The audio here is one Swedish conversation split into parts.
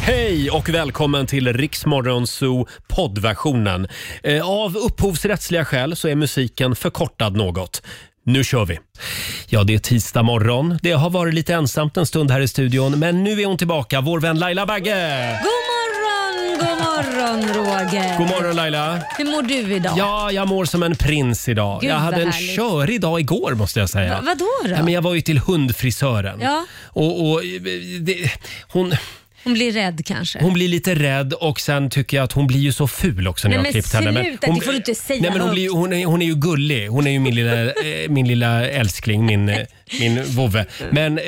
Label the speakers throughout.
Speaker 1: Hej och välkommen till Riksmorgon Zoo poddversionen. Eh, Av upphovsrättsliga skäl så är musiken förkortad något. Nu kör vi! Ja, det är tisdag morgon. Det har varit lite ensamt en stund här i studion, men nu är hon tillbaka, vår vän Laila Bagge!
Speaker 2: God morgon, god morgon Roger.
Speaker 1: God morgon Laila!
Speaker 2: Hur mår du idag?
Speaker 1: Ja, jag mår som en prins idag.
Speaker 2: Gud,
Speaker 1: jag
Speaker 2: vad
Speaker 1: hade en
Speaker 2: härligt.
Speaker 1: körig dag igår måste jag säga.
Speaker 2: Va- vadå då?
Speaker 1: Ja, men jag var ju till hundfrisören.
Speaker 2: Ja.
Speaker 1: Och, och, eh, det, hon,
Speaker 2: Hon blir rädd kanske.
Speaker 1: hon blir lite rädd och sen tycker jag att hon blir ju så ful också när
Speaker 2: Nej,
Speaker 1: jag
Speaker 2: men
Speaker 1: har klippt henne.
Speaker 2: sluta, det får du inte säga
Speaker 1: nej, men hon,
Speaker 2: högt.
Speaker 1: blir, ju- hon, är, hon är ju gullig. Hon är ju min lilla, eh, min lilla älskling, min, eh, min vovve. Men eh,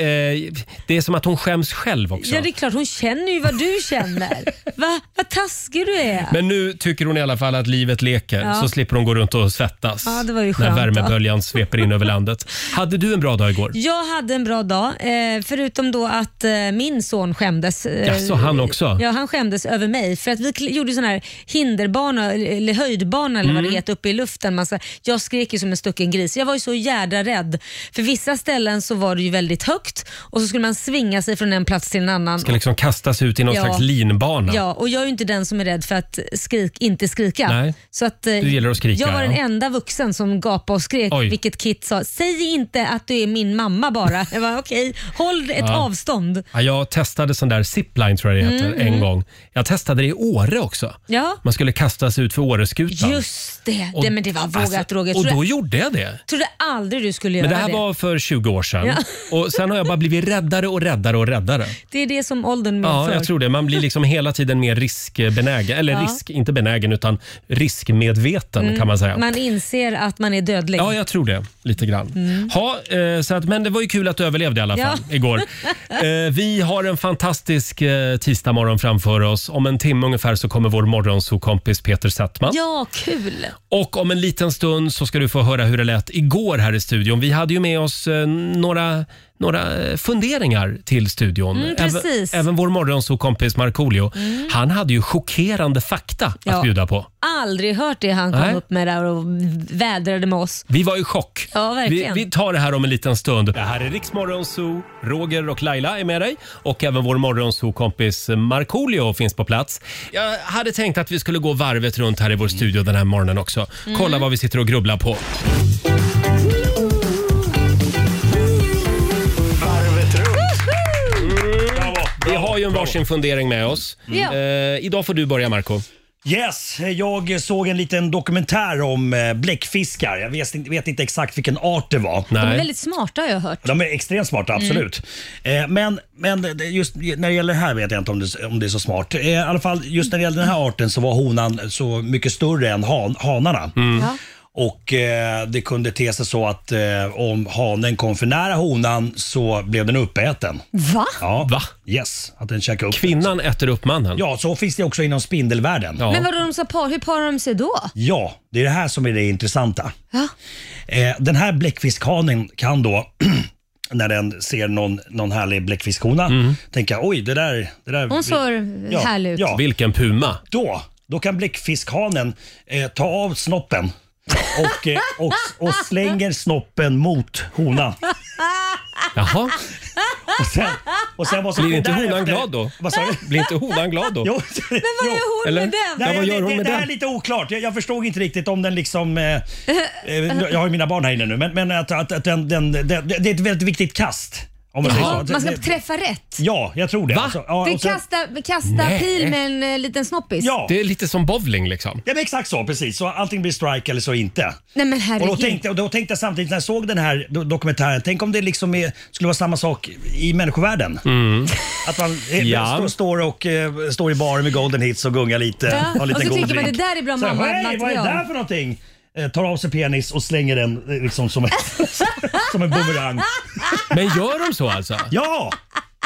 Speaker 1: det är som att hon skäms själv också.
Speaker 2: Ja det är klart, hon känner ju vad du känner. Va? Vad taskig du är.
Speaker 1: Men nu tycker hon i alla fall att livet leker
Speaker 2: Ja.
Speaker 1: så slipper hon gå runt och svettas
Speaker 2: Ja, det var ju
Speaker 1: när
Speaker 2: skönt,
Speaker 1: värmeböljan sveper in över landet. Hade du en bra dag igår?
Speaker 2: Jag hade en bra dag, eh, förutom då att eh, min son skämdes. Eh,
Speaker 1: Jaså, han också?
Speaker 2: Ja, han skämdes över mig för att vi kl- gjorde sån här hinderbana eller höjdbana eller
Speaker 1: Mm.
Speaker 2: vad det heter uppe i luften. Man, sa- jag skrek ju som en stucken gris. Jag var ju så jädra rädd. För vissa ställen så var det ju väldigt högt och så skulle man svinga sig från en plats till en annan.
Speaker 1: Ska liksom kastas ut i någon
Speaker 2: Ja.
Speaker 1: slags linbana.
Speaker 2: Ja, och jag är ju inte den som är rädd för att skrik, inte skrika.
Speaker 1: Nej.
Speaker 2: Så att, eh,
Speaker 1: Du gillar att skrika,
Speaker 2: Jag var den
Speaker 1: ja.
Speaker 2: enda vuxen som gapade och skrek,
Speaker 1: Oj.
Speaker 2: vilket Kit sa. Säg inte att du är min mamma bara. Jag var okej, håll ett
Speaker 1: Ja.
Speaker 2: avstånd.
Speaker 1: Ja, jag testade sån där zipline tror jag det
Speaker 2: Mm,
Speaker 1: heter, en gång. Jag testade det i Åre också.
Speaker 2: Ja.
Speaker 1: Man skulle kastas ut för Åreskutan.
Speaker 2: Just det,
Speaker 1: Och-
Speaker 2: det, men det var vågat
Speaker 1: alltså,
Speaker 2: Roger.
Speaker 1: Och
Speaker 2: Trodde,
Speaker 1: då gjorde jag det.
Speaker 2: trodde aldrig du skulle göra
Speaker 1: Men
Speaker 2: det.
Speaker 1: det här var för 20 år sedan.
Speaker 2: Ja.
Speaker 1: Och sen har jag bara blivit räddare och räddare och räddare.
Speaker 2: Det är det som åldern medför.
Speaker 1: Ja, jag tror det. Man blir liksom hela tiden mer riskbenägen. Eller
Speaker 2: Ja. Mm.
Speaker 1: risk, inte benägen, utan riskmedveten kan man säga.
Speaker 2: Man inser att man är dödlig.
Speaker 1: Ja, jag tror det. Lite grann. Ha, eh, så att, men det var ju kul att du överlevde i alla fall
Speaker 2: Mm. Ja.
Speaker 1: igår. Eh, vi har en fantastisk eh, tisdagmorgon framför oss. Om en timme ungefär så kommer vår morgonsokompis Peter Settman.
Speaker 2: Ja, kul.
Speaker 1: Och om en liten stund så ska du få höra hur det lät igår här i studion. Vi hade ju med oss eh, några, några eh, funderingar till studion.
Speaker 2: Mm,
Speaker 1: även,
Speaker 2: precis. Mm.
Speaker 1: även vår morgonsokompis Markoolio. Han hade ju chockerande fakta att
Speaker 2: Ja.
Speaker 1: bjuda på.
Speaker 2: Aldrig hört det han kom
Speaker 1: Nej.
Speaker 2: upp med där och vädrade med oss.
Speaker 1: Vi var i chock.
Speaker 2: Ja,
Speaker 1: vi,
Speaker 2: verkligen.
Speaker 1: vi tar det här om en liten stund. Det här är Riksmorgon Zoo. Roger och Laila är med dig och även vår morgonzoo-kompis Markoolio finns på plats. Jag hade tänkt att vi skulle gå varvet runt här i vår studio den här morgonen också.
Speaker 2: Mm.
Speaker 1: Kolla vad vi sitter och grubblar på. Vi har ju en varsin fundering med oss.
Speaker 2: Ja. Mm.
Speaker 1: Eh, idag får du börja Marco.
Speaker 3: Yes, jag såg en liten dokumentär om eh, bläckfiskar. Jag vet inte, vet inte exakt vilken art det var.
Speaker 2: De är väldigt smarta har jag hört.
Speaker 3: De är extremt smarta, absolut. Eh, men, men det- just när det gäller det här vet jag inte om det, om det är så smart. Eh, I alla fall just när det gäller den här arten så var honan så mycket större än han, hanarna.
Speaker 1: Mm.
Speaker 2: Ja.
Speaker 3: Och eh, Det kunde te sig så att eh, om hanen kom för nära honan så blev den uppäten.
Speaker 2: Va?
Speaker 3: Ja.
Speaker 1: Va?
Speaker 3: Yes, att den käkade upp.
Speaker 1: Kvinnan äter upp mannen.
Speaker 3: Ja, så finns det också inom spindelvärlden.
Speaker 1: Ja.
Speaker 2: Men vadå, de sa par, hur parar de sig då?
Speaker 3: Ja, det är det här som är det intressanta.
Speaker 2: Ja.
Speaker 3: Eh, den här bläckfiskhanen kan då när den ser någon, någon härlig bläckfiskhona
Speaker 1: Mm.
Speaker 3: tänka oj det där... Det där
Speaker 2: Hon ser
Speaker 3: ja,
Speaker 2: härlig ut.
Speaker 3: Ja,
Speaker 1: Vilken puma.
Speaker 3: då, då kan bläckfiskhanen eh, ta av snoppen och, eh, och, och slänger snoppen mot honan.
Speaker 1: Jaha,
Speaker 3: Och sen, och sen vad som
Speaker 1: blir inte
Speaker 3: sker
Speaker 1: honan
Speaker 3: därefter-
Speaker 1: glad då?
Speaker 3: Vad sa du?
Speaker 1: Blir inte honan glad då?
Speaker 3: Jo,
Speaker 2: Vad
Speaker 3: jo.
Speaker 2: gör hon
Speaker 1: Eller?
Speaker 2: med den?
Speaker 1: Ja,
Speaker 3: Det här
Speaker 1: vad
Speaker 3: är
Speaker 1: gör
Speaker 3: lite-
Speaker 1: hon med
Speaker 3: det här
Speaker 1: den?
Speaker 3: är lite oklart. Jag, jag förstod inte riktigt om den liksom... Eh, eh, jag har ju mina barn här inne nu, men, men att, att, att den, den, den, det, det är ett väldigt viktigt kast. Om man säger så.
Speaker 2: Ja, man ska
Speaker 3: Det-
Speaker 2: träffa rätt.
Speaker 3: Ja, jag tror det. Alltså,
Speaker 1: Va?
Speaker 3: ja,
Speaker 2: Det
Speaker 3: och så-
Speaker 2: kasta,
Speaker 1: Nej.
Speaker 2: kasta pil med en eh, liten snoppis.
Speaker 3: ja.
Speaker 1: Det är lite som bowling liksom.
Speaker 3: Ja, men exakt så. Precis. Så antingen blir strike eller så inte.
Speaker 2: Nej men
Speaker 3: Och då,
Speaker 2: herregud.
Speaker 3: tänkte, och då tänkte jag samtidigt när jag såg den här do- dokumentären, tänk om det liksom är, skulle vara samma sak i människovärlden. Att man eh,
Speaker 1: Ja.
Speaker 3: står, står, och, eh, står i baren med golden hits och gungar lite.
Speaker 2: Ja,
Speaker 3: har en liten
Speaker 2: och så
Speaker 3: god
Speaker 2: tycker man,
Speaker 3: drink.
Speaker 2: det där är bra
Speaker 3: Så här,
Speaker 2: mamma-
Speaker 3: "Hej, Vad är det
Speaker 2: material."
Speaker 3: där för någonting? Eh, Tar av sig penis och slänger den eh, liksom som, en- som en bumerang.
Speaker 1: Men gör de så alltså?
Speaker 3: Ja!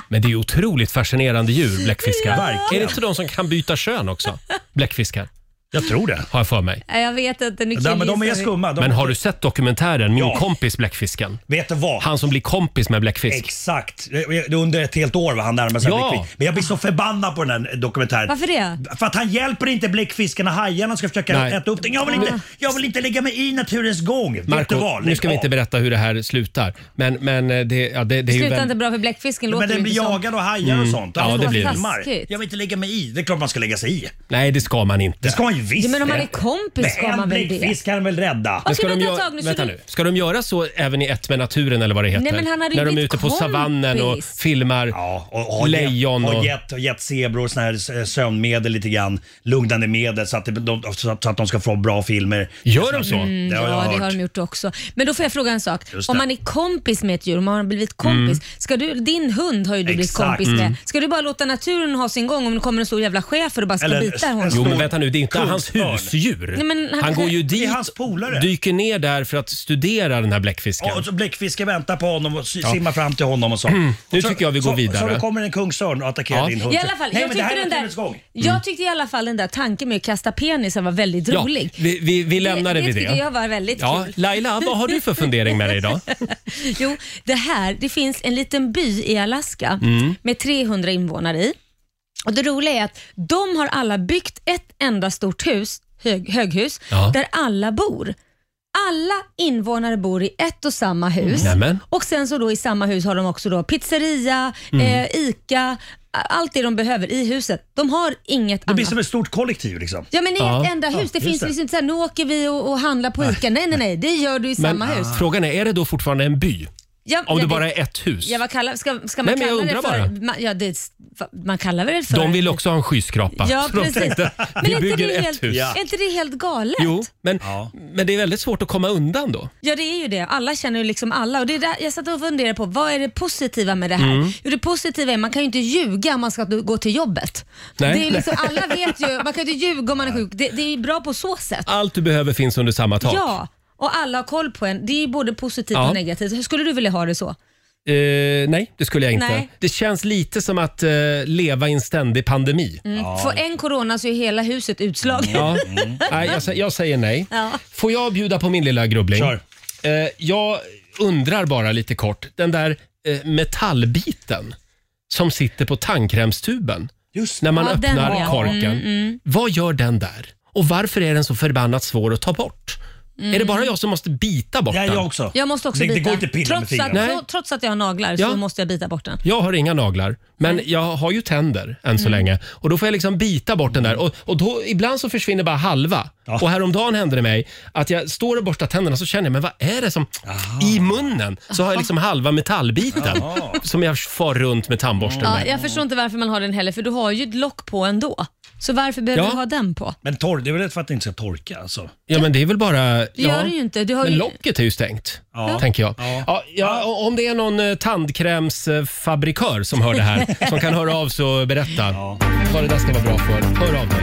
Speaker 1: Men det är otroligt fascinerande djur, bläckfiskar.
Speaker 3: Verkligen.
Speaker 1: Är det inte de som kan byta kön också? Bläckfiskar.
Speaker 3: Jag tror det.
Speaker 1: har jag för mig.
Speaker 2: Nej, Jag vet inte. Nu
Speaker 3: Ja, men de är
Speaker 2: killgissar vi.
Speaker 3: skumma. De,
Speaker 1: Men har du sett dokumentären Min
Speaker 3: Ja.
Speaker 1: kompis bläckfisken?
Speaker 3: Vet du vad?
Speaker 1: Han som blir kompis med bläckfisk.
Speaker 3: Exakt. Eh, Det är Under ett helt år var han närmade sig
Speaker 1: Ja.
Speaker 3: Bläckfisk. Men jag blir så förbannad på den här dokumentären.
Speaker 2: Varför det?
Speaker 3: För att han hjälper inte bläckfisken och hajarna ska försöka
Speaker 1: Nej.
Speaker 3: äta upp den. Jag vill, inte, jag vill inte lägga mig i naturens gång. Vet du
Speaker 1: Marco,
Speaker 3: vad?
Speaker 1: nu ska vi
Speaker 3: Lägg
Speaker 1: inte
Speaker 3: av.
Speaker 1: berätta hur det här slutar. Men, men eh, det, ja, det, det är ju...
Speaker 2: Slutar
Speaker 1: väl-
Speaker 2: inte bra för bläckfisken låter
Speaker 3: Men den
Speaker 2: det
Speaker 3: blir
Speaker 2: inte som.
Speaker 3: jagad och hajar och sånt.
Speaker 1: Mm. Ja,
Speaker 3: Alltså,
Speaker 1: det blir det.
Speaker 3: filmar.
Speaker 2: Taskigt.
Speaker 3: Jag vill inte lägga mig i. Det är klart man ska lägga sig i.
Speaker 1: Nej, det ska man inte.
Speaker 3: Det ska man ju visst.
Speaker 2: Ja, men om man är
Speaker 3: Nej.
Speaker 2: kompis ska
Speaker 3: Nej,
Speaker 2: man
Speaker 3: en
Speaker 2: väl det?
Speaker 3: bläckfisk kan han väl rädda?
Speaker 1: Men
Speaker 2: Okej,
Speaker 1: ska, de
Speaker 2: vänta ett
Speaker 1: gö-
Speaker 2: tag nu, så
Speaker 1: vänta
Speaker 2: du-
Speaker 1: nu. ska de göra så även i Ett med naturen eller vad det heter?
Speaker 2: Nej, men han hade ju
Speaker 1: När de är
Speaker 2: blivit
Speaker 1: ute på savannen och
Speaker 2: kompis.
Speaker 1: filmar
Speaker 3: Ja, och har
Speaker 1: lejon
Speaker 3: gett,
Speaker 1: och...
Speaker 3: och... Gett, och gett zebror såna här eh, sömnmedel lite grann. Lugnande medel så att, det- de, så att så att de ska få bra filmer. Mm,
Speaker 1: Gör de så?
Speaker 3: det har jag
Speaker 2: ja, det har
Speaker 3: hört.
Speaker 2: de gjort också. Men då får jag fråga en sak.
Speaker 3: Just
Speaker 2: Om
Speaker 3: det. Mm.
Speaker 2: man är kompis med ett djur, om man har blivit kompis. Ska du, din hund har ju du blivit
Speaker 3: Exakt. Mm.
Speaker 2: kompis med. Ska du bara låta naturen ha sin gång om det kommer en stor jävla schäfer och bara ska
Speaker 3: Eller-
Speaker 2: bita honom?
Speaker 1: Jo, men vänta nu. Det är inte hans
Speaker 3: Kungsörn.
Speaker 1: husdjur.
Speaker 2: Nej, men
Speaker 1: han,
Speaker 2: han-
Speaker 1: går ju
Speaker 2: Det
Speaker 1: dit,
Speaker 3: hans polare.
Speaker 1: dyker ner där för att studera den här bläckfisken.
Speaker 3: Ja, och så bläckfisken väntar på honom och si- simmar fram till honom och så.
Speaker 1: Mm, Nu
Speaker 3: Och så,
Speaker 1: tycker jag vi går
Speaker 3: så,
Speaker 1: vidare.
Speaker 3: Så då kommer en kungsörn och attackerar
Speaker 1: Ja.
Speaker 3: din hund.
Speaker 2: I alla fall,
Speaker 3: Nej,
Speaker 2: jag,
Speaker 3: men det
Speaker 2: tyckte
Speaker 3: här är
Speaker 2: den
Speaker 3: naturens
Speaker 2: där,
Speaker 3: gång. Mm.
Speaker 2: jag tyckte i alla fall den där tanken med att kasta penisar var väldigt
Speaker 1: Ja,
Speaker 2: rolig.
Speaker 1: vi, vi, vi lämnar det,
Speaker 2: det
Speaker 1: vid det.
Speaker 2: tycker jag var väldigt
Speaker 1: ja,
Speaker 2: kul.
Speaker 1: Laila, vad har du för fundering med dig idag?
Speaker 2: Jo, det här, det finns en liten by i Alaska
Speaker 1: Mm.
Speaker 2: med 300 invånare i. Och Det roliga är att de har alla byggt ett enda stort hus, hög, höghus,
Speaker 1: Ja.
Speaker 2: där alla bor. Alla invånare bor i ett och samma hus.
Speaker 1: Mm. Nämen.
Speaker 2: Och sen så då i samma hus har de också då pizzeria,
Speaker 1: Mm.
Speaker 2: eh, ICA, a- allt det de behöver i huset. De har inget
Speaker 3: Det
Speaker 2: annat.
Speaker 3: blir som ett stort kollektiv liksom.
Speaker 2: Ja men i
Speaker 1: Ja.
Speaker 2: ett enda hus. Det finns
Speaker 3: det.
Speaker 2: liksom inte såhär, nu åker vi och, och handlar på ICA. Nej, nej, nej. Det gör du i
Speaker 1: Men
Speaker 2: samma hus.
Speaker 1: frågan är, är det då fortfarande en by?
Speaker 2: Ja,
Speaker 1: Om
Speaker 2: ja,
Speaker 1: det
Speaker 2: det-
Speaker 1: bara är ett hus?
Speaker 2: Ja, vad kallar, ska, ska man
Speaker 1: Nej, men jag
Speaker 2: kalla
Speaker 1: undrar
Speaker 2: det för...
Speaker 1: bara.
Speaker 2: Man, ja, det, man kallar väl det för...
Speaker 1: De vill också ha en skyskrapa.
Speaker 2: Ja,
Speaker 1: så de
Speaker 2: precis.
Speaker 1: tänkte, vi
Speaker 2: är
Speaker 1: bygger
Speaker 2: det
Speaker 1: ett
Speaker 2: helt,
Speaker 1: hus.
Speaker 3: Ja.
Speaker 2: Är inte det helt galet?
Speaker 1: Jo, men,
Speaker 3: Ja.
Speaker 1: men det är väldigt svårt att komma undan då.
Speaker 2: Ja, det är ju det. Alla känner ju liksom alla. Och det är där jag satt och funderade på, vad är det positiva med det här?
Speaker 1: Mm.
Speaker 2: Jo, det positiva är man kan ju inte ljuga om man ska gå till jobbet.
Speaker 1: Nej.
Speaker 2: Det är ju liksom, alla vet ju, man kan ju inte ljuga om man är sjuk. Det, det är ju bra på så sätt.
Speaker 1: Allt du behöver finns under samma tak.
Speaker 2: Ja, och alla har koll på en. Det är ju både positivt
Speaker 1: Ja.
Speaker 2: och negativt. Hur skulle du vilja ha det så?
Speaker 1: Eh, nej, det skulle jag inte.
Speaker 2: Nej.
Speaker 1: Det känns lite som att eh, leva i en ständig pandemi.
Speaker 2: Mm. Får en corona så är hela huset utslaget.
Speaker 1: Ja.
Speaker 2: Mm.
Speaker 1: Nej, jag, sä- jag säger nej. Får jag bjuda på min lilla grubbling?
Speaker 3: Kör.
Speaker 1: Eh, jag undrar bara lite kort, den där eh, metallbiten som sitter på tandkrämstuben
Speaker 3: Just
Speaker 1: när man
Speaker 2: Ja, Mm, den
Speaker 1: öppnar
Speaker 2: har jag.
Speaker 1: korken. Vad gör den där? Och varför är den så förbannat svår att ta bort?
Speaker 2: Mm.
Speaker 1: Är det bara jag som måste bita bort
Speaker 3: Ja,
Speaker 1: den?
Speaker 3: jag också.
Speaker 2: Jag måste också
Speaker 3: det,
Speaker 2: bita.
Speaker 3: Det går inte att pilla med
Speaker 2: trots,
Speaker 3: fingrarna.
Speaker 1: Nej.
Speaker 2: att, tro- trots att jag har naglar
Speaker 1: Ja.
Speaker 2: så måste jag bita bort den.
Speaker 1: Jag har inga naglar, men jag har ju tänder än så
Speaker 2: Mm.
Speaker 1: länge. Och Då får jag liksom bita bort den där. Och, och då, Ibland så försvinner bara halva.
Speaker 3: Ja.
Speaker 1: Och Häromdagen hände det mig att jag står och borstar tänderna så känner jag, men vad är det som... I munnen så har jag liksom halva metallbiten som jag far runt med tandborsten
Speaker 2: Ja,
Speaker 1: med.
Speaker 2: jag förstår inte varför man har den heller, för du har ju ett lock på ändå. Så varför behöver
Speaker 1: Ja.
Speaker 2: du ha den på?
Speaker 3: Men torr, det är väl för att det inte ska torka alltså.
Speaker 1: Ja, men det är väl bara...
Speaker 2: Det
Speaker 1: ja.
Speaker 2: gör du ju inte. Du har
Speaker 1: Men
Speaker 2: ju...
Speaker 1: locket är ju stängt,
Speaker 3: Ja.
Speaker 1: tänker jag. Ja.
Speaker 3: Ja.
Speaker 1: Ja, och Om det är någon eh, tandkrämsfabrikör som hör det här, som kan höra av sig och berätta vad det där ska vara bra för, hör av dig.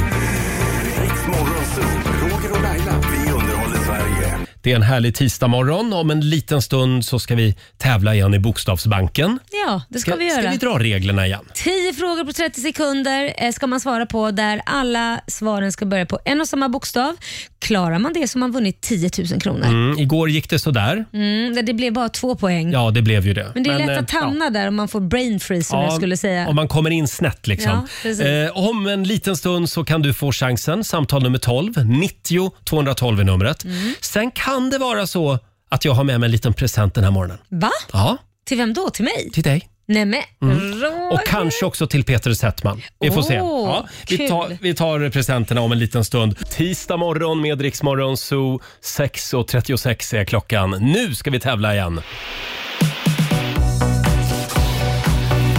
Speaker 4: Riksmorgonzoo, Roger och Laila. Vi underhåller Sverige.
Speaker 1: Det är en härlig tisdagmorgon. Om en liten stund så ska vi tävla igen i Bokstavsbanken.
Speaker 2: Ja, det ska,
Speaker 1: Ska,
Speaker 2: vi göra.
Speaker 1: ska vi dra reglerna igen?
Speaker 2: 10 frågor på 30 sekunder eh, ska man svara på där alla svaren ska börja på en och samma bokstav. Klarar man det så har man vunnit 10 000 kronor.
Speaker 1: Mm, igår gick det sådär.
Speaker 2: Mm, det blev bara två poäng.
Speaker 1: Ja, det blev ju det.
Speaker 2: Men det är
Speaker 1: eh,
Speaker 2: lätt att hamna där om man får brain freeze som
Speaker 1: ja,
Speaker 2: jag skulle säga.
Speaker 1: Om man kommer in snett liksom.
Speaker 2: Ja, precis.
Speaker 1: eh, om en liten stund så kan du få chansen. Samtal nummer 12. 90 212 är numret.
Speaker 2: Mm.
Speaker 1: Sen kan det vara så att jag har med mig en liten present den här morgonen.
Speaker 2: Va?
Speaker 1: Ja,
Speaker 2: Till vem då? Till mig?
Speaker 1: till dig.
Speaker 2: Nej men
Speaker 1: Och
Speaker 2: Roger.
Speaker 1: kanske också till Peter Settman. Vi får se.
Speaker 2: Åh,
Speaker 1: Ja, vi,
Speaker 2: kul.
Speaker 1: tar, vi tar presenterna om en liten stund. Tisdag morgon med Rix Morgon Zoo. 6.36 är klockan. Nu ska vi tävla igen.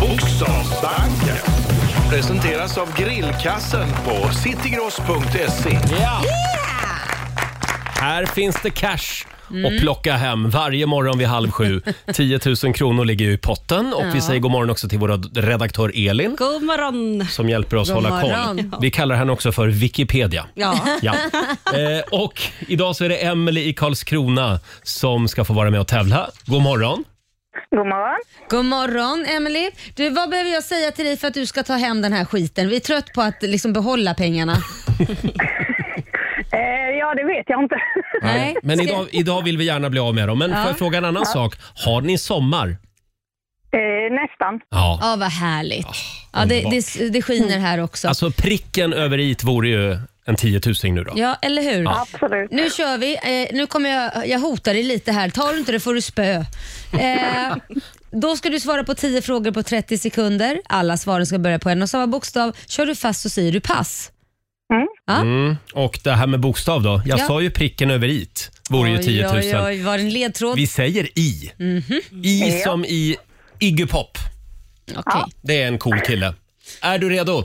Speaker 4: Bokstavsbanken presenteras av grillkassen på citygross.se.
Speaker 1: Här finns det cash
Speaker 2: Mm.
Speaker 1: att plocka hem varje morgon vid halv sju. 10 000 kronor ligger ju i potten. Och Vi säger god morgon också till vår redaktör Elin
Speaker 5: God morgon!
Speaker 1: som hjälper oss
Speaker 2: God
Speaker 1: hålla koll.
Speaker 2: morgon.
Speaker 1: Vi kallar henne också för Wikipedia.
Speaker 5: Ja.
Speaker 1: Ja. Eh, och idag så är det Emily i Karlskrona som ska få vara med och tävla. God morgon.
Speaker 6: God morgon.
Speaker 2: God morgon Emily. Du, vad behöver jag säga till dig för att du ska ta hem den här skiten? Vi är trött på att liksom behålla pengarna.
Speaker 5: Eh, Ja, det vet jag inte.
Speaker 2: Nej.
Speaker 1: Men
Speaker 2: Ska-
Speaker 1: idag, idag vill vi gärna bli av med dem. Men
Speaker 2: Ja.
Speaker 1: får jag fråga en annan sak? Har ni sommar?
Speaker 5: Eh, nästan.
Speaker 1: Ja.
Speaker 2: Ja, vad härligt. Ja, det, det, det skiner här
Speaker 1: Ah,
Speaker 2: också.
Speaker 1: Alltså pricken över it vore ju en tiotusing nu då.
Speaker 2: Ja, eller hur?
Speaker 5: Absolut.
Speaker 2: Nu kör vi. Eh, nu kommer jag, jag hotar dig lite här. Tar du inte det får du spö. Eh, då ska du svara på 10 frågor på 30 sekunder. Alla svaren ska börja på en och samma bokstav. Kör du fast så säger du pass.
Speaker 1: Mm. Och det här med bokstav då. Jag
Speaker 2: Ja.
Speaker 1: sa ju pricken över it vore ju
Speaker 2: Oj, Mhm. oj,
Speaker 1: 10 000.
Speaker 2: oj. Var det en ledtråd?
Speaker 1: Vi säger i. I som i Iggy Pop.
Speaker 2: Okej.
Speaker 1: Det är en cool kille. Är du redo?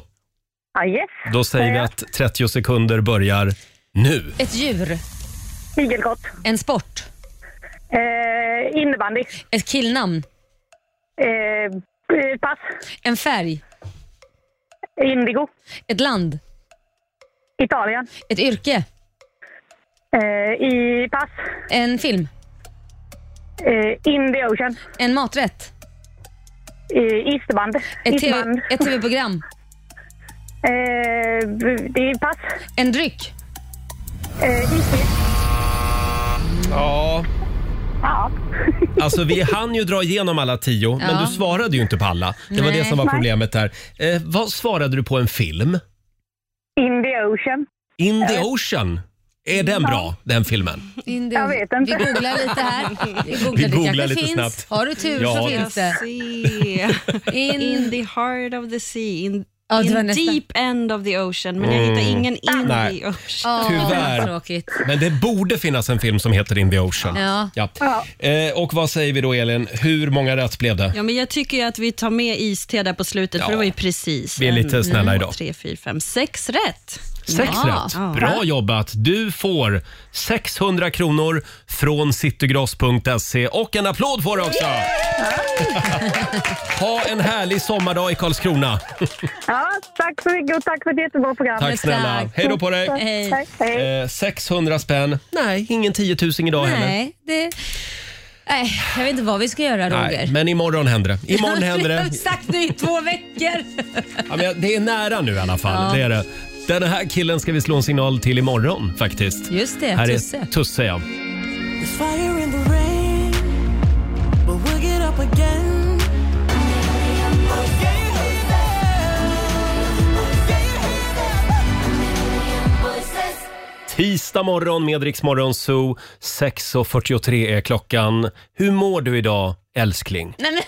Speaker 5: Ah, yes.
Speaker 1: Då säger vi att 30 sekunder börjar nu.
Speaker 2: Ett djur.
Speaker 5: Igelkott.
Speaker 2: En sport.
Speaker 5: Eh, innebandy.
Speaker 2: Ett killnamn.
Speaker 5: Eh, eh, pass.
Speaker 2: En färg.
Speaker 5: Indigo.
Speaker 2: Ett land.
Speaker 5: Italien.
Speaker 2: Ett yrke.
Speaker 5: Eh, I pass.
Speaker 2: En film.
Speaker 5: Eh, in the ocean.
Speaker 2: En maträtt.
Speaker 5: Eh, isterband.
Speaker 2: Ett,
Speaker 5: Isterband.
Speaker 2: TV, ett tv-program.
Speaker 5: Eh, det är pass.
Speaker 2: En dryck.
Speaker 5: Eh, IT.
Speaker 1: Ja.
Speaker 5: Ja.
Speaker 1: Alltså vi hann ju dra igenom alla tio, men
Speaker 2: Ja.
Speaker 1: du svarade ju inte på alla. Det var
Speaker 2: Nej.
Speaker 1: det som var
Speaker 5: Nej.
Speaker 1: problemet där. Eh, vad svarade du på en film?
Speaker 5: In the ocean.
Speaker 1: In
Speaker 2: Eh.
Speaker 1: the Ocean. Är den bra, den filmen?
Speaker 5: Jag vet inte.
Speaker 2: Vi googlar lite här. Vi googlar,
Speaker 1: Vi
Speaker 2: det
Speaker 1: googlar
Speaker 2: kanske
Speaker 1: lite
Speaker 2: finns.
Speaker 1: snabbt.
Speaker 2: Har du tur
Speaker 1: Ja,
Speaker 2: så
Speaker 1: det-
Speaker 2: finns det.
Speaker 6: Sea.
Speaker 2: In-
Speaker 6: In the heart of the sea. In,
Speaker 2: Ja, det var
Speaker 6: in
Speaker 2: nästan.
Speaker 6: deep end of the ocean. Men jag hittar ingen in
Speaker 1: Mm. Ah, Nej.
Speaker 6: the ocean.
Speaker 2: Ja,
Speaker 1: Tyvärr.
Speaker 2: vad Tråkigt.
Speaker 1: Men det borde finnas en film som heter In the Ocean.
Speaker 2: Ja.
Speaker 1: Eh, och vad säger vi då Elin? Hur många rätt blev det?
Speaker 6: Ja, men jag tycker ju att vi tar med iste där på slutet, för det var ju precis.
Speaker 1: Vi är lite
Speaker 6: en,
Speaker 1: snälla
Speaker 6: två,
Speaker 1: idag.
Speaker 6: Tre, fyra, fem, sex rätt.
Speaker 1: Sex
Speaker 2: Ja.
Speaker 1: rätt. Bra jobbat. Du får 600 kronor från citygross.se och en applåd får du också. ha en härlig sommardag i Karlskrona.
Speaker 5: Ja, tack så mycket och tack för ett jättebra program.
Speaker 1: Tack snälla.
Speaker 2: tack.
Speaker 1: Hej då på dig.
Speaker 5: Tack,
Speaker 2: Hej.
Speaker 5: tack, Hej.
Speaker 1: Eh, 600 spänn. Nej, ingen 10 000 idag heller.
Speaker 2: Nej, det... Nej, jag vet inte vad vi ska göra Roger.
Speaker 1: men imorgon händer det. Imorgon händer det.
Speaker 2: Sagt nu i två veckor.
Speaker 1: Ja, men det är nära nu i alla fall.
Speaker 2: Ja.
Speaker 1: Det är det. Den här killen ska vi slå en signal till imorgon faktiskt.
Speaker 2: Just det,
Speaker 1: här Är
Speaker 2: Tusse.
Speaker 1: Tusse ja.
Speaker 7: Fire in the rain, but we'll get up again.
Speaker 1: Tisdag morgon med Rix Morgon Zoo. 6.43 är klockan. Hur mår du idag älskling?
Speaker 2: Nej, men,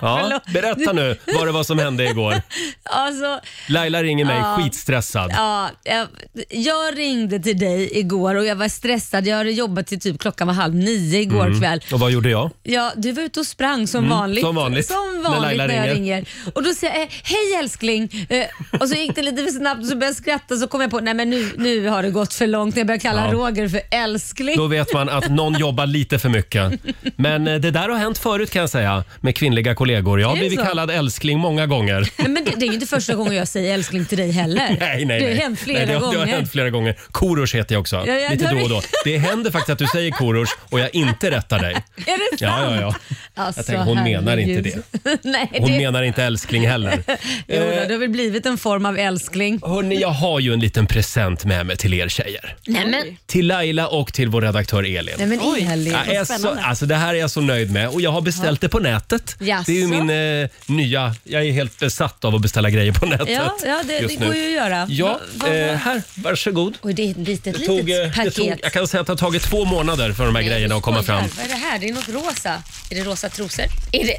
Speaker 1: Ja, berätta nu vad det var som hände igår.
Speaker 2: alltså,
Speaker 1: Laila ringer mig skitstressad.
Speaker 2: ja, jag, jag ringde till dig igår och jag var stressad. Jag hade jobbat till typ klockan var halv nio igår kväll.
Speaker 1: Och vad gjorde jag?
Speaker 2: Ja, du var ute och sprang som vanligt.
Speaker 1: Mm, som vanligt.
Speaker 2: Som
Speaker 1: När
Speaker 2: vanligt
Speaker 1: Laila
Speaker 2: när, jag
Speaker 1: ringer.
Speaker 2: ringer. Och då säger jag eh, hej älskling. Eh, och så gick det lite för snabbt och så började jag skratta så kom jag på nej men nu, nu har det gått för långt när jag började kalla
Speaker 1: Ja.
Speaker 2: Roger för älskling.
Speaker 1: Då vet man att någon jobbar lite för mycket. Men eh, det där har hänt förut kan jag säga med kvinnliga kollegor. Jag har
Speaker 2: Är det
Speaker 1: blivit
Speaker 2: så?
Speaker 1: kallad älskling många gånger.
Speaker 2: Nej, men det, det är ju inte första gången jag säger älskling till dig heller.
Speaker 1: Nej, nej,
Speaker 2: det har
Speaker 1: nej.
Speaker 2: hänt flera
Speaker 1: nej, det, har-
Speaker 2: gånger.
Speaker 1: Det har hänt flera gånger. Korosh heter jag också.
Speaker 2: Ja, ja,
Speaker 1: Lite
Speaker 2: det har
Speaker 1: då
Speaker 2: du-
Speaker 1: och då. Det händer faktiskt att du säger Korosh och jag inte rättar dig.
Speaker 2: Är det
Speaker 1: Ja,
Speaker 2: sant?
Speaker 1: ja, ja.
Speaker 2: Alltså,
Speaker 1: tänker, hon menar inte
Speaker 2: herregud. nej,
Speaker 1: Hon Eh.
Speaker 2: det,
Speaker 1: menar inte älskling heller.
Speaker 2: jo, då, det har väl blivit en form av älskling.
Speaker 1: Hörni, jag har ju en liten present med mig till er tjejer.
Speaker 2: Nej men,
Speaker 1: Till Laila och till vår redaktör Elin.
Speaker 2: nej, men Elin.
Speaker 1: Jag är så, alltså det här är jag så nöjd med och jag har beställt det på nätet. Det är ju
Speaker 2: Jaså?
Speaker 1: min eh, nya... Jag är helt besatt av att beställa grejer på nätet
Speaker 2: Ja, ja det, det
Speaker 1: just nu.
Speaker 2: går ju att göra.
Speaker 1: Ja,
Speaker 2: Va, va, va?
Speaker 1: eh, här. Varsågod.
Speaker 2: Oj, det är ett litet,
Speaker 1: Det
Speaker 2: litet
Speaker 1: tog, eh, det
Speaker 2: paket.
Speaker 1: tog, jag kan säga att det har tagit två månader för de här grejerna att komma fram.
Speaker 2: Vad är det här? Det är något rosa. Är det rosa trosor? Är det?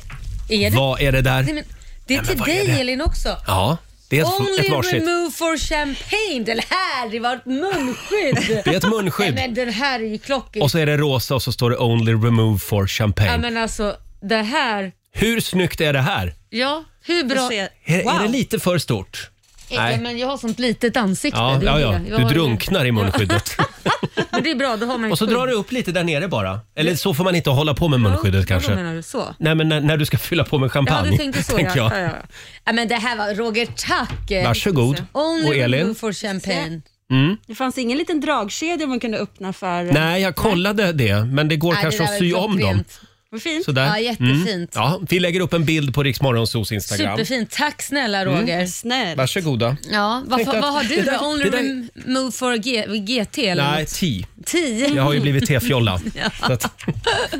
Speaker 2: Är det?
Speaker 1: Vad är det
Speaker 2: Nej,
Speaker 1: där?
Speaker 2: men, det är
Speaker 1: men
Speaker 2: till
Speaker 1: vad är
Speaker 2: dig
Speaker 1: det?
Speaker 2: Elin också.
Speaker 1: Ja, det är ett, ett
Speaker 2: Only
Speaker 1: varsitt.
Speaker 2: remove for champagne. Den här, det var ett munskydd.
Speaker 1: Det är ett
Speaker 2: Nej,
Speaker 1: munskydd.
Speaker 2: men den här är ju klockig.
Speaker 1: Och så är det rosa och så står det “Only remove for
Speaker 2: Ja,
Speaker 1: champagne”.
Speaker 2: men alltså, det här.
Speaker 1: Hur snyggt är det här?
Speaker 2: Ja, hur bra?
Speaker 6: Se-
Speaker 1: Är, är det
Speaker 6: Wow.
Speaker 1: lite för stort?
Speaker 2: Ja, men jag har sånt litet ansikte.
Speaker 1: Ja,
Speaker 2: det är
Speaker 1: ja,
Speaker 2: det.
Speaker 1: ja.
Speaker 2: Jag
Speaker 1: Du
Speaker 2: har-
Speaker 1: drunknar i munskyddet.
Speaker 2: Men det är bra, då har man ju
Speaker 1: Och så
Speaker 2: skydd.
Speaker 1: drar du upp lite där nere bara. Eller så får man inte hålla på med munskyddet
Speaker 2: Ja,
Speaker 1: kanske.
Speaker 2: Vad menar du? Så?
Speaker 1: Nej, men när, när du ska fylla på med
Speaker 2: Ja,
Speaker 1: champagne.
Speaker 2: du tänkte så
Speaker 1: tänker
Speaker 2: ja.
Speaker 1: jag.
Speaker 2: Ja, ja, ja. ja. Men det här var, Roger, tack.
Speaker 1: Varsågod.
Speaker 2: Only
Speaker 1: Och Elin?
Speaker 2: remove for champagne.
Speaker 6: Det fanns ingen liten dragkedja man kunde öppna för...
Speaker 1: Nej, jag kollade det, men det går
Speaker 2: Nej,
Speaker 1: kanske
Speaker 2: det där
Speaker 1: att
Speaker 2: var
Speaker 1: sy om dem.
Speaker 2: klockrent.
Speaker 6: Vad fint.
Speaker 1: Sådär.
Speaker 2: Ja, jättefint.
Speaker 1: Mm. Ja, vi lägger upp en bild på Riksmorgonsos Instagram.
Speaker 2: Superfint. Tack snälla Roger.
Speaker 6: Snäll.
Speaker 1: Varsågoda.
Speaker 2: Ja, vad,
Speaker 1: Tänkte att-
Speaker 2: vad har
Speaker 1: det
Speaker 2: du
Speaker 1: där-
Speaker 2: då? Only
Speaker 1: det där-
Speaker 2: room move for G, GT eller
Speaker 1: Nej,
Speaker 2: Nej.
Speaker 1: ti.
Speaker 2: 10?
Speaker 1: Jag har ju blivit tefjolla. Så att,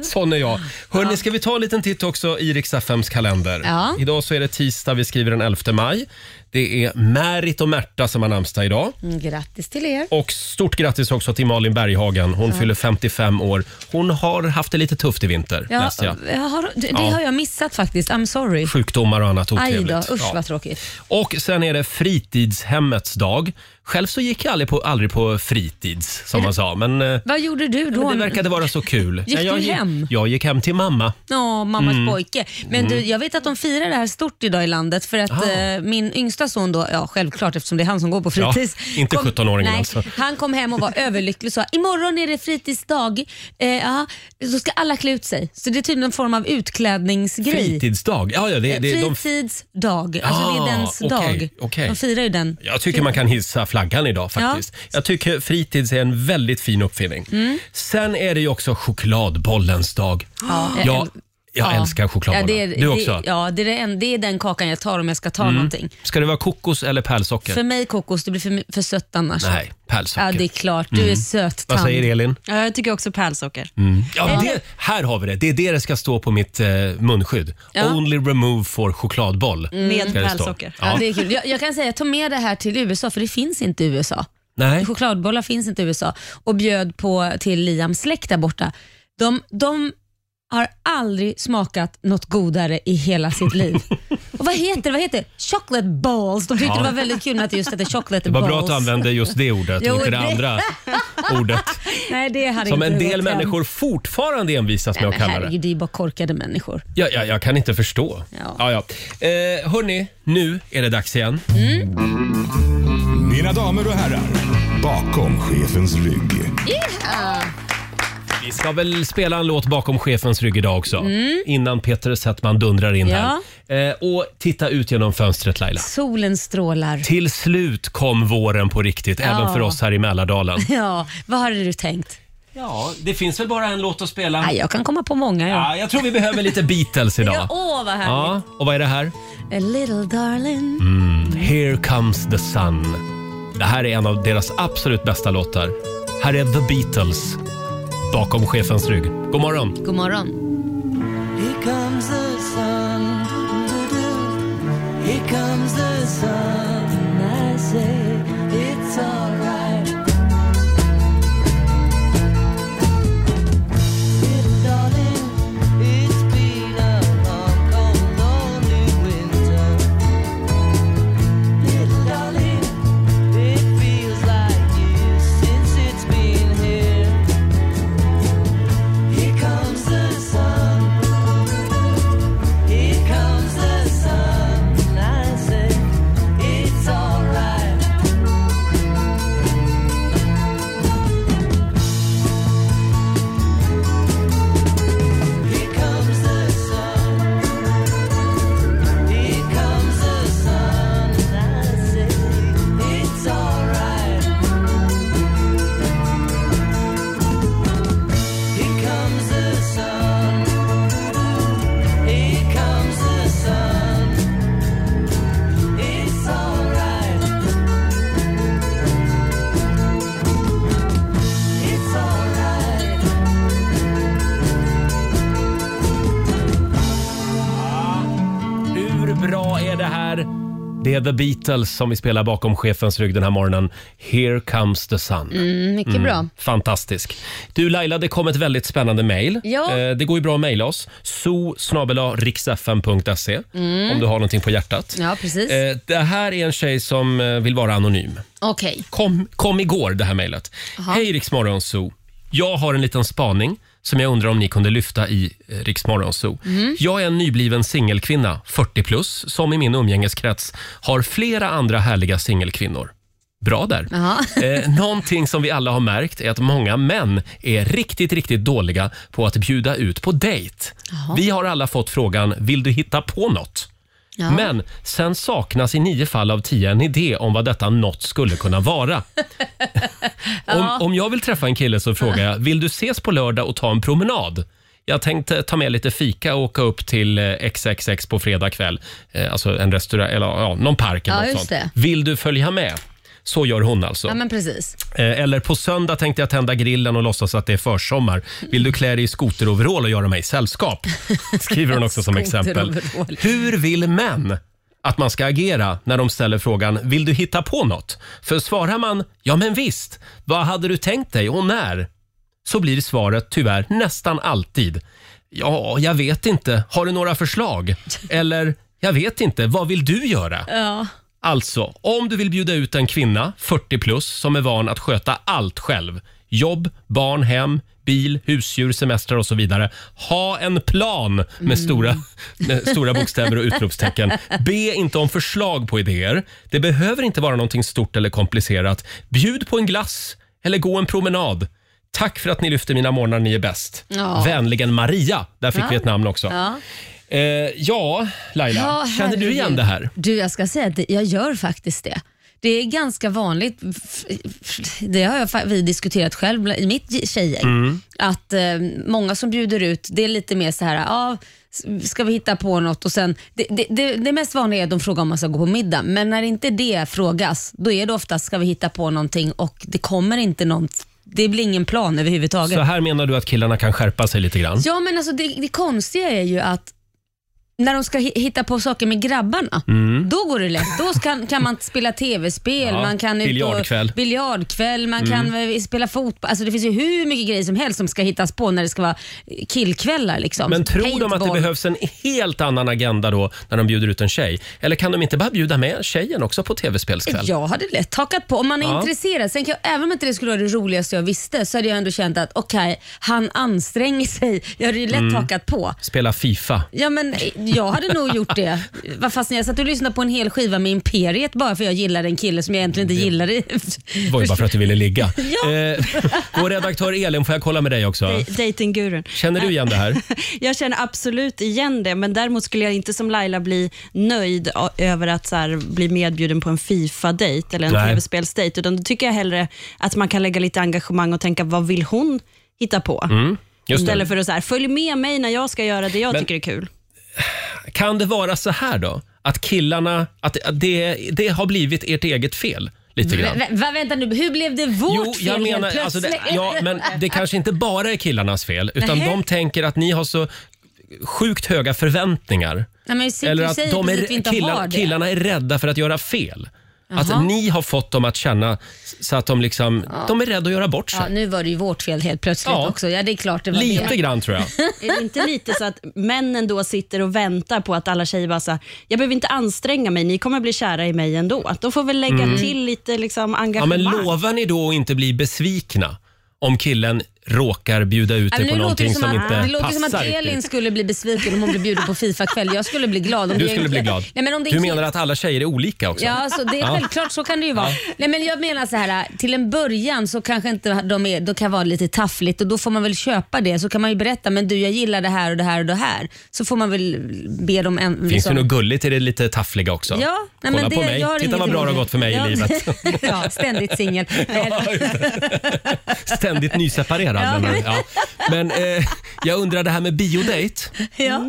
Speaker 1: sån är jag. Hörni, ska vi ta en liten titt också i riks kalender?
Speaker 2: Ja.
Speaker 1: Idag så är det tisdag, vi skriver den 11 maj. Det är Märit och Märta som har namnsdag idag.
Speaker 2: Mm, Grattis till er.
Speaker 1: Och stort grattis också till Malin Berghagen. Hon fyller 55 år. Hon har haft det lite tufft i vinter,
Speaker 2: Ja,
Speaker 1: läste jag.
Speaker 2: jag har, det det
Speaker 1: Ja.
Speaker 2: har jag missat faktiskt. I'm sorry.
Speaker 1: Sjukdomar och annat
Speaker 2: Aj
Speaker 1: otrevligt.
Speaker 2: då, usch
Speaker 1: Ja.
Speaker 2: vad tråkigt.
Speaker 1: Och sen är det fritidshemmets dag. Själv så gick jag aldrig på, aldrig på fritids, som man sa. Men, eh,
Speaker 2: Vad gjorde du då?
Speaker 1: men det verkade vara så kul.
Speaker 2: Gick
Speaker 1: Ja, jag,
Speaker 2: du hem?
Speaker 1: Jag gick hem till mamma.
Speaker 2: Ja, mammas
Speaker 1: Mm.
Speaker 2: pojke. Men du, jag vet att de firar det här stort idag i landet för att
Speaker 1: Ah.
Speaker 2: eh, min yngsta son då, ja självklart eftersom det är han som går på fritids.
Speaker 1: Ja, inte 17-åringen
Speaker 2: nej,
Speaker 1: alltså.
Speaker 2: Han kom hem och var överlycklig och sa imorgon är det fritidsdag. Eh, ja, då ska alla klä ut sig. Så det är tydligen en form av utklädningsgrej.
Speaker 1: Fritidsdag? Ja, ja, det, det, de,
Speaker 2: Fritidsdag, alltså
Speaker 1: Ah,
Speaker 2: det är dens
Speaker 1: okej,
Speaker 2: dag.
Speaker 1: okej.
Speaker 2: De firar ju den.
Speaker 1: jag tycker man kan hissa flaggan idag faktiskt. Jag tycker fritids är en väldigt fin uppfinning.
Speaker 2: Mm.
Speaker 1: Sen är det ju också chokladbollens dag. Jag, jag älskar chokladbollar.
Speaker 2: eh, Ja, det är,
Speaker 1: du också? Mm.
Speaker 2: Det, ja, det är, det en, det är den kakan jag tar om jag ska ta någonting.
Speaker 1: Ska det vara kokos eller pärlsocker?
Speaker 2: För mig kokos, det blir för, för sött annars.
Speaker 1: Nej, pärlsocker.
Speaker 2: Ja, det är klart. Du är söt
Speaker 1: Mm. Vad
Speaker 2: tant.
Speaker 1: säger Elin?
Speaker 6: Ja, jag tycker också pärlsocker.
Speaker 1: Mm. Ja, det, här har vi det. Det är det det ska stå på mitt eh, munskydd.
Speaker 2: Ja.
Speaker 1: Only remove for chokladboll.
Speaker 6: Med
Speaker 1: Ska det stå.
Speaker 6: pärlsocker.
Speaker 1: Ja.
Speaker 2: Ja. det är kul. Jag, jag kan säga, ta med det här till USA, för det finns inte i USA.
Speaker 1: Nej.
Speaker 2: Chokladbollar finns inte i USA. Och bjöd på till Liams släkt där borta. De, de har aldrig smakat något godare i hela sitt liv. Och vad heter det? Vad heter det? Chocolate balls. De tyckte det var väldigt kul att det just hette chocolate
Speaker 1: Det var
Speaker 2: balls.
Speaker 1: bra att du använde just det ordet
Speaker 2: Jo,
Speaker 1: och inte det
Speaker 2: det-
Speaker 1: andra ordet.
Speaker 2: Nej, det hade
Speaker 1: Som
Speaker 2: inte
Speaker 1: en
Speaker 2: gått
Speaker 1: del
Speaker 2: hem.
Speaker 1: människor fortfarande envisas med
Speaker 2: Nej,
Speaker 1: att
Speaker 2: men
Speaker 1: kalla det.
Speaker 2: herregud, det är ju bara korkade människor.
Speaker 1: Ja, ja, jag kan inte förstå.
Speaker 2: Ja.
Speaker 1: Ja, ja. Eh, hörni, nu är det dags igen.
Speaker 4: Mina damer och herrar, bakom chefens rygg.
Speaker 1: Vi ska väl spela en låt bakom chefens rygg idag också. Innan Peter Settman dundrar in
Speaker 2: Ja.
Speaker 1: här. Eh, och titta ut genom fönstret Laila.
Speaker 2: Solen strålar.
Speaker 1: Till slut kom våren på riktigt, även för oss här i Mälardalen.
Speaker 2: Ja, vad hade du tänkt?
Speaker 1: Ja, det finns väl bara en låt att spela?
Speaker 2: Nej, jag kan komma på många. Ja.
Speaker 1: Ja, jag tror vi behöver lite Beatles idag.
Speaker 2: Ja, åh, vad härligt.
Speaker 1: Ja, och vad är det här?
Speaker 2: A little darling.
Speaker 1: Mm. Here comes the sun. Det här är en av deras absolut bästa låtar. Här är The Beatles bakom chefens rygg. God morgon!
Speaker 2: God morgon.
Speaker 7: Here comes the sun. doo-doo. Here comes the sun. And I say it's alright. Little darling, it's been a long, cold, lonely winter. Little darling, it feels like years since it's been here. Here comes the sun. Here comes the sun, and I say it's alright. Here comes the sun. Here comes the sun, and I say it's alright. Here comes the sun. Here comes the sun. It's alright. It's alright.
Speaker 1: Hur bra är det här? Det är The Beatles som vi spelar bakom chefens rygg den här morgonen. Here comes the sun.
Speaker 2: Mm, mycket bra.
Speaker 1: Fantastisk. Du Laila, det kom ett väldigt spännande mejl.
Speaker 2: Ja.
Speaker 1: Eh, Det går ju bra att mejla oss. so riksfm.se om du har någonting på hjärtat.
Speaker 2: Mm. Ja, precis.
Speaker 1: Eh, Det här är en tjej som eh, vill vara anonym.
Speaker 2: Okej.
Speaker 1: Kom, kom igår det här mejlet. Hej Riksmorgon Zoo. Jag har en liten spaning som jag undrar om ni kunde lyfta i eh, Riksmorgon Zoo. Jag är en nybliven singelkvinna, 40 plus, som i min umgängeskrets har flera andra härliga singelkvinnor. Bra där.
Speaker 2: Jaha.
Speaker 1: Eh, någonting som vi alla har märkt är att många män är riktigt, riktigt dåliga på att bjuda ut på dejt. Vi har alla fått frågan, vill du hitta på något?
Speaker 2: Ja.
Speaker 1: Men sen saknas i nio fall av tio en idé om vad detta något skulle kunna vara. om, om jag vill träffa en kille så frågar jag, vill du ses på lördag och ta en promenad? Jag tänkte ta med lite fika och åka upp till eh, XXX på fredag kväll. Eh, Alltså en restaurang, eller ja, någon park eller
Speaker 2: Ja,
Speaker 1: något
Speaker 2: just
Speaker 1: sånt.
Speaker 2: det.
Speaker 1: Vill du följa med? Så gör hon alltså.
Speaker 2: Ja, men precis.
Speaker 1: Eh, Eller på söndag tänkte jag tända grillen och låtsas att det är försommar. Vill du klä dig i skoteroverall och göra mig sällskap? Skriver hon också som exempel.
Speaker 2: Skoteroverall.
Speaker 1: Hur vill män att man ska agera när de ställer frågan “Vill du hitta på något?” För svarar man “Ja men visst, vad hade du tänkt dig och när?” så blir svaret tyvärr nästan alltid “Ja, jag vet inte. Har du några förslag?” Eller “Jag vet inte. Vad vill du göra?”
Speaker 2: Ja.
Speaker 1: Alltså, om du vill bjuda ut en kvinna, 40 plus, som är van att sköta allt själv. Jobb, barn, hem, bil, husdjur, semestrar och så vidare. Ha en plan med, stora,
Speaker 2: Mm.
Speaker 1: med stora bokstäver och utropstecken. Be inte om förslag på idéer. Det behöver inte vara någonting stort eller komplicerat. Bjud på en glass eller gå en promenad. Tack för att ni lyfter mina morgnar, ni är bäst.
Speaker 2: Ja.
Speaker 1: Vänligen Maria. Där fick
Speaker 2: Ja.
Speaker 1: vi ett namn också. Ja,
Speaker 2: Ja.
Speaker 1: eh, ja Laila,
Speaker 2: Ja,
Speaker 1: känner du igen
Speaker 2: herregud.
Speaker 1: det här?
Speaker 2: Du, jag ska säga att det- jag gör faktiskt det. Det är ganska vanligt, f- f- det har jag, fa- vi diskuterat själv bland- i mitt ge- tjejgäng,
Speaker 1: Mm.
Speaker 2: att eh, många som bjuder ut, det är lite mer så här, ah, s- ska vi hitta på något och sen, det, det, det, det mest vanliga är att de frågar om man ska gå på middag, men när inte det frågas, då är det oftast, ska vi hitta på någonting och det kommer inte någon, det blir ingen plan överhuvudtaget.
Speaker 1: Så här menar du att killarna kan skärpa sig lite grann?
Speaker 2: Ja, men alltså det, det konstiga är ju att när de ska hi- hitta på saker med grabbarna, då går det lätt. Då kan, kan man spela tv-spel,
Speaker 1: Mm. Ja,
Speaker 2: man kan ut och-
Speaker 1: biljardkväll. Mm.
Speaker 2: biljardkväll, man kan eh, spela fotboll. Alltså det finns ju hur mycket grejer som helst som ska hittas på när det ska vara eh, killkvällar. Liksom.
Speaker 1: Men tror de att det
Speaker 2: Paintball.
Speaker 1: behövs en helt annan agenda då när de bjuder ut en tjej? Eller kan de inte bara bjuda med tjejen också på tv-spelskväll?
Speaker 2: Jag hade lätt hakat på. Om man är
Speaker 1: Ja.
Speaker 2: intresserad. Sen kan jag, även om inte det skulle vara det roligaste jag visste så hade jag ändå känt att okej, han anstränger sig. Jag hade ju
Speaker 1: Mm.
Speaker 2: lätt hakat på.
Speaker 1: Spela Fifa.
Speaker 2: Ja, men eh, jag hade nog gjort det. Vad fast jag satt och lyssnade på en hel skiva med Imperiet bara för jag gillade en kille som jag egentligen inte gillade.
Speaker 1: Mm. Det var ju bara för att du ville ligga.
Speaker 2: Ja.
Speaker 1: eh, vår redaktör Elin, får jag kolla med dig också?
Speaker 6: Dej- Datinggurun.
Speaker 1: Känner du igen det här?
Speaker 6: Jag känner absolut igen det, men däremot skulle jag inte som Laila bli nöjd a- över att så här, bli medbjuden på en Fifa-dejt eller en
Speaker 1: Nej.
Speaker 6: tv-spelsdejt, utan då tycker jag hellre att man kan lägga lite engagemang och tänka, vad vill hon hitta på?
Speaker 1: Just det.
Speaker 6: Istället för att så här, följ med mig när jag ska göra det jag
Speaker 1: Mm. Men-
Speaker 6: tycker är kul.
Speaker 1: Kan det vara så här då? Att killarna, att att det, det har blivit ert eget fel? Lite grann.
Speaker 2: Vä- vä- vänta nu, hur blev det vårt
Speaker 1: Jo, jag
Speaker 2: fel
Speaker 1: menar,
Speaker 2: helt plötsligt?
Speaker 1: alltså det, ja, men det kanske inte bara är killarnas fel, utan
Speaker 2: Nähä.
Speaker 1: de tänker att ni har så sjukt höga förväntningar.
Speaker 2: Nej, men Eller
Speaker 1: Eller
Speaker 2: att
Speaker 1: att
Speaker 2: Typ, säger
Speaker 1: de
Speaker 2: precis
Speaker 1: är,
Speaker 2: att vi typ inte
Speaker 1: killar,
Speaker 2: har det.
Speaker 1: killarna är rädda för att göra fel. Att
Speaker 2: Jaha.
Speaker 1: ni har fått dem att känna så att de liksom, de är rädda att göra bort sig.
Speaker 2: Ja, nu var det ju vårt fel helt plötsligt
Speaker 1: Ja.
Speaker 2: också. Ja, det är klart det var
Speaker 1: Lite
Speaker 2: det.
Speaker 1: grann tror jag.
Speaker 6: Är det inte lite så att männen då sitter och väntar på att alla tjejer bara så här, jag behöver inte anstränga mig, ni kommer bli kära i mig ändå. Att de får väl lägga till lite liksom,
Speaker 1: Mm. Ja, men
Speaker 6: engagemang.
Speaker 1: lovar ni då att inte bli besvikna om killen råkar bjuda ut
Speaker 2: Ja,
Speaker 1: er
Speaker 2: men
Speaker 1: på
Speaker 2: nu låter
Speaker 1: någonting
Speaker 2: det
Speaker 1: som,
Speaker 2: som, att,
Speaker 1: inte
Speaker 2: det låter som
Speaker 1: passar
Speaker 2: att Elin
Speaker 1: riktigt?
Speaker 2: skulle bli besviken om hon blev bjuden på Fifa-kväll. Jag skulle bli glad. Om
Speaker 1: Du
Speaker 2: det är en
Speaker 1: skulle bli
Speaker 2: kille-
Speaker 1: glad.
Speaker 2: Nej, men om det är
Speaker 1: Du
Speaker 2: en
Speaker 1: menar
Speaker 2: kille-
Speaker 1: att alla tjejer är olika också?
Speaker 2: Ja, så det är självklart så kan det ju vara. Nej, men jag menar så här, till en början så kanske inte de är, då kan vara lite taffligt och då får man väl köpa det. Så kan man ju berätta, men du jag gillar det här och det här och det här. Så får man väl be dem... En, liksom-
Speaker 1: Finns det något gulligt i det lite taffliga också?
Speaker 2: Ja, nej,
Speaker 1: Kolla
Speaker 2: men det,
Speaker 1: på mig.
Speaker 2: jag har
Speaker 1: Titta
Speaker 2: inget
Speaker 1: vad bra
Speaker 2: emot
Speaker 1: det har gått för mig
Speaker 2: Ja.
Speaker 1: i livet.
Speaker 2: ja, ständigt singel. Nej,
Speaker 1: Ja, just det. Ständigt nyseparerad.
Speaker 2: Ja.
Speaker 1: Ja. Men, ja. men eh, jag undrar det här med biodate.
Speaker 2: ja.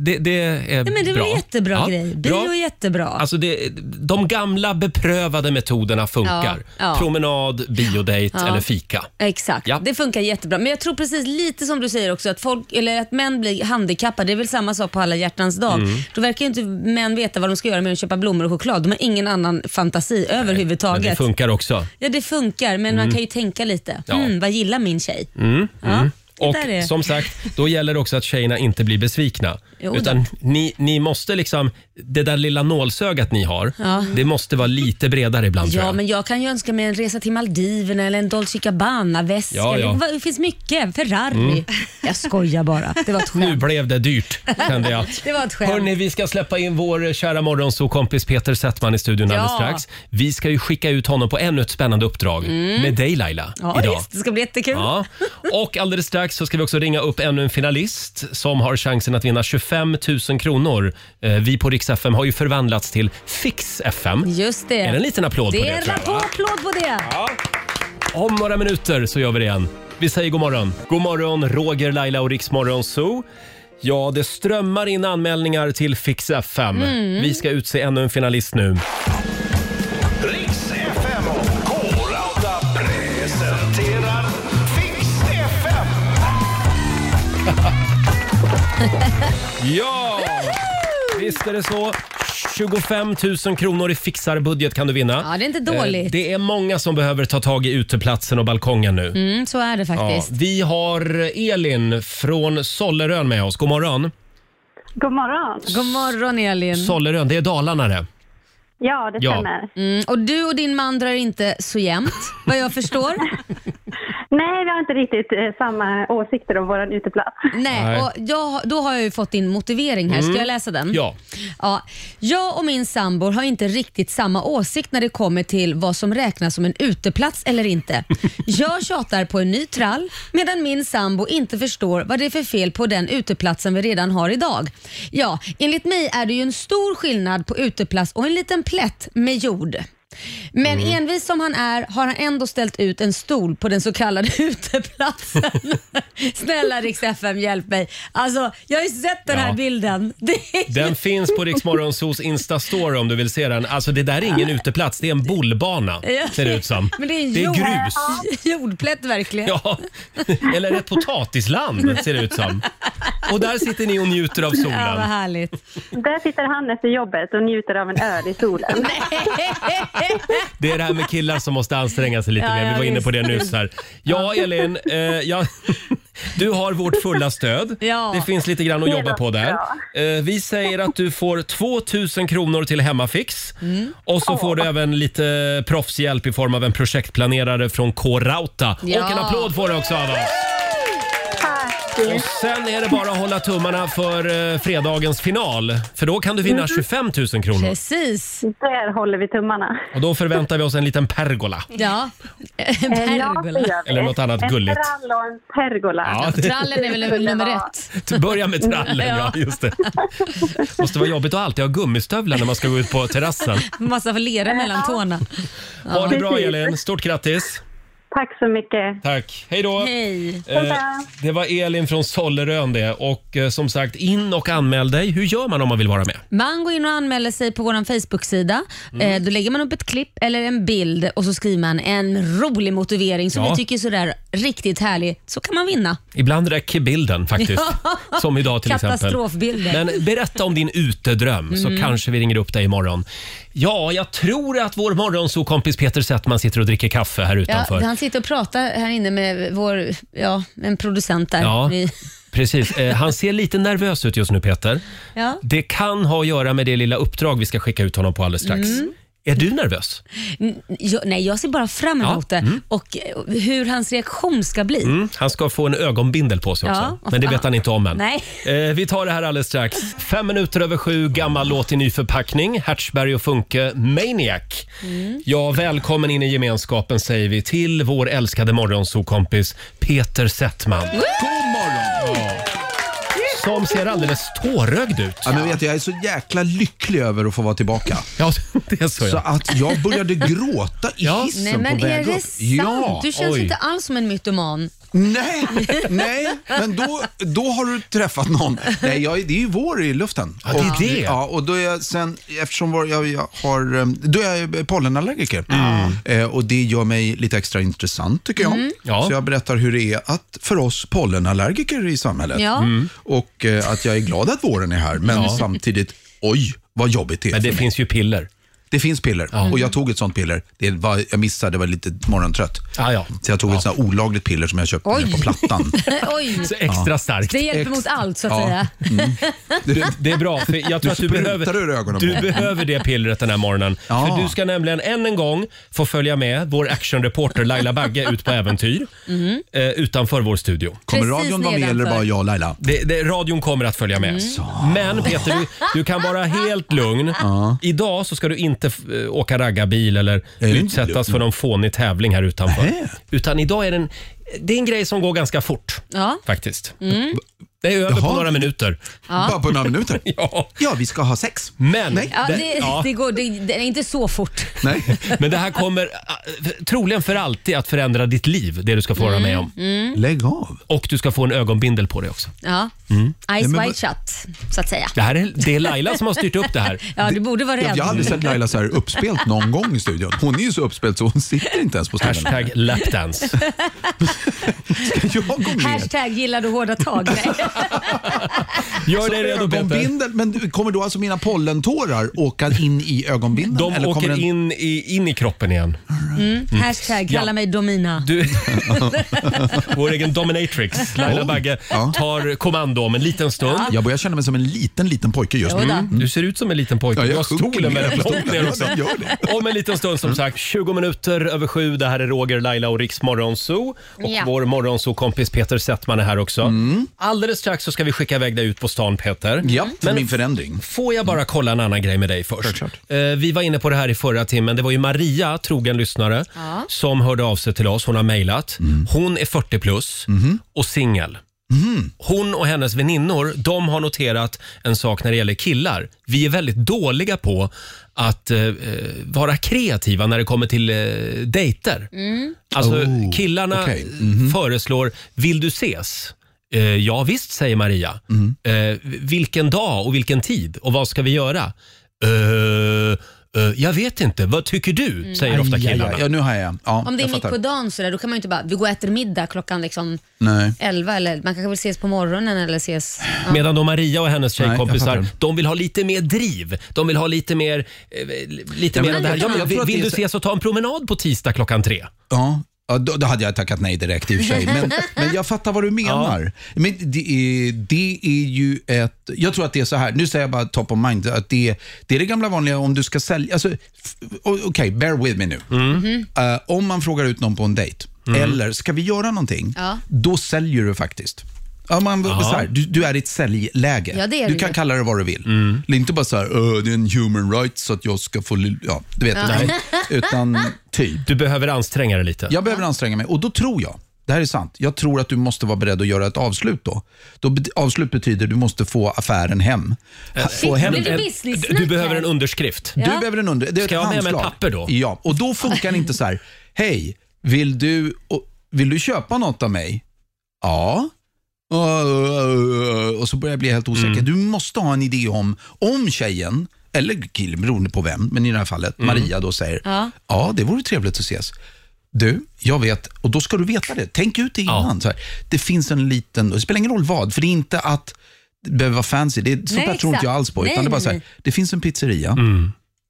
Speaker 1: Det, det är
Speaker 2: Nej, men det är
Speaker 1: bra.
Speaker 2: väl jättebra
Speaker 1: Ja,
Speaker 2: grej.
Speaker 1: bra.
Speaker 2: Bio är jättebra.
Speaker 1: Alltså det, de gamla beprövade metoderna funkar.
Speaker 2: Ja, ja.
Speaker 1: Promenad, biodate
Speaker 2: Ja.
Speaker 1: eller fika.
Speaker 2: Exakt,
Speaker 1: Ja.
Speaker 2: det funkar jättebra. Men jag tror precis lite som du säger också att, folk, eller att män blir handikappade. Det är väl samma sak på alla hjärtans dag.
Speaker 1: Mm.
Speaker 2: Då verkar ju inte män veta vad de ska göra med att köpa blommor och choklad. De har ingen annan fantasi
Speaker 1: Men
Speaker 2: överhuvudtaget.
Speaker 1: det funkar också.
Speaker 2: ja, det funkar, men man kan ju tänka lite.
Speaker 1: Ja. Mm,
Speaker 2: Hmm, vad gillar min tjej? Ja, det
Speaker 1: Och
Speaker 2: där är...
Speaker 1: som sagt, då gäller det också att tjejerna inte blir besvikna.
Speaker 2: Jo då.
Speaker 1: utan ni, ni måste liksom, det där lilla nålsögat ni har, det måste vara lite bredare ibland tror
Speaker 2: Ja,
Speaker 1: jag.
Speaker 2: men jag kan ju önska mig en resa till Maldiverna eller en Dolce Gabbana-väska.
Speaker 1: Ja, ja. Mm.
Speaker 2: Det- Det finns mycket. Ferrari. Jag skojar bara. Det var ett
Speaker 1: Nu
Speaker 2: skämt.
Speaker 1: blev det dyrt, kände jag.
Speaker 2: Det var ett skämt.
Speaker 1: Hörni, vi ska släppa in vår kära morgonsåkompis Peter Settman i studion alldeles
Speaker 2: Ja.
Speaker 1: strax. Vi ska ju skicka ut honom på ännu ett spännande uppdrag med dig Laila
Speaker 2: Mm. Ja,
Speaker 1: idag.
Speaker 2: visst, det ska bli jättekul.
Speaker 1: Ja. Och alldeles strax så ska vi också ringa upp ännu en finalist som har chansen att vinna 25 000 kronor. Eh, Vi på Rix FM har ju förvandlats till Fix FM.
Speaker 2: Just det.
Speaker 1: Är det en liten applåd
Speaker 2: det
Speaker 1: på
Speaker 2: är
Speaker 1: det?
Speaker 2: en
Speaker 1: tror jag, va?
Speaker 2: applåd på det.
Speaker 1: Om några minuter så gör vi det igen. Vi säger god morgon. God morgon, Roger, Laila och Riksmorgon Zoo. Ja, det strömmar in anmälningar till Fix FM. Vi ska utse ännu en finalist nu.
Speaker 8: Riks FM och K-Rauta presenterar Fix FM.
Speaker 1: Ja! Visst är det så. 25 000 kronor i fixarbudget kan du vinna.
Speaker 2: Ja, det är inte
Speaker 1: Eh,
Speaker 2: dåligt.
Speaker 1: Det är många som behöver ta tag i uteplatsen och balkongen nu.
Speaker 2: Mm, så är det
Speaker 1: Ja,
Speaker 2: faktiskt.
Speaker 1: vi har Elin från Sollerön med oss. God morgon.
Speaker 2: Mm.
Speaker 5: God morgon.
Speaker 2: God morgon Elin.
Speaker 1: Sollerön, det är Dalarna det.
Speaker 5: Ja, det
Speaker 1: Ja.
Speaker 5: stämmer.
Speaker 2: Mm, och du och din man drar inte så jämnt, vad jag förstår.
Speaker 5: Nej, vi har inte riktigt eh, samma åsikter om vår uteplats.
Speaker 9: Mm.
Speaker 1: Nej. Mm.
Speaker 2: Nej, och jag, då har jag ju fått din motivering här. Ska jag läsa den?
Speaker 1: Ja.
Speaker 2: Ja, jag och min sambor har inte riktigt samma åsikt när det kommer till vad som räknas som en uteplats eller inte. Jag tjatar på en ny trall medan min sambo inte förstår vad det är för fel på den uteplatsen vi redan har idag. Ja, enligt mig är det ju en stor skillnad på uteplats och en liten plätt med jord. Men envis som han är har han ändå ställt ut en stol på den så kallade uteplatsen. Snälla Rix FM, hjälp mig. Alltså, jag har ju sett den här
Speaker 1: Ja.
Speaker 2: bilden. Det är
Speaker 1: Den finns på Riksmorgonsos Insta-story om du vill se den. Alltså det där är ingen uteplats, det är en bollbana
Speaker 2: Ja.
Speaker 1: ser det ut som.
Speaker 2: Men det är,
Speaker 1: Det är
Speaker 2: jord,
Speaker 1: grus.
Speaker 2: jordplätt verkligen.
Speaker 1: Ja, eller ett potatisland ser det ut som. Och där sitter ni och njuter av
Speaker 2: Ja, vad
Speaker 1: solen.
Speaker 2: härligt.
Speaker 5: Där sitter han efter jobbet och njuter av en öl i solen.
Speaker 1: Det är det här med killar som måste anstränga sig lite
Speaker 2: Ja,
Speaker 1: mer. Vi
Speaker 2: ja,
Speaker 1: var inne
Speaker 2: visst.
Speaker 1: på det nyss här. Ja, Elin. Eh, ja, du har vårt fulla stöd.
Speaker 2: Ja.
Speaker 1: Det finns lite grann att jobba på där. Eh, vi säger att du får 2000 kronor till Hemmafix.
Speaker 2: Mm.
Speaker 1: Och så får du även lite proffshjälp i form av en projektplanerare från K-Rauta.
Speaker 2: Ja.
Speaker 1: Och en applåd får du också av oss. Och sen är det bara att hålla tummarna för eh, fredagens final. För då kan du vinna
Speaker 2: Mm.
Speaker 1: 25 000 kronor.
Speaker 2: Precis.
Speaker 5: Där håller vi tummarna.
Speaker 1: Och då förväntar vi oss en liten pergola.
Speaker 2: Ja. En
Speaker 5: Eh, ja, det
Speaker 2: pergola.
Speaker 5: gör vi.
Speaker 1: Eller något annat
Speaker 5: en
Speaker 1: gulligt.
Speaker 5: En trall och en pergola.
Speaker 1: Ja, det-
Speaker 2: Trallen är väl nummer ett.
Speaker 1: T- Börja med trallen, ja. Just det. Måste vara jobbigt att alltid ha gummistövlar när man ska gå ut på terrassen.
Speaker 2: Massa för lera mellan tårna.
Speaker 1: Ha det bra Elin, stort grattis.
Speaker 5: Tack så mycket.
Speaker 1: Tack, hej då.
Speaker 2: Hej.
Speaker 1: Eh, det var Elin från Sollerön det. Och eh, som sagt, in och anmäl dig. Hur gör man om man vill vara med?
Speaker 2: Man går in och anmäler sig på vår Facebook-sida.
Speaker 1: Mm.
Speaker 2: Eh, Då lägger man upp ett klipp eller en bild och så skriver man en rolig motivering som
Speaker 1: Ja.
Speaker 2: vi tycker är sådär riktigt härlig. Så kan man vinna.
Speaker 1: Ibland räcker bilden faktiskt. Som idag till exempel.
Speaker 2: Katastrofbilder.
Speaker 1: Men berätta om din utedröm så kanske vi ringer upp dig imorgon. Ja, jag tror att vår morgonsokompis Peter Settman sitter och dricker kaffe här
Speaker 2: Ja,
Speaker 1: utanför.
Speaker 2: han sitter och pratar här inne med vår, ja, en producent där.
Speaker 1: Ja.
Speaker 2: Vi-
Speaker 1: Precis. Eh, han ser lite nervös ut just nu, Peter.
Speaker 2: Ja.
Speaker 1: Det kan ha att göra med det lilla uppdrag vi ska skicka ut honom på alldeles strax.
Speaker 2: Mm.
Speaker 1: Är du nervös?
Speaker 2: N- Jag, nej, jag ser bara fram emot
Speaker 1: Ja,
Speaker 2: det
Speaker 10: Mm.
Speaker 2: och eh, hur hans reaktion ska bli.
Speaker 1: Mm. Han ska få en ögonbindel på sig också,
Speaker 2: Ja.
Speaker 1: men det vet han inte om än.
Speaker 2: Nej.
Speaker 1: Eh, vi tar det här alldeles strax. Fem minuter över sju, gammal låt i ny förpackning. Hertzberg och Funke, Maniac.
Speaker 2: Mm.
Speaker 1: Ja, välkommen in i gemenskapen säger vi till vår älskade morgonsokompis Peter Settman.
Speaker 10: God morgon!
Speaker 1: Som ser alldeles tårögd ut.
Speaker 10: Ja, men vet, du, jag är så jäkla lycklig över att få vara tillbaka.
Speaker 1: Ja, det är så
Speaker 10: Så
Speaker 1: ja.
Speaker 10: att jag började gråta i
Speaker 1: Ja.
Speaker 10: hissen
Speaker 2: Nej, men
Speaker 10: på
Speaker 2: är
Speaker 10: väg
Speaker 2: det
Speaker 10: upp.
Speaker 2: sant?
Speaker 10: Ja.
Speaker 2: du känns
Speaker 1: oj.
Speaker 2: inte alls som en mytoman.
Speaker 10: Nej, nej, men då, då har du träffat någon. Nej, jag, det är ju vår i luften.
Speaker 1: Ja, det är
Speaker 10: och,
Speaker 1: det.
Speaker 10: Ja, och då är jag sen, eftersom var- jag, jag har, eh, då är jag pollenallergiker.
Speaker 1: Mm.
Speaker 10: Eh, och det gör mig lite extra intressant tycker jag.
Speaker 2: Mm.
Speaker 1: Ja.
Speaker 10: Så jag berättar hur det är att för oss pollenallergiker i samhället.
Speaker 2: Ja.
Speaker 1: Mm.
Speaker 10: Och eh, att jag är glad att våren är här, men samtidigt, oj, vad jobbigt det är
Speaker 1: Men det
Speaker 10: för mig.
Speaker 1: finns ju piller.
Speaker 10: Det finns piller och jag tog ett sånt piller. Det var, jag missade, det var lite morgontrött.
Speaker 1: Ah, ja.
Speaker 10: Så jag tog ett sånt här olagligt piller som jag köpte
Speaker 2: Oj.
Speaker 10: nere på Plattan.
Speaker 2: Eh, Oj,
Speaker 1: Så extra starkt.
Speaker 2: det hjälper
Speaker 10: Ex-
Speaker 2: mot allt så att
Speaker 10: Ja.
Speaker 2: säga.
Speaker 1: Det, det är bra, för jag tror att du
Speaker 10: sprutar
Speaker 1: behöver,
Speaker 10: ur ögonen på
Speaker 1: du
Speaker 10: mig.
Speaker 1: behöver det pillret den här morgonen.
Speaker 10: Ja.
Speaker 1: För du ska nämligen än en gång få följa med vår actionreporter Laila Bagge ut på äventyr
Speaker 2: Mhm.
Speaker 1: eh, utanför vår studio.
Speaker 10: Kommer
Speaker 2: Precis
Speaker 10: radion vara med eller
Speaker 2: nedanför.
Speaker 10: bara jag och Laila?
Speaker 1: Det, det, radion kommer att följa med.
Speaker 2: Mm.
Speaker 1: Men Peter, du, du kan vara helt lugn. Idag så ska du inte f- eh, åka raggarbil eller
Speaker 10: Är det
Speaker 1: utsättas
Speaker 10: lugn?
Speaker 1: för någon fånig tävling här utanför.
Speaker 10: Nähä.
Speaker 1: Utan idag är det en, det är en grej som går ganska fort.
Speaker 2: Ja. Mm.
Speaker 1: Faktiskt. Det är över på
Speaker 10: Jaha.
Speaker 1: några minuter.
Speaker 10: Bara på några minuter.
Speaker 1: Ja.
Speaker 10: Ja, vi ska ha sex.
Speaker 1: Men,
Speaker 10: Nej.
Speaker 2: Ja,
Speaker 1: det-
Speaker 2: det,
Speaker 1: ja.
Speaker 2: Det, går, det, det är inte så fort.
Speaker 10: Nej.
Speaker 1: men det här kommer äh, troligen för alltid att förändra ditt liv, det du ska få vara med om.
Speaker 2: Mm.
Speaker 10: Lägg av.
Speaker 1: Och du ska få en ögonbindel på dig också.
Speaker 2: Ja. Eyes
Speaker 10: Mm. men
Speaker 2: wide shut, så att säga.
Speaker 1: Det, här är, det är Laila som har styrt upp det här.
Speaker 2: Ja, du borde vara
Speaker 10: Jag,
Speaker 2: rädd.
Speaker 10: jag har aldrig sett Laila så här uppspelt någon gång i studion. Hon är ju så uppspelt så hon sitter inte ens på stolen.
Speaker 1: Hashtag lapdance.
Speaker 10: Jag går med.
Speaker 2: Hashtag gillar du hårda tag? Nej.
Speaker 10: Mm.
Speaker 1: Gör
Speaker 10: Så
Speaker 1: dig redo Peter.
Speaker 10: ögonbindel, men du- kommer då alltså mina pollentårar åka in i ögonbindeln?
Speaker 1: De
Speaker 10: eller
Speaker 1: åker
Speaker 10: kommer den-
Speaker 1: in, i, in i kroppen igen.
Speaker 2: Hashtag kalla
Speaker 1: Ja.
Speaker 2: mig Domina.
Speaker 1: Du, vår egen dominatrix, Laila
Speaker 10: Oh.
Speaker 1: Bagge,
Speaker 10: Ja.
Speaker 1: tar kommando om en liten stund.
Speaker 10: Jag börjar känna mig som en liten, liten pojke just nu.
Speaker 2: Jodå.
Speaker 1: Du ser ut som en liten pojke.
Speaker 10: Ja,
Speaker 1: Du
Speaker 10: jag
Speaker 1: har stolen
Speaker 10: sjunker
Speaker 1: väldigt
Speaker 10: ner.
Speaker 1: långt ner också.
Speaker 10: Ja, den gör det.
Speaker 1: Om en liten stund som sagt, 20 minuter över sju. Det här är Roger, Laila och Riks Morgonzoo. Och
Speaker 2: Ja.
Speaker 1: vår morgonzoo-kompis Peter Settman är här också. Alldeles strax så ska vi skicka iväg dig ut på stan Peter.
Speaker 10: Ja, för min förändring.
Speaker 1: Får jag bara kolla en annan grej med dig först?
Speaker 10: Självklart.
Speaker 1: Eh, vi var inne på det här i förra timmen. Det var ju Maria, trogen lyssnare, som hörde av sig till oss. Hon har mejlat. Hon är 40 plus och singel. Hon och hennes väninnor de har noterat en sak när det gäller killar. Vi är väldigt dåliga på att eh, eh, vara kreativa när det kommer till eh, dejter. Alltså,
Speaker 10: Oh,
Speaker 1: killarna
Speaker 10: okej.
Speaker 1: föreslår “Vill du ses?” Eh, ja visst, säger Maria.
Speaker 10: Mm-hmm.
Speaker 1: Eh, vilken dag och vilken tid och vad ska vi göra? Eh, eh, jag vet inte. Vad tycker du? säger ofta
Speaker 10: Mm. Aj, aj,
Speaker 1: killarna.
Speaker 10: aj. Ja, nu har jag. Ja,
Speaker 2: Om det är
Speaker 10: jag
Speaker 2: mitt
Speaker 10: fattar. Mm.
Speaker 2: på dagen så där, då kan man ju inte bara, vi går och äter middag klockan liksom
Speaker 10: Nej.
Speaker 2: 11 eller man kanske vill ses på morgonen eller ses...
Speaker 1: Medan då Maria och hennes
Speaker 10: Nej, jag
Speaker 1: tjejkompisar,
Speaker 10: fattar.
Speaker 1: de vill ha lite mer driv. De vill ha lite mer... Eh, lite
Speaker 10: Ja,
Speaker 1: mer
Speaker 10: men
Speaker 1: av det här.
Speaker 10: jag
Speaker 1: Ja,
Speaker 10: tror-
Speaker 1: men,
Speaker 10: jag tror att
Speaker 1: vill
Speaker 10: det är
Speaker 1: du
Speaker 10: så-
Speaker 1: ses och ta en promenad på tisdag klockan tre?
Speaker 10: Ja. Ja, då, då hade jag tackat nej direkt i och för sig. Men, men jag fattar vad du menar. Men det är, det är ju ett... Jag tror att det är så här, nu säger jag bara top of mind, att det, det är det gamla vanliga om du ska sälja... Alltså, f- o- Okej, bear with me nu. Eh, om man frågar ut någon på en dejt, eller ska vi göra någonting,
Speaker 2: Ja.
Speaker 10: då säljer du faktiskt. Ja, man, så här, du, du är i ett säljläge.
Speaker 2: Ja, det är
Speaker 10: du
Speaker 2: det
Speaker 10: kan
Speaker 2: ju.
Speaker 10: kalla det vad du vill. Det är inte bara så här, "Ö, det är en human rights så att jag ska få... li-" Ja, du vet. Utan, utan typ.
Speaker 1: Du behöver anstränga dig lite.
Speaker 10: Jag behöver anstränga mig och då tror jag, det här är sant, jag tror att du måste vara beredd att göra ett avslut då. då bet- avslut betyder du måste få affären hem.
Speaker 1: Eh,
Speaker 10: Ha- få hem
Speaker 2: blir det
Speaker 1: en-
Speaker 2: business-snack
Speaker 1: du- du behöver
Speaker 2: här?
Speaker 1: en underskrift.
Speaker 10: du
Speaker 2: Ja.
Speaker 10: behöver en under... Det är
Speaker 1: Ska jag
Speaker 10: ett
Speaker 1: ha med mig
Speaker 10: handslag.
Speaker 1: ett papper då?
Speaker 10: Ja, och då funkar det inte så här, hej, vill du, och, vill du köpa något av mig? Ja. Och så börjar jag bli helt osäker. Du måste ha en idé om, om tjejen, eller killen beroende på vem, men i det här fallet Maria då säger,
Speaker 2: Ja.
Speaker 10: ja det vore trevligt att ses. Du, jag vet, och då ska du veta det. Tänk ut det innan. Så här. Det finns en liten, det spelar ingen roll vad, för det är inte att det behöver vara fancy. Det, är- sånt
Speaker 2: Nej,
Speaker 10: där tror inte jag
Speaker 2: exakt.
Speaker 10: alls på. Utan
Speaker 2: Nej,
Speaker 10: det, är bara
Speaker 2: nej,
Speaker 10: så här,
Speaker 2: nej.
Speaker 10: det finns en pizzeria,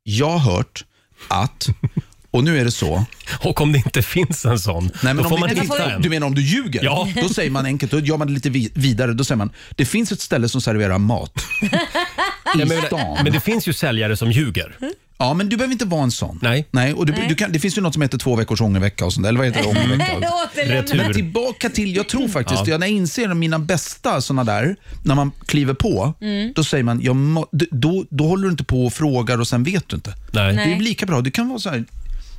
Speaker 10: jag har hört att, och nu är det så,
Speaker 1: Och om det inte finns en sån, då får
Speaker 10: om
Speaker 1: man
Speaker 10: det-
Speaker 1: hitta en.
Speaker 10: Du menar om du ljuger?
Speaker 1: Ja.
Speaker 10: Då säger man enkelt, då gör man det lite vi- vidare. Då säger man, det finns ett ställe som serverar mat i stan.
Speaker 1: Men det finns ju säljare som ljuger.
Speaker 2: Mm.
Speaker 10: Ja, men du behöver inte vara en sån.
Speaker 1: Nej.
Speaker 10: Nej, och du, Du kan, det finns ju något som heter två veckors ångervecka och sånt där, eller vad heter det? Ångervecka.
Speaker 2: Återlämna.
Speaker 1: Retur.
Speaker 10: Men tillbaka till, jag tror faktiskt, jag, när jag inser mina bästa såna där, när man kliver på,
Speaker 1: Mm.
Speaker 10: då säger man, jag må, d- då, då håller du inte på och frågar och sen vet du inte.
Speaker 1: Nej.
Speaker 10: Det är lika bra, det kan vara så här,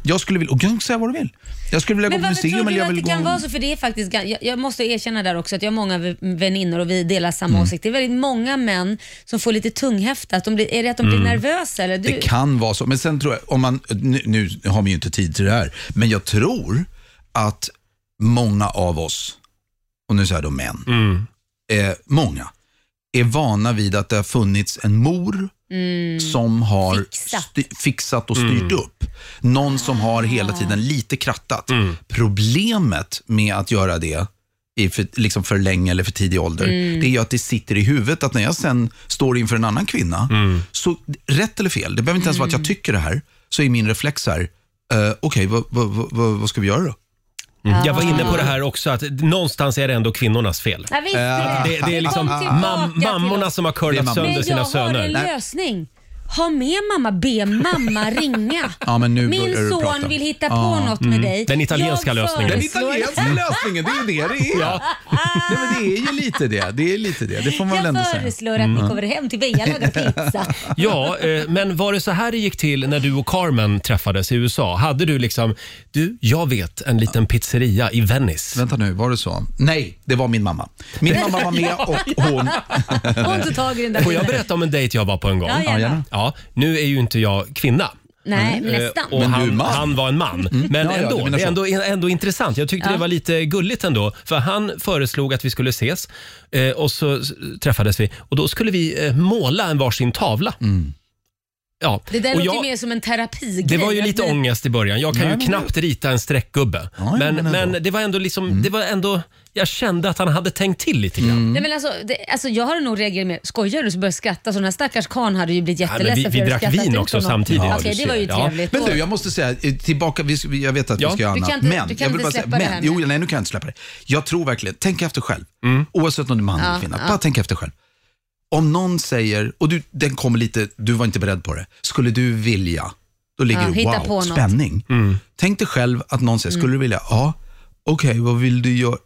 Speaker 10: jag skulle vilja, och jag kan säga vad du vill. Jag skulle vilja
Speaker 2: Men
Speaker 10: gå på
Speaker 2: varför
Speaker 10: museum
Speaker 2: tror
Speaker 10: eller
Speaker 2: du
Speaker 10: jag
Speaker 2: att
Speaker 10: vill
Speaker 2: det
Speaker 10: gå...
Speaker 2: kan vara så? För det är faktiskt, gan- jag, jag måste erkänna där också att jag har många v- väninnor och vi delar samma
Speaker 10: Mm.
Speaker 2: åsikt. Det är väldigt många män som får lite tunghäfta. Att de blir, är det att de blir nervösa? Eller? Du,
Speaker 10: Mm. Det kan vara så, men sen tror jag, om man, nu, nu har vi ju inte tid till det här, men jag tror att många av oss, och nu säger jag då män,
Speaker 1: Mm.
Speaker 10: eh, många, är vana vid att det har funnits en mor som har
Speaker 2: Fixat.
Speaker 10: sty- fixat och styrt upp. Någon som har hela tiden lite krattat. Problemet med att göra det i för, liksom för länge eller för tidig ålder, det är ju att det sitter i huvudet att när jag sen står inför en annan kvinna, så rätt eller fel, det behöver inte ens vara att jag tycker det här, så är min reflex här, eh, okej, vad, vad, vad, vad- vad ska vi göra då?
Speaker 1: Mm. Jag var
Speaker 2: Ah.
Speaker 1: inne på det här också, att någonstans är det ändå kvinnornas fel.
Speaker 2: ja,
Speaker 10: Eh,
Speaker 2: visst,
Speaker 1: Det, det är liksom
Speaker 2: Kom tillbaka
Speaker 1: mam-
Speaker 2: till
Speaker 1: mammorna
Speaker 2: oss.
Speaker 1: som har
Speaker 10: Det är
Speaker 1: curlat
Speaker 10: mammorna.
Speaker 1: sönder
Speaker 2: Men jag
Speaker 1: sina
Speaker 2: har en
Speaker 1: söner.
Speaker 2: lösning. ha med mamma, be mamma ringa.
Speaker 10: Ja, men nu
Speaker 2: Min
Speaker 10: börjar du
Speaker 2: son
Speaker 10: prata.
Speaker 2: vill hitta på
Speaker 10: Ja. mm.
Speaker 2: något med dig.
Speaker 1: Den italienska
Speaker 2: Jag
Speaker 1: lösningen.
Speaker 10: Den
Speaker 2: föreslår- Ah,
Speaker 10: italienska lösningen, det är ju det det är. Nej, men det är ju lite det. Det är lite det. Det får man väl ändå
Speaker 2: Jag
Speaker 10: säga. Mm.
Speaker 2: föreslår att ni kommer hem till Veja och lagar pizza.
Speaker 1: Ja, eh, men var det så här det gick till när du och Carmen träffades i USA? Hade du liksom, du, jag vet en liten pizzeria i Venice.
Speaker 10: Vänta nu, var det så? Nej, det var min mamma. Min mamma var med och hon...
Speaker 2: Få inte tag i den där
Speaker 1: Får jag
Speaker 2: bilen.
Speaker 1: berätta om en dejt jag var på en gång?
Speaker 2: Ja, gärna.
Speaker 10: gärna.
Speaker 1: Ja, nu är ju inte jag kvinna.
Speaker 2: Nej, men
Speaker 1: Eh,
Speaker 2: nästan.
Speaker 1: Och
Speaker 10: Men du är
Speaker 1: han,
Speaker 10: man. Mm.
Speaker 1: han var en man. Men
Speaker 10: Ja, ja,
Speaker 1: ändå,
Speaker 10: du menar
Speaker 1: det är
Speaker 10: så.
Speaker 1: ändå, ändå intressant. Jag tyckte det var lite gulligt ändå. För han föreslog att vi skulle ses eh, och så s- träffades vi. Och då skulle vi eh, måla en varsin tavla.
Speaker 10: Mm.
Speaker 1: Ja.
Speaker 2: Det där
Speaker 1: och
Speaker 2: låter
Speaker 1: jag,
Speaker 2: ju mer som en terapigrej.
Speaker 1: Det var ju
Speaker 2: att
Speaker 1: lite
Speaker 2: ni-
Speaker 1: ångest i början. Jag kan ju knappt rita en streckgubbe.
Speaker 10: Ja, ja,
Speaker 1: men,
Speaker 10: men ändå. Mm.
Speaker 1: men det var ändå liksom, det var ändå, jag kände att han hade tänkt till lite grann.
Speaker 2: Nej, men alltså, det, alltså, jag hade nog reagerat mer, skojar du? Så började jag skratta. Så den här stackars karln hade ju blivit
Speaker 1: Ja, men vi-
Speaker 2: jätteledsen
Speaker 1: vi
Speaker 2: för att
Speaker 1: drack
Speaker 2: jag skrattat
Speaker 1: vin
Speaker 2: ut
Speaker 1: också
Speaker 2: honom.
Speaker 1: samtidigt.
Speaker 2: Okej,
Speaker 1: Ja, du
Speaker 2: det var ju
Speaker 1: ser. Ja.
Speaker 2: trevligt.
Speaker 10: Men
Speaker 2: Då-
Speaker 10: du, jag måste säga eh, tillbaka. Vi, ska- jag vet att
Speaker 1: Ja.
Speaker 10: vi ska göra
Speaker 2: Du
Speaker 10: annat.
Speaker 2: kan inte-
Speaker 10: men,
Speaker 2: du kan
Speaker 10: jag vill
Speaker 2: inte
Speaker 10: bara
Speaker 2: släppa det
Speaker 10: säga,
Speaker 2: här
Speaker 10: men,
Speaker 2: nu.
Speaker 10: jo, nej, nu kan jag inte släppa det. Jag tror verkligen, tänk efter själv. Oavsett om du är man eller kvinna. Bara tänk efter själv. Om någon säger, och du, den kommer lite, du var inte beredd på det. Skulle du vilja? Då ligger
Speaker 2: Ja,
Speaker 10: du,
Speaker 2: hitta
Speaker 10: wow,
Speaker 2: på något. Mm.
Speaker 10: spänning. Tänk dig själv att någon säger, skulle du vilja? Ja, okej, vad vill du göra?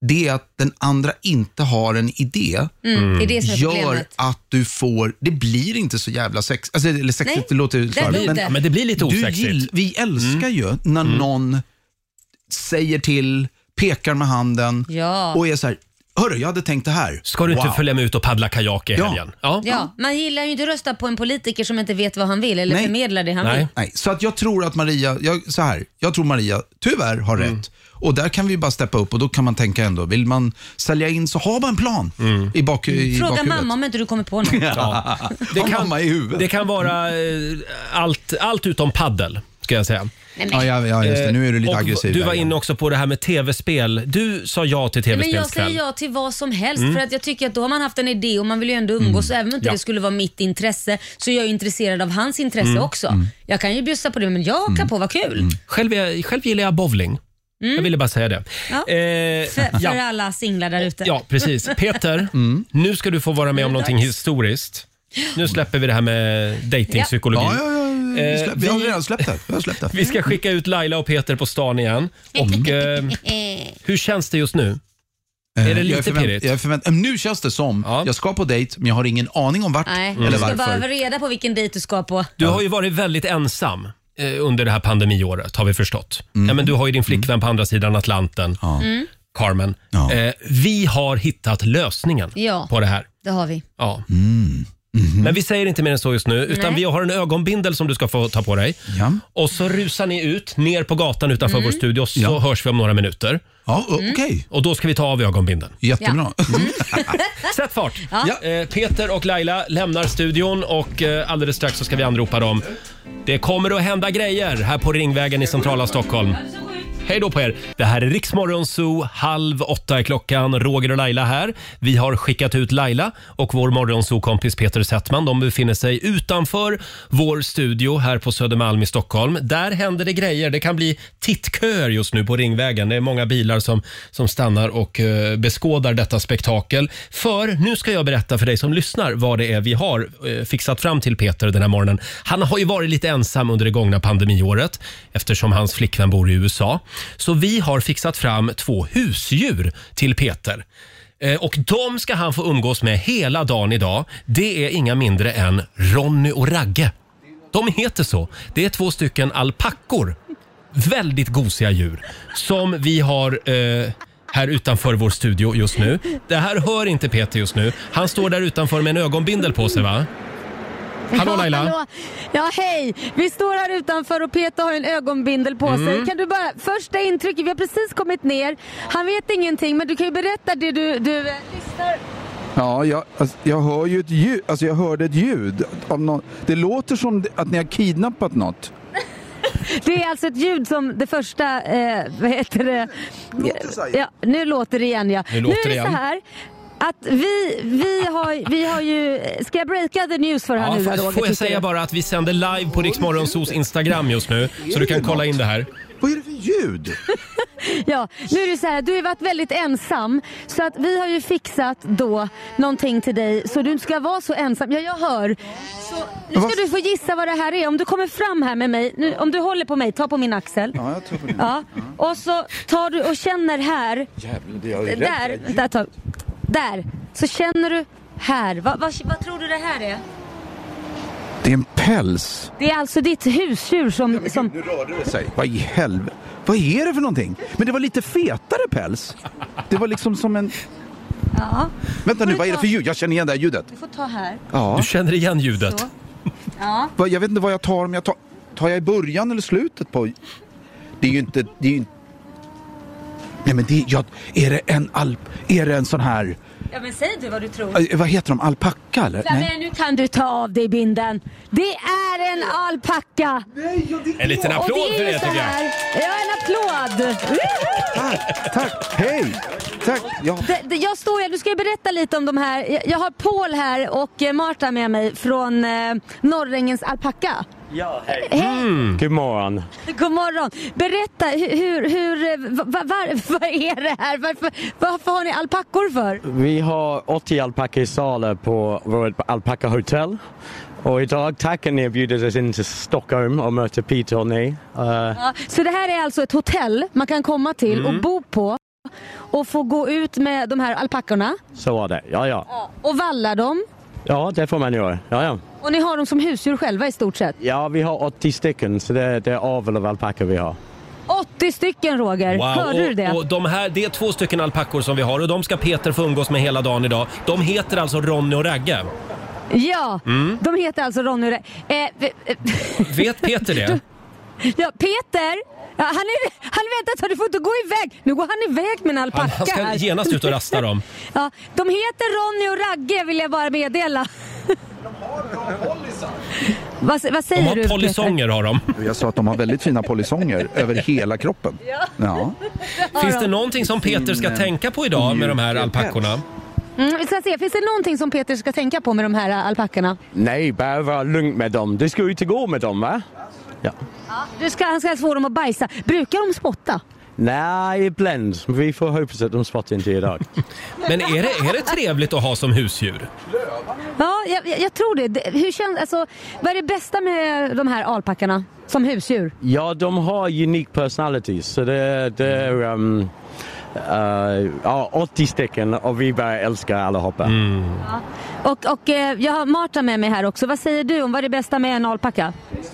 Speaker 10: Det är att den andra inte har en idé
Speaker 2: mm. Det är det som är
Speaker 10: gör
Speaker 2: problemet.
Speaker 10: att du får, det blir inte så jävla sex, alltså, eller sexigt,
Speaker 2: Nej,
Speaker 10: det låter
Speaker 2: blir
Speaker 10: slarvigt.
Speaker 2: det.
Speaker 1: Ja, men det blir lite
Speaker 10: Du
Speaker 1: osexigt.
Speaker 10: gill, vi
Speaker 1: Mm.
Speaker 10: älskar ju när någon säger till, pekar med handen
Speaker 2: Ja.
Speaker 10: och är så här, hörru jag hade tänkt det här.
Speaker 1: Ska du inte
Speaker 10: Wow.
Speaker 1: följa med ut och paddla kajak i
Speaker 10: Ja.
Speaker 1: helgen? Ja.
Speaker 2: Ja, man gillar ju inte att rösta på en politiker som inte vet vad han vill eller
Speaker 10: Nej.
Speaker 2: förmedlar det han
Speaker 1: Nej.
Speaker 2: vill.
Speaker 10: Nej, så att jag tror att Maria, jag, så här, jag tror Maria tyvärr har
Speaker 1: Mm.
Speaker 10: rätt. Och där kan vi bara steppa upp och då kan man tänka ändå, vill man sälja in så har man en plan
Speaker 1: Mm.
Speaker 10: i, bak, i
Speaker 2: Fråga
Speaker 10: bakhuvudet.
Speaker 2: mamma om inte du kommer på något.
Speaker 1: Ja.
Speaker 10: Det kan, mamma i huvudet.
Speaker 1: Det kan vara eh, allt, allt utom paddel ska jag säga.
Speaker 10: ja, ja, ja, just det. Eh, Nu är du lite
Speaker 1: Eh, Och
Speaker 10: aggressiv.
Speaker 1: Du
Speaker 10: där
Speaker 1: var
Speaker 10: igen.
Speaker 1: inne också på det här med tv-spel. Du sa ja till
Speaker 2: Men jag säger
Speaker 1: tv-spelskväll.
Speaker 2: ja till vad som helst för att jag tycker att då har man haft en idé och man vill ju
Speaker 10: Mm.
Speaker 2: ändå umgås. Även om inte
Speaker 1: Mm. Ja.
Speaker 2: det skulle vara mitt intresse så är jag ju intresserad av hans intresse
Speaker 10: Mm.
Speaker 2: också. Jag kan ju bjussa på det men jag hakar på, vad kul.
Speaker 1: Själv, är- själv gillar jag bowling. Jag ville bara säga det.
Speaker 2: Mm. Ja.
Speaker 1: Eh,
Speaker 2: För, för
Speaker 1: ja.
Speaker 2: alla singlar där ute.
Speaker 1: Ja, precis. Peter,
Speaker 10: Mm.
Speaker 1: nu ska du få vara med om någonting historiskt. Nu släpper vi det här med datingpsykologi.
Speaker 10: Ja, ja, ja. Vi, släpp,
Speaker 1: Eh,
Speaker 10: vi har
Speaker 1: vi-
Speaker 10: redan släppt det. Vi har släppt det.
Speaker 1: Vi ska
Speaker 2: Mm.
Speaker 1: skicka ut Laila och Peter på stan igen. Och, eh, hur känns det just nu? Är det
Speaker 10: Eh,
Speaker 1: lite
Speaker 10: jag förvänt-
Speaker 1: pirrigt?
Speaker 10: Jag är förvänt, eh, nu känns det som,
Speaker 1: Ja.
Speaker 10: jag ska på dejt men jag har ingen aning om vart
Speaker 2: Nej,
Speaker 1: Mm.
Speaker 2: du
Speaker 10: eller
Speaker 2: ska bara
Speaker 10: varför.
Speaker 2: reda på vilken dejt du ska på.
Speaker 1: Du har ju varit väldigt ensam eh, under det här pandemiåret har vi förstått.
Speaker 10: Mm.
Speaker 1: Ja, men du har ju din flickvän på andra sidan Atlanten,
Speaker 2: Mm.
Speaker 1: Carmen.
Speaker 10: Ja.
Speaker 1: Eh, vi har hittat lösningen
Speaker 2: Ja.
Speaker 1: på det här.
Speaker 2: Det har vi.
Speaker 1: Ja.
Speaker 10: Mm. Mm-hmm.
Speaker 1: Men vi säger inte mer än så just nu, utan
Speaker 2: Nej.
Speaker 1: vi har en ögonbindel som du ska få ta på dig.
Speaker 10: Ja.
Speaker 1: Och så rusar ni ut, ner på gatan utanför
Speaker 2: Mm.
Speaker 1: vår studio, så
Speaker 10: Ja.
Speaker 1: hörs vi om några minuter.
Speaker 10: Ja, o- okej.
Speaker 1: Och då ska vi ta av ögonbindeln.
Speaker 10: Jättebra.
Speaker 2: Mm.
Speaker 1: Sätt fart!
Speaker 10: Ja.
Speaker 1: Eh, Peter och Laila lämnar studion och eh, alldeles strax så ska vi anropa dem. Det kommer att hända grejer här på Ringvägen i centrala Stockholm. Hej då på er! Det här är Riksmorgon Zoo. Halv åtta är klockan. Roger och Laila här. Vi har skickat ut Laila och vår morgonzoo-kompis Peter Settman. De befinner sig utanför vår studio här på Södermalm i Stockholm. Där händer det grejer. Det kan bli tittköer just nu på Ringvägen. Det är många bilar som, som stannar och eh, beskådar detta spektakel. För nu ska jag berätta för dig som lyssnar vad det är vi har eh, fixat fram till Peter den här morgonen. Han har ju varit lite ensam under det gångna pandemiåret eftersom hans flickvän bor i USA. Så vi har fixat fram två husdjur till Peter. Eh, Och de ska han få umgås med hela dagen idag. Det är inga mindre än Ronny och Ragge. De heter så. Det är två stycken alpackor. Väldigt gosiga djur som vi har eh, här utanför vår studio just nu. Det här hör inte Peter just nu. Han står där utanför med en ögonbindel på sig va? Hallå Laila!
Speaker 11: Hallå. Ja, hej! Vi står här utanför och Peter har en ögonbindel på
Speaker 1: Mm.
Speaker 11: sig. Kan du bara, första intrycket, vi har precis kommit ner. Han vet ingenting, men du kan ju berätta det du, du eh, lyssnar.
Speaker 12: Ja, jag, alltså, jag hör ju ett ljud. Alltså jag hörde ett ljud. Av nå- det låter som det- att ni har kidnappat något.
Speaker 11: Det är alltså ett ljud som det första, eh, vad heter det? Ja, nu låter det igen ja.
Speaker 1: Nu låter
Speaker 11: nu är
Speaker 1: det
Speaker 11: det
Speaker 1: igen.
Speaker 11: så här. Att vi, vi, har, vi har ju, ska jag breaka the news för här
Speaker 1: Ja,
Speaker 11: nu
Speaker 1: får-
Speaker 11: Roger,
Speaker 1: får jag
Speaker 11: tycker
Speaker 1: säga
Speaker 11: du?
Speaker 1: bara att vi sänder live på Riksmorgonsos Instagram just nu så du kan kolla in det här.
Speaker 13: Vad är det för ljud?
Speaker 2: Ja, nu är det ju så här, du har ju varit väldigt ensam. Så att vi har ju fixat då någonting till dig så du inte ska vara så ensam. Ja, jag hör. Så nu ska du få gissa vad det här är. Om du kommer fram här med mig, nu, om du håller på mig, ta på min axel.
Speaker 10: Ja, jag tror på det.
Speaker 2: Ja. Och så tar du och känner här.
Speaker 10: Jävlar, jag är rädd.
Speaker 2: Där, där, tar, där. Så känner du här. Vad, vad, vad tror du det här är?
Speaker 10: Det är en päls.
Speaker 2: Det är alltså ditt husdjur som... som
Speaker 10: Säg, Vad i helvete? Vad är det för någonting? Men det var lite fetare päls. Det var liksom som en...
Speaker 2: ja,
Speaker 10: Vänta nu, vad är det för ljud? Jag känner igen det här ljudet.
Speaker 2: du får ta här.
Speaker 10: Ja. Du
Speaker 1: känner igen ljudet?
Speaker 2: Så. Ja.
Speaker 10: Va, Jag vet inte vad jag tar, om jag tar, tar jag i början eller slutet på... Det är ju inte... Det är ju... inte- Nej men det, jag, är det en alp... Är det en sån här...
Speaker 2: ja, men säg du vad du tror.
Speaker 10: eh, Vad heter de? Alpacka eller? Nej.
Speaker 2: Flamme, nu kan du ta av dig binden. Det är en alpacka!
Speaker 1: En liten
Speaker 2: Och
Speaker 1: applåd för
Speaker 2: är ju
Speaker 1: det
Speaker 2: så
Speaker 1: tycker jag.
Speaker 2: här. Ja, en applåd!
Speaker 10: Tack, tack, hej! Tack, ja.
Speaker 2: Det, det, jag står här, nu ska jag berätta lite om de här. Jag, jag har Paul här och eh, Marta med mig från eh, Norrängens alpacka.
Speaker 14: Ja, hej.
Speaker 2: Hej.
Speaker 14: God morgon.
Speaker 2: God morgon! Berätta, hu- hur, hur, eh, va- va- var, vad är det här? Varför, varför har ni alpackor för?
Speaker 1: Mm.
Speaker 14: Vi har 80 alpackor i salu på vårt alpackahotell. Och idag tacken erbjuder oss in till Stockholm och möter Peter och ni. Eh,
Speaker 2: Ja, så det här är alltså ett hotell man kan komma till
Speaker 14: Mm.
Speaker 2: och bo på och få gå ut med de här alpackorna
Speaker 14: så var det, ja ja.
Speaker 2: och valla dem.
Speaker 14: Ja, det får man göra. Ja, ja.
Speaker 2: Och ni har dem som husdjur själva i stort sett.
Speaker 14: ja vi har 80 stycken så det, det är avel av alpackor vi har.
Speaker 2: 80 stycken Roger, hörde du det?
Speaker 1: och, och de här, det är två stycken alpackor som vi har och de ska Peter få umgås med hela dagen idag. De heter alltså Ronny och Ragge.
Speaker 2: Ja,
Speaker 1: Mm.
Speaker 2: de heter alltså Ronny och Re- eh, v- eh,
Speaker 1: Vet Peter det?
Speaker 2: Ja, Peter! Ja, han, är, han väntar, så du får inte gå iväg. Nu går han iväg med en alpacka
Speaker 1: Han, han ska
Speaker 2: här.
Speaker 1: genast ut och rasta dem.
Speaker 2: Ja, de heter Ronny och Ragge vill jag bara meddela. Vad, vad säger du? Peter?
Speaker 1: har de.
Speaker 10: Jag sa att de har väldigt fina polisonger över hela kroppen. Ja.
Speaker 1: Finns det någonting som Peter ska tänka på idag med de här alpackorna?
Speaker 2: Mm, vi ska se, finns det någonting som Peter ska tänka på med de här äh, alpackorna?
Speaker 14: Nej, bara vara lugnt med dem. Du ska ut och gå med dem va? Ja.
Speaker 2: Du ska, han ska få dem att bajsa. Brukar de spotta?
Speaker 14: Nej, ibland. Vi får hoppas att de spottar inte idag.
Speaker 1: Men är det, är det trevligt att ha som husdjur?
Speaker 2: Ja, jag, jag jag tror det. det. Hur känns, alltså, vad är det bästa med de här alpackorna som husdjur?
Speaker 14: Ja, de har unik personalities. Så det, det är um, eh, ja, 80 stycken och vi bara älskar allihopa.
Speaker 2: Och, och eh, jag har Marta med mig här också. Vad säger du om vad är det bästa med en alpacka?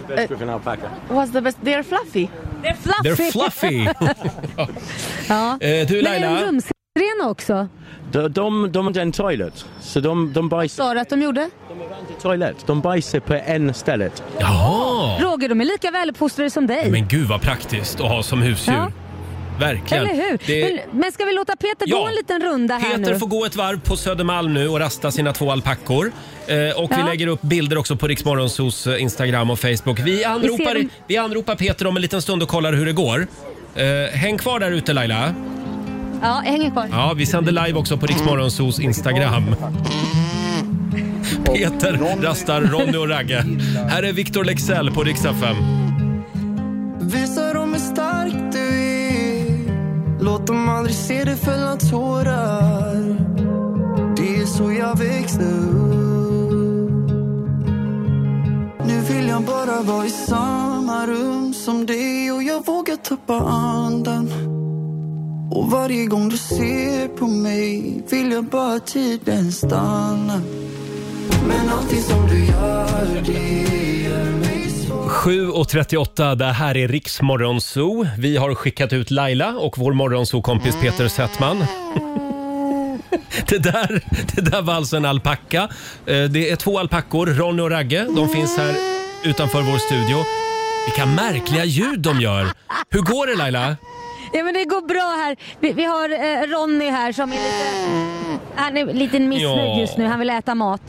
Speaker 14: Bäst för en alpacka.
Speaker 15: What's the best? They're fluffy.
Speaker 2: They're fluffy.
Speaker 1: They're fluffy. Eh,
Speaker 2: ja.
Speaker 14: Eh, du,
Speaker 2: Men är
Speaker 14: Laila?
Speaker 2: de rumsrena också?
Speaker 14: De, de, de har en toilet. Så de, de bajsar
Speaker 2: Sa du att de gjorde?
Speaker 14: på toilet. De bajsar på en stället.
Speaker 2: Roger, de är lika väluppfostrade som dig.
Speaker 1: Men gud vad praktiskt att ha som husdjur.
Speaker 2: Ja.
Speaker 1: Verkligen.
Speaker 2: Eller hur?
Speaker 1: Det,
Speaker 2: Men, men ska vi låta Peter gå
Speaker 1: Ja.
Speaker 2: en liten runda här
Speaker 1: Peter
Speaker 2: nu?
Speaker 1: får gå ett varv på Södermalm nu och rasta sina två alpackor. Eh, och vi
Speaker 2: Ja.
Speaker 1: lägger upp bilder också på Riksmorgonsos Instagram och Facebook. Vi
Speaker 2: Vi ser
Speaker 1: anropar,
Speaker 2: dem.
Speaker 1: vi anropar Peter om en liten stund och kollar hur det går. Eh, häng kvar där ute Laila.
Speaker 2: Ja, jag hänger kvar.
Speaker 1: Ja, vi sänder live också på Riksmorgonsos Instagram. Peter rastar Ronny och Ragge. Här är Victor Lexell på Rix FM.
Speaker 8: Visa dem hur stark du är Låt dem aldrig se dig fälla tårar Det är så jag växte upp Nu vill jag bara vara i samma rum som dig och jag vågar tappa andan Och varje gång du ser på mig vill jag bara att tiden stannar Men allting som du gör det gör mig så
Speaker 1: 7.38, det här är Riks Morgonzoo. Vi har skickat ut Laila och vår morgonzoo-kompis Peter Settman. Det där, det där var alltså en alpacka. Eh, Det är två alpackor, Ronny och Ragge. De finns här utanför vår studio. Vilka märkliga ljud de gör! Hur går det Laila?
Speaker 2: Ja, men det går bra här. Vi, vi har eh, Mm. Ronny här som är lite... Han är lite missnöjd
Speaker 1: Ja.
Speaker 2: just nu. Han vill äta mat.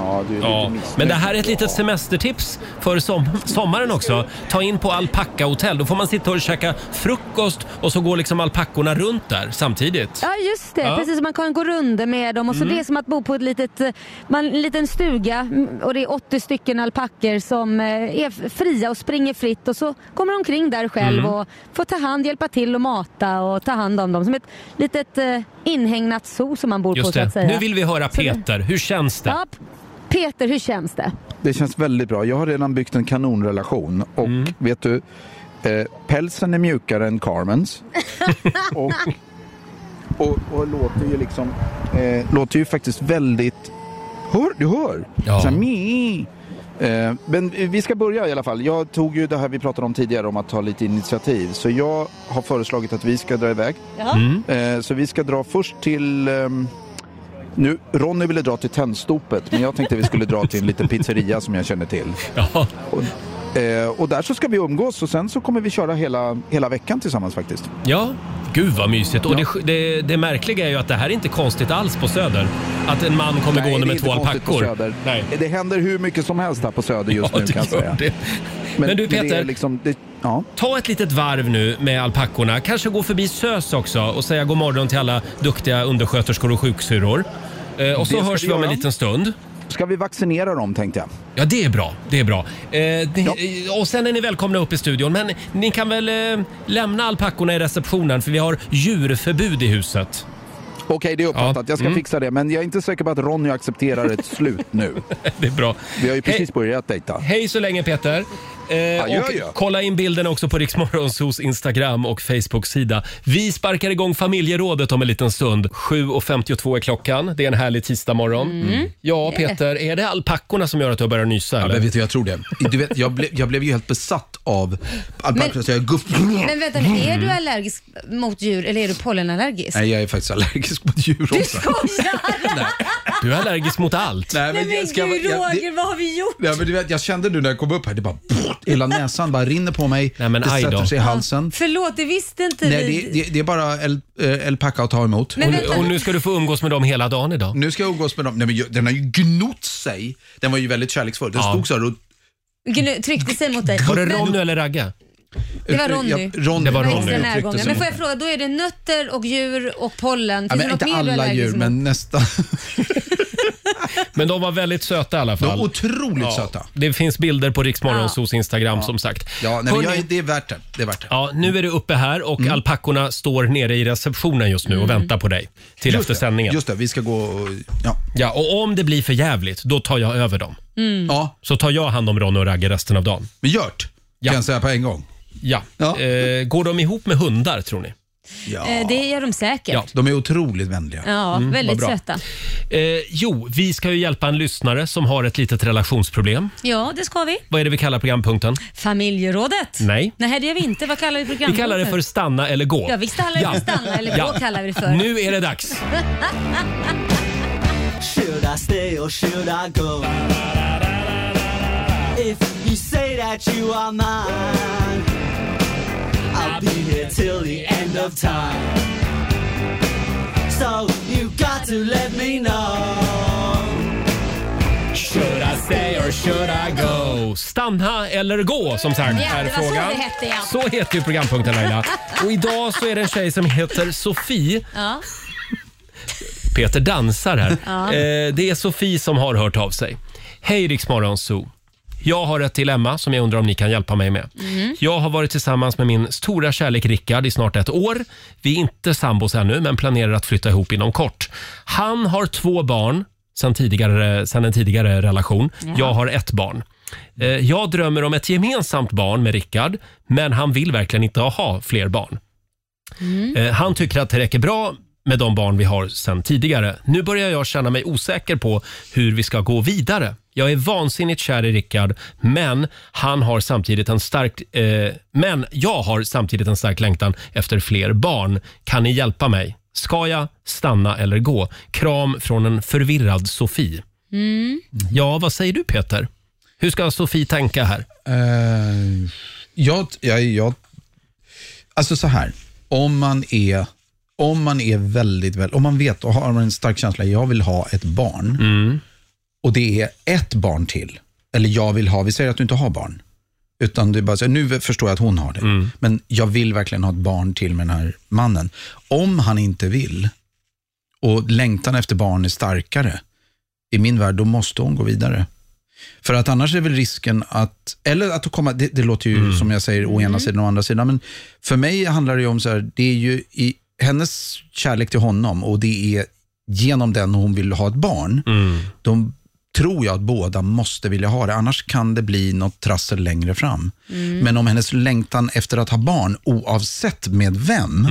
Speaker 12: Ja, du är
Speaker 1: Ja,
Speaker 12: lite missnöjd.
Speaker 1: men det här är ett litet semestertips för som sommaren också. Ta in på alpackahotell. Då får man sitta och käka frukost och så går liksom alpackorna runt där samtidigt.
Speaker 11: Ja just det,
Speaker 1: Ja.
Speaker 11: precis som man kan gå runder med dem och så
Speaker 1: Mm.
Speaker 11: det är som att bo på ett litet, eh, man, en liten stuga mm, och det är 80 stycken alpackor som eh, är f- fria och springer fritt och så kommer de omkring där själv
Speaker 16: Mm.
Speaker 11: och får ta hand, hjälpa till och mata och ta hand om dem som ett litet eh, inhägnat zoo som man bor på
Speaker 1: Just
Speaker 11: så att
Speaker 1: det.
Speaker 11: säga.
Speaker 1: Nu vill vi höra
Speaker 11: Så det-
Speaker 1: Peter. Hur känns det?
Speaker 11: Ja, Peter, hur känns det?
Speaker 12: Det känns väldigt bra. Jag har redan byggt en kanonrelation. Och vet du, eh, pälsen är mjukare än Carmens. och, och, och låter ju liksom... Eh, låter ju faktiskt väldigt... Hör, du hör!
Speaker 1: Ja.
Speaker 12: Så här, "Mii". eh, men vi ska börja i alla fall. Jag tog ju det här vi pratade om tidigare om att ta lite initiativ. Så jag har föreslagit att vi ska dra iväg.
Speaker 8: Jaha. Mm.
Speaker 12: Eh, så vi ska dra först till... ehm, nu, Ronny ville dra till Tennstopet, men jag tänkte vi skulle dra till en liten pizzeria som jag känner till. Och, eh, och där så ska vi umgås och sen så kommer vi köra hela, hela veckan tillsammans faktiskt.
Speaker 1: Ja, gud vad mysigt. Och det, det, det märkliga är ju att det här är inte konstigt alls på Söder. Att en man kommer
Speaker 12: Nej, det är
Speaker 1: gående med
Speaker 12: inte
Speaker 1: två
Speaker 12: konstigt på
Speaker 1: alpackor.
Speaker 12: Söder. Det händer hur mycket som helst här på Söder just
Speaker 1: Ja,
Speaker 12: nu
Speaker 1: det
Speaker 12: kan jag
Speaker 1: gör
Speaker 12: säga.
Speaker 1: det. Men du,
Speaker 12: det
Speaker 1: Peter.
Speaker 12: är liksom, det, ja.
Speaker 1: Ta ett litet varv nu med alpackorna. Kanske gå förbi SÖS också och säga god morgon till alla duktiga undersköterskor och sjuksyrror. Eh, och så
Speaker 12: Det ska
Speaker 1: hörs
Speaker 12: vi
Speaker 1: vi om en
Speaker 12: göra.
Speaker 1: liten stund.
Speaker 12: Ska vi vaccinera dem tänkte jag?
Speaker 1: Ja, det är bra. Det är bra. Eh, ni, eh, Och sen är ni välkomna upp i studion. Men ni kan väl eh, lämna alpackorna i receptionen för vi har djurförbud i huset.
Speaker 12: Okej, det är uppfattat. Jag ska
Speaker 1: Mm.
Speaker 12: fixa det. Men jag är inte säker på att Ronny accepterar ett slut nu.
Speaker 1: Det är bra.
Speaker 12: Vi har ju precis
Speaker 1: Hej.
Speaker 12: börjat dejta.
Speaker 1: Hej så länge Peter. Eh,
Speaker 12: Adjö,
Speaker 1: och
Speaker 12: adjö.
Speaker 1: kolla in bilden också på Riksmorgonsos Instagram och Facebook-sida. Vi sparkar igång familjerådet om en liten stund. 7.52 är klockan. Det är en härlig tisdagmorgon.
Speaker 10: Mm.
Speaker 1: Ja, Peter, är det alpackorna som gör att du har börjat nysa? Eller?
Speaker 10: men vet du, jag tror det. Du vet, jag, blev- jag blev ju helt besatt av alpackorna. så jag guff...
Speaker 2: Men vänta nu, är du allergisk mot djur eller är du pollenallergisk?
Speaker 10: Nej, jag är faktiskt allergisk mot djur också. Du
Speaker 1: Du är allergisk mot allt.
Speaker 10: Nej, men, jag ska, jag, det,
Speaker 2: vad har vi gjort?
Speaker 10: nej, men du vet, jag kände nu när jag kom upp här, det bara... Hela näsan bara rinner på mig. Nej, men, det
Speaker 1: aj då.
Speaker 10: sätter sig i halsen.
Speaker 2: Förlåt, det visste inte vi.
Speaker 10: Nej, det, det, det är bara el- eh, alpacka att ta emot.
Speaker 2: Men Och nu- vänta. och
Speaker 1: nu ska du få umgås med dem hela dagen idag.
Speaker 10: Nu ska jag umgås med dem. Nej, men jag- den har ju gnott sig. Den var ju väldigt kärleksfull. Den stod så här och...
Speaker 2: Gnu, tryckte sig mot dig.
Speaker 10: Var det
Speaker 2: Men-
Speaker 10: Ronny
Speaker 1: eller Ragga?
Speaker 2: Det var Ronny.
Speaker 10: Ja, Ronny. Det var
Speaker 2: var
Speaker 10: Ronny.
Speaker 2: extra
Speaker 10: Jag
Speaker 2: närgången.
Speaker 10: tryckte
Speaker 2: Men
Speaker 10: som-
Speaker 2: får jag fråga, då är det nötter och djur och pollen? Finns
Speaker 10: Ja,
Speaker 2: det
Speaker 10: men
Speaker 2: något
Speaker 10: inte
Speaker 2: mer du är
Speaker 10: alla
Speaker 2: allergisk
Speaker 10: djur,
Speaker 2: mot?
Speaker 10: men nästan.
Speaker 1: Men de var väldigt söta i alla fall.
Speaker 10: De är otroligt söta.
Speaker 1: Det finns bilder på Riksmorgonsos Instagram
Speaker 10: Ja.
Speaker 1: som sagt.
Speaker 10: Ja, nej, men
Speaker 1: Hörni-
Speaker 10: jag, det är Mm. värt det. det, är värt det.
Speaker 1: Ja, nu är du uppe här och alpackorna står nere i receptionen just nu och
Speaker 2: Mm.
Speaker 1: väntar på dig till
Speaker 10: Just
Speaker 1: efter
Speaker 10: det,
Speaker 1: sändningen.
Speaker 10: just det, vi ska gå och... Ja.
Speaker 1: ja, och om det blir för jävligt, då tar jag över dem.
Speaker 10: Mm. Ja.
Speaker 1: Så tar jag hand om Ronny och Ragge resten av dagen.
Speaker 10: Men gjort, kan jag säga på en gång.
Speaker 1: Ja. Eh, går de ihop med hundar tror ni?
Speaker 2: Eh, Det gör de säkert. Ja,
Speaker 10: De är otroligt vänliga.
Speaker 1: Mm,
Speaker 2: väldigt
Speaker 1: vad bra.
Speaker 2: söta.
Speaker 1: Eh, jo, vi ska ju hjälpa en lyssnare som har ett litet relationsproblem.
Speaker 2: Ja, det ska vi.
Speaker 1: Vad är det vi kallar programpunkten?
Speaker 2: Familjerådet.
Speaker 1: Nej.
Speaker 2: Nej, det gör vi inte. Vad kallar vi
Speaker 1: Vi
Speaker 2: programmet?
Speaker 1: kallar det för stanna eller gå.
Speaker 2: Ja, vi kallar det för stanna eller gå kallar vi det för.
Speaker 1: Nu är det dags.
Speaker 17: Should I stay or should I go? If you say that you are mine, I'll be here till the end of time. So you got to let me know.
Speaker 1: Should I stay or should I go? Stanna eller gå som sagt
Speaker 17: Ja,
Speaker 1: är
Speaker 17: det var så
Speaker 1: frågan.
Speaker 17: det hette, ja.
Speaker 1: Så heter ju programpunkten Laila. Och idag så är det en tjej som heter Sofie.
Speaker 2: Ja.
Speaker 1: Peter dansar här.
Speaker 2: Ja.
Speaker 1: Eh, det är Sofie som har hört av sig. Hej Riksmorgon Zoo. Jag har ett dilemma som jag undrar om ni kan hjälpa mig med.
Speaker 17: Mhm.
Speaker 1: Jag har varit tillsammans med min stora kärlek Rickard i snart ett år. Vi är inte sambos ännu, men planerar att flytta ihop inom kort. Han har två barn sen, tidigare, sen en tidigare relation.
Speaker 17: Jaha.
Speaker 1: Jag har ett barn. Eh, Jag drömmer om ett gemensamt barn med Rickard, men han vill verkligen inte ha fler barn. Eh, Han tycker att det räcker bra med de barn vi har sedan tidigare. Nu börjar jag känna mig osäker på hur vi ska gå vidare. Jag är vansinnigt kär i Rickard, men han har samtidigt en stark... Eh, men jag har samtidigt en stark längtan efter fler barn. Kan ni hjälpa mig? Ska jag stanna eller gå? Kram från en förvirrad Sofie.
Speaker 2: Mm.
Speaker 1: Ja, vad säger du Peter? Hur ska Sofie tänka här?
Speaker 10: Eh, jag, jag, jag... Alltså så här, om man är, om man är väldigt, väl, om man vet och har en stark känsla, jag vill ha ett barn. och det är ett barn till, eller jag vill ha, vi säger att du inte har barn, utan du bara säger, nu förstår jag att hon har det, men jag vill verkligen ha ett barn till med den här mannen. Om han inte vill och längtan efter barn är starkare, i min värld, då måste hon gå vidare. För att annars är väl risken att, eller att komma, det, det låter ju som jag säger å ena sidan och å andra sidan, men för mig handlar det ju om så här, det är ju i, hennes kärlek till honom och det är genom den hon vill ha ett barn, de tror jag att båda måste vilja ha det, annars kan det bli något trassel längre fram.
Speaker 8: Mm.
Speaker 10: Men om hennes längtan efter att ha barn, oavsett med vem,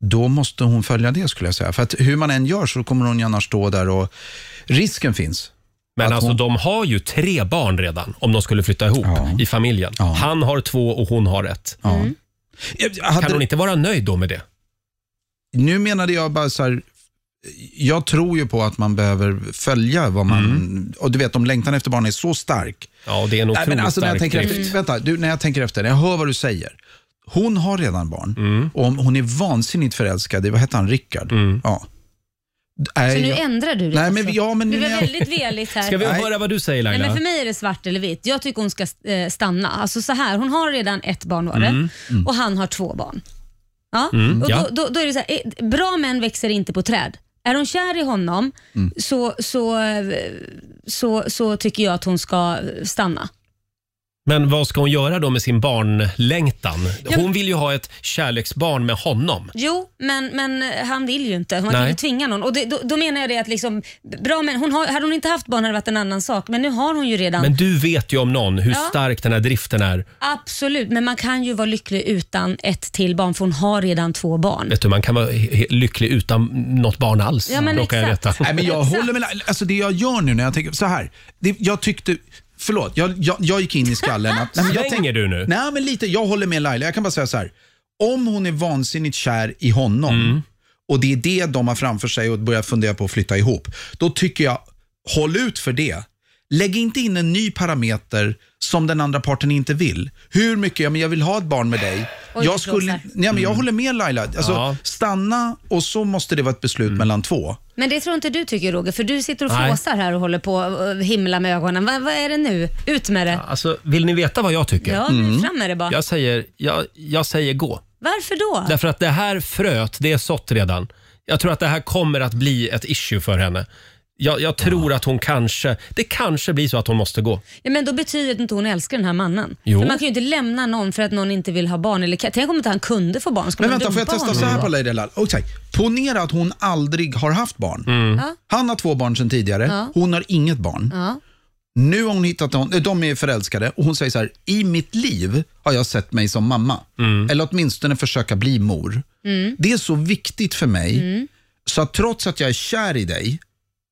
Speaker 10: då måste hon följa det skulle jag säga. För att hur man än gör så kommer hon ju annars stå där och risken finns.
Speaker 1: Men alltså de har ju tre barn redan om de skulle flytta ihop i familjen. Han har två och hon har ett. Kan hon inte vara nöjd då med det?
Speaker 10: Nu menade jag bara så här, jag tror ju på att man behöver följa vad man, och du vet om längtan efter barn är så stark.
Speaker 1: Ja, det är en
Speaker 10: Nej, men
Speaker 1: Mm. otroligt
Speaker 10: alltså, när jag
Speaker 1: stark
Speaker 10: tänker
Speaker 1: drift.
Speaker 10: efter, Vänta, du, när jag tänker efter, jag hör vad du säger. Hon har redan barn
Speaker 1: Mm.
Speaker 10: och om hon är vansinnigt förälskad i, vad hette han, Rickard? Ja.
Speaker 2: Så nu ändrar du dig
Speaker 10: Nej, men,
Speaker 2: alltså?
Speaker 10: ja, men,
Speaker 2: Du
Speaker 10: nu-
Speaker 2: var väldigt veligt här.
Speaker 10: Ska vi Nej. höra vad du säger, Laila?
Speaker 2: Nej, men för mig är det svart eller vitt. Jag tycker hon ska eh, stanna. Alltså så här, hon har redan ett barn var det
Speaker 7: Mm, mm.
Speaker 2: och han har två barn. Ja?
Speaker 7: Mm,
Speaker 2: och då,
Speaker 7: ja.
Speaker 2: då, då är det så här, eh, bra män växer inte på träd. Är hon kär i honom
Speaker 7: Mm.
Speaker 2: så, så, eh, så, så tycker jag att hon ska stanna.
Speaker 1: Men vad ska hon göra då med sin barnlängtan? Hon vill ju ha ett kärleksbarn med honom.
Speaker 2: Jo, men, men han vill ju inte. Man kan
Speaker 1: Nej.
Speaker 2: ju tvinga någon. Och det, då, då menar jag det att liksom, bra män, hon har, hade hon inte haft barn hade det varit en annan sak, men nu har hon ju redan.
Speaker 1: Men du vet ju om någon hur
Speaker 2: Ja.
Speaker 1: stark den här driften är.
Speaker 2: Absolut, men man kan ju vara lycklig utan ett till barn för hon har redan två barn.
Speaker 1: Vet du, man kan vara he- he- lycklig utan något barn alls.
Speaker 2: Ja, men
Speaker 1: råkar jag
Speaker 2: exakt.
Speaker 1: veta.
Speaker 10: Nej, men jag håller med. Alltså det jag gör nu när jag tänker så här. Det, jag tyckte, förlåt, jag, jag, jag gick in i skallen. Att, men jag
Speaker 1: Svänger du nu?
Speaker 10: Nej, men lite. Jag håller med Laila. Jag kan bara säga så här. Om hon är vansinnigt kär i honom och det är det de har framför sig och börjar fundera på att flytta ihop. Då tycker jag, håll ut för det. Lägg inte in en ny parameter som den andra parten inte vill. Hur mycket, ja, men jag vill ha ett barn med dig.
Speaker 8: Oj, det
Speaker 10: jag, skulle,
Speaker 8: blåser.
Speaker 10: nej, men jag
Speaker 8: Mm.
Speaker 10: håller med Laila. Alltså,
Speaker 8: Ja.
Speaker 10: Stanna och så måste det vara ett beslut mellan två.
Speaker 2: Men det tror inte du tycker Roger, för du sitter och
Speaker 10: Nej.
Speaker 2: flåsar här och håller på och himla med ögonen. Va, vad är det nu? Ut med det.
Speaker 1: Alltså, vill ni veta vad jag tycker?
Speaker 2: Ja, men Mm. fram med det bara.
Speaker 1: Jag säger, jag, jag säger gå.
Speaker 2: Varför då?
Speaker 1: Därför att det här fröet, det är sått redan. Jag tror att det här kommer att bli ett issue för henne. Jag, jag tror att hon kanske, det kanske blir så att hon måste gå.
Speaker 2: Ja, men då betyder det inte att hon älskar den här mannen.
Speaker 1: Jo.
Speaker 2: För man kan ju inte lämna någon för att någon inte vill ha barn. Eller, tänk om inte han kunde få barn. Skulle
Speaker 10: Men
Speaker 2: man
Speaker 10: vänta, får jag
Speaker 2: dumpa
Speaker 10: testa
Speaker 2: honom
Speaker 10: så här
Speaker 2: då?
Speaker 10: på Lady Lal? Okej, Ponera att hon aldrig har haft barn.
Speaker 2: Ja.
Speaker 10: Han har två barn sedan tidigare,
Speaker 2: Ja.
Speaker 10: hon har inget barn.
Speaker 2: Ja.
Speaker 10: Nu har hon hittat någon, eh, de är förälskade och hon säger så här, i mitt liv har jag sett mig som mamma. Eller åtminstone försöka bli mor.
Speaker 8: Mm.
Speaker 10: Det är så viktigt för mig,
Speaker 8: Mm.
Speaker 10: så att trots att jag är kär i dig,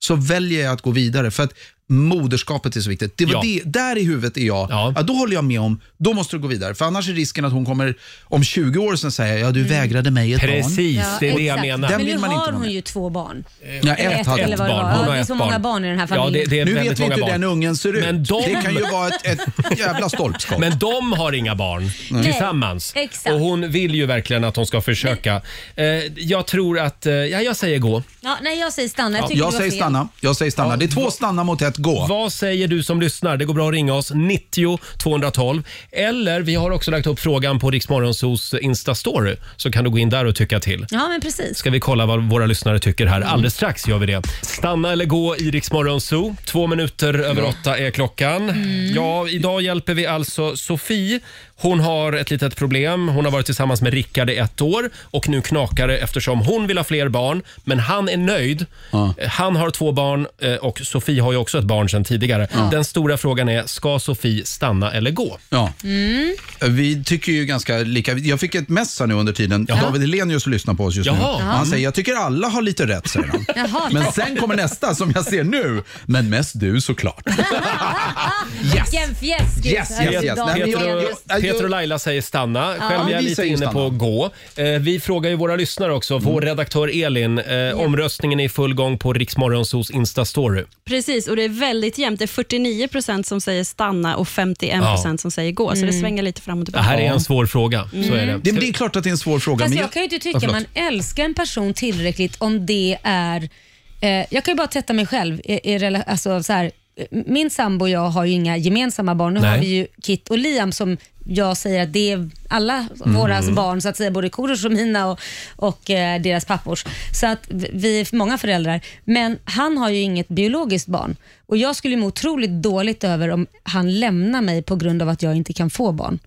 Speaker 10: så väljer jag att gå vidare. För att moderskapet är så viktigt. Det var
Speaker 8: Ja.
Speaker 10: det, där i huvudet är jag, ja. då håller jag med om, då måste du gå vidare. För annars är risken att hon kommer om 20 år sen säga, ja du vägrade mig ett barn.
Speaker 2: exakt.
Speaker 10: Den
Speaker 2: Men nu
Speaker 10: vill man inte
Speaker 2: har
Speaker 10: ha med.
Speaker 2: hon ju två barn.
Speaker 10: Ja, ett hade
Speaker 2: eller
Speaker 10: ett
Speaker 2: vad det
Speaker 10: barn.
Speaker 2: var.
Speaker 10: Hon
Speaker 2: Ja,
Speaker 10: har
Speaker 2: det är
Speaker 10: ett
Speaker 2: så många
Speaker 10: barn.
Speaker 2: barn i den här
Speaker 1: Ja,
Speaker 2: familjen.
Speaker 1: det, det är
Speaker 10: Nu vet
Speaker 1: väldigt
Speaker 10: vi
Speaker 1: många
Speaker 10: inte hur
Speaker 1: barn.
Speaker 10: den ungen ser ut.
Speaker 1: Men de...
Speaker 10: Det kan ju vara ett- ett jävla stolpskott.
Speaker 1: Men de har inga barn
Speaker 10: Nej.
Speaker 1: tillsammans.
Speaker 2: Exakt.
Speaker 1: Och hon vill ju verkligen att hon ska försöka. Eh, jag tror att, eh, ja jag säger gå.
Speaker 2: Ja, nej, jag säger stanna. Jag, tycker
Speaker 10: jag
Speaker 2: det var
Speaker 10: säger
Speaker 2: fel.
Speaker 10: stanna. Jag säger stanna. det är två stanna mot ett gå.
Speaker 1: Vad säger du som lyssnar? Det går bra att ringa oss, 90 212. Eller vi har också lagt upp frågan på Riksmorgonsos Insta-story. Så kan du gå in där och tycka till.
Speaker 2: Ja, men precis.
Speaker 1: Ska vi kolla vad våra lyssnare tycker här. Alldeles strax gör vi det. Stanna eller gå i Riksmorgonso. Två minuter över åtta är klockan. Ja, idag hjälper vi alltså Sofie. Hon har ett litet problem. Hon har varit tillsammans med Rickard i ett år och nu knakar det eftersom hon vill ha fler barn. Men han är nöjd. Han har två barn eh, och Sofie har ju också ett barn sedan tidigare. Den stora frågan är, ska Sofie stanna eller gå?
Speaker 10: Ja. Mm. Vi tycker ju ganska lika. Jag fick ett mess här nu under tiden. David Hellenius lyssnar på oss just nu.
Speaker 1: Jaha.
Speaker 10: Och
Speaker 1: Jaha.
Speaker 10: Han säger, jag tycker alla har lite rätt, säger han.
Speaker 2: Jaha.
Speaker 10: Men sen kommer nästa som jag ser nu. Men mest du såklart.
Speaker 2: Yes. Vilken fjäsk!
Speaker 10: Yes, yes, yes. Nej, men
Speaker 1: Peter,
Speaker 10: jag-
Speaker 1: och,
Speaker 10: jag- jag-
Speaker 1: Peter och Laila säger stanna.
Speaker 10: Ja.
Speaker 1: Själv är
Speaker 10: Ja,
Speaker 1: jag
Speaker 10: vi
Speaker 1: lite
Speaker 10: säger
Speaker 1: inne
Speaker 10: stanna. Mm.
Speaker 1: på gå. Eh, vi frågar ju våra lyssnare också. Vår redaktör Elin, eh, omröstningen är i full gång på Riksmorgonsos Insta-story.
Speaker 6: Precis, och det är väldigt jämnt. Det är 49 procent som säger stanna och 51 procent som säger gå. Så det
Speaker 1: Mm.
Speaker 6: svänger lite fram och
Speaker 1: Det
Speaker 6: tillbaka.
Speaker 1: här är en svår fråga. Så är
Speaker 2: Mm.
Speaker 1: det.
Speaker 10: Det, men det är klart att det är en svår fråga.
Speaker 2: Fast
Speaker 10: men
Speaker 2: jag kan ju inte tycka
Speaker 10: Ja, förlåt.
Speaker 2: man älskar en person tillräckligt om det är Eh, jag kan ju bara tätta mig själv. I, i, rela- alltså, så här, eh, min sambo och jag har ju inga gemensamma barn. Nu
Speaker 16: Nej.
Speaker 2: har vi ju Kit och Liam som jag säger att det är alla våra
Speaker 16: Mm.
Speaker 2: barn, så att säga, både Korosh och mina och, och eh, deras pappors. Så att vi- vi är många föräldrar. Men han har ju inget biologiskt barn och jag skulle må otroligt dåligt över om han lämnar mig på grund av att jag inte kan få barn.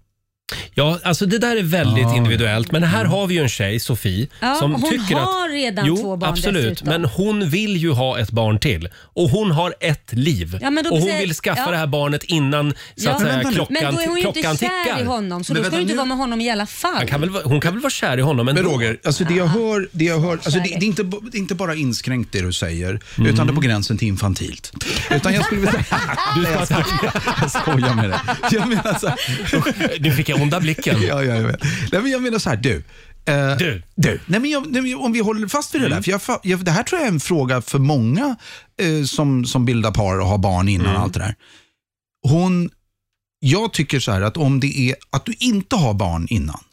Speaker 1: Ja, alltså det där är väldigt
Speaker 10: Ah.
Speaker 1: individuellt. Men
Speaker 10: Mm.
Speaker 1: här har vi ju en tjej, Sofie,
Speaker 2: Ja,
Speaker 1: som
Speaker 2: hon
Speaker 1: tycker
Speaker 2: har
Speaker 1: att...
Speaker 2: redan
Speaker 1: jo,
Speaker 2: två barn
Speaker 1: absolut.
Speaker 2: dessutom.
Speaker 1: Men hon vill ju ha ett barn till. Och hon har ett liv.
Speaker 2: Ja, men då
Speaker 1: och hon
Speaker 2: säger-
Speaker 1: vill skaffa
Speaker 2: ja.
Speaker 1: det här barnet innan så att säga,
Speaker 2: men,
Speaker 1: klockan,
Speaker 2: men då är hon ju inte
Speaker 1: klockan
Speaker 2: kär
Speaker 1: tickar.
Speaker 2: i honom, så då ska du inte vara med honom i alla fall.
Speaker 1: Han kan väl, vara- hon kan väl vara kär i honom
Speaker 10: Men
Speaker 1: ändå?
Speaker 10: Roger, alltså det jag hör, det, jag hör, alltså det, det, är inte, b- det är inte bara inskränkt det du säger, utan det är på gränsen till infantilt. Utan jag skulle vilja säga...
Speaker 1: Du
Speaker 10: Nej, jag
Speaker 1: ska-
Speaker 10: skojar. Jag skojar med dig. Jag menar så här...
Speaker 1: Nu fick jag onda blicken.
Speaker 10: Ja, ja, jag vet. Nej, men jag menar så här, du. eh,
Speaker 1: du. Mm.
Speaker 10: Nej, men jag, nej, men om vi håller fast vid det där. För jag, fa- jag, det här tror jag är en fråga för många eh, som, som bildar par och har barn innan
Speaker 1: Mm.
Speaker 10: och allt det där. Hon, jag tycker så här att om det är att du inte har barn innan,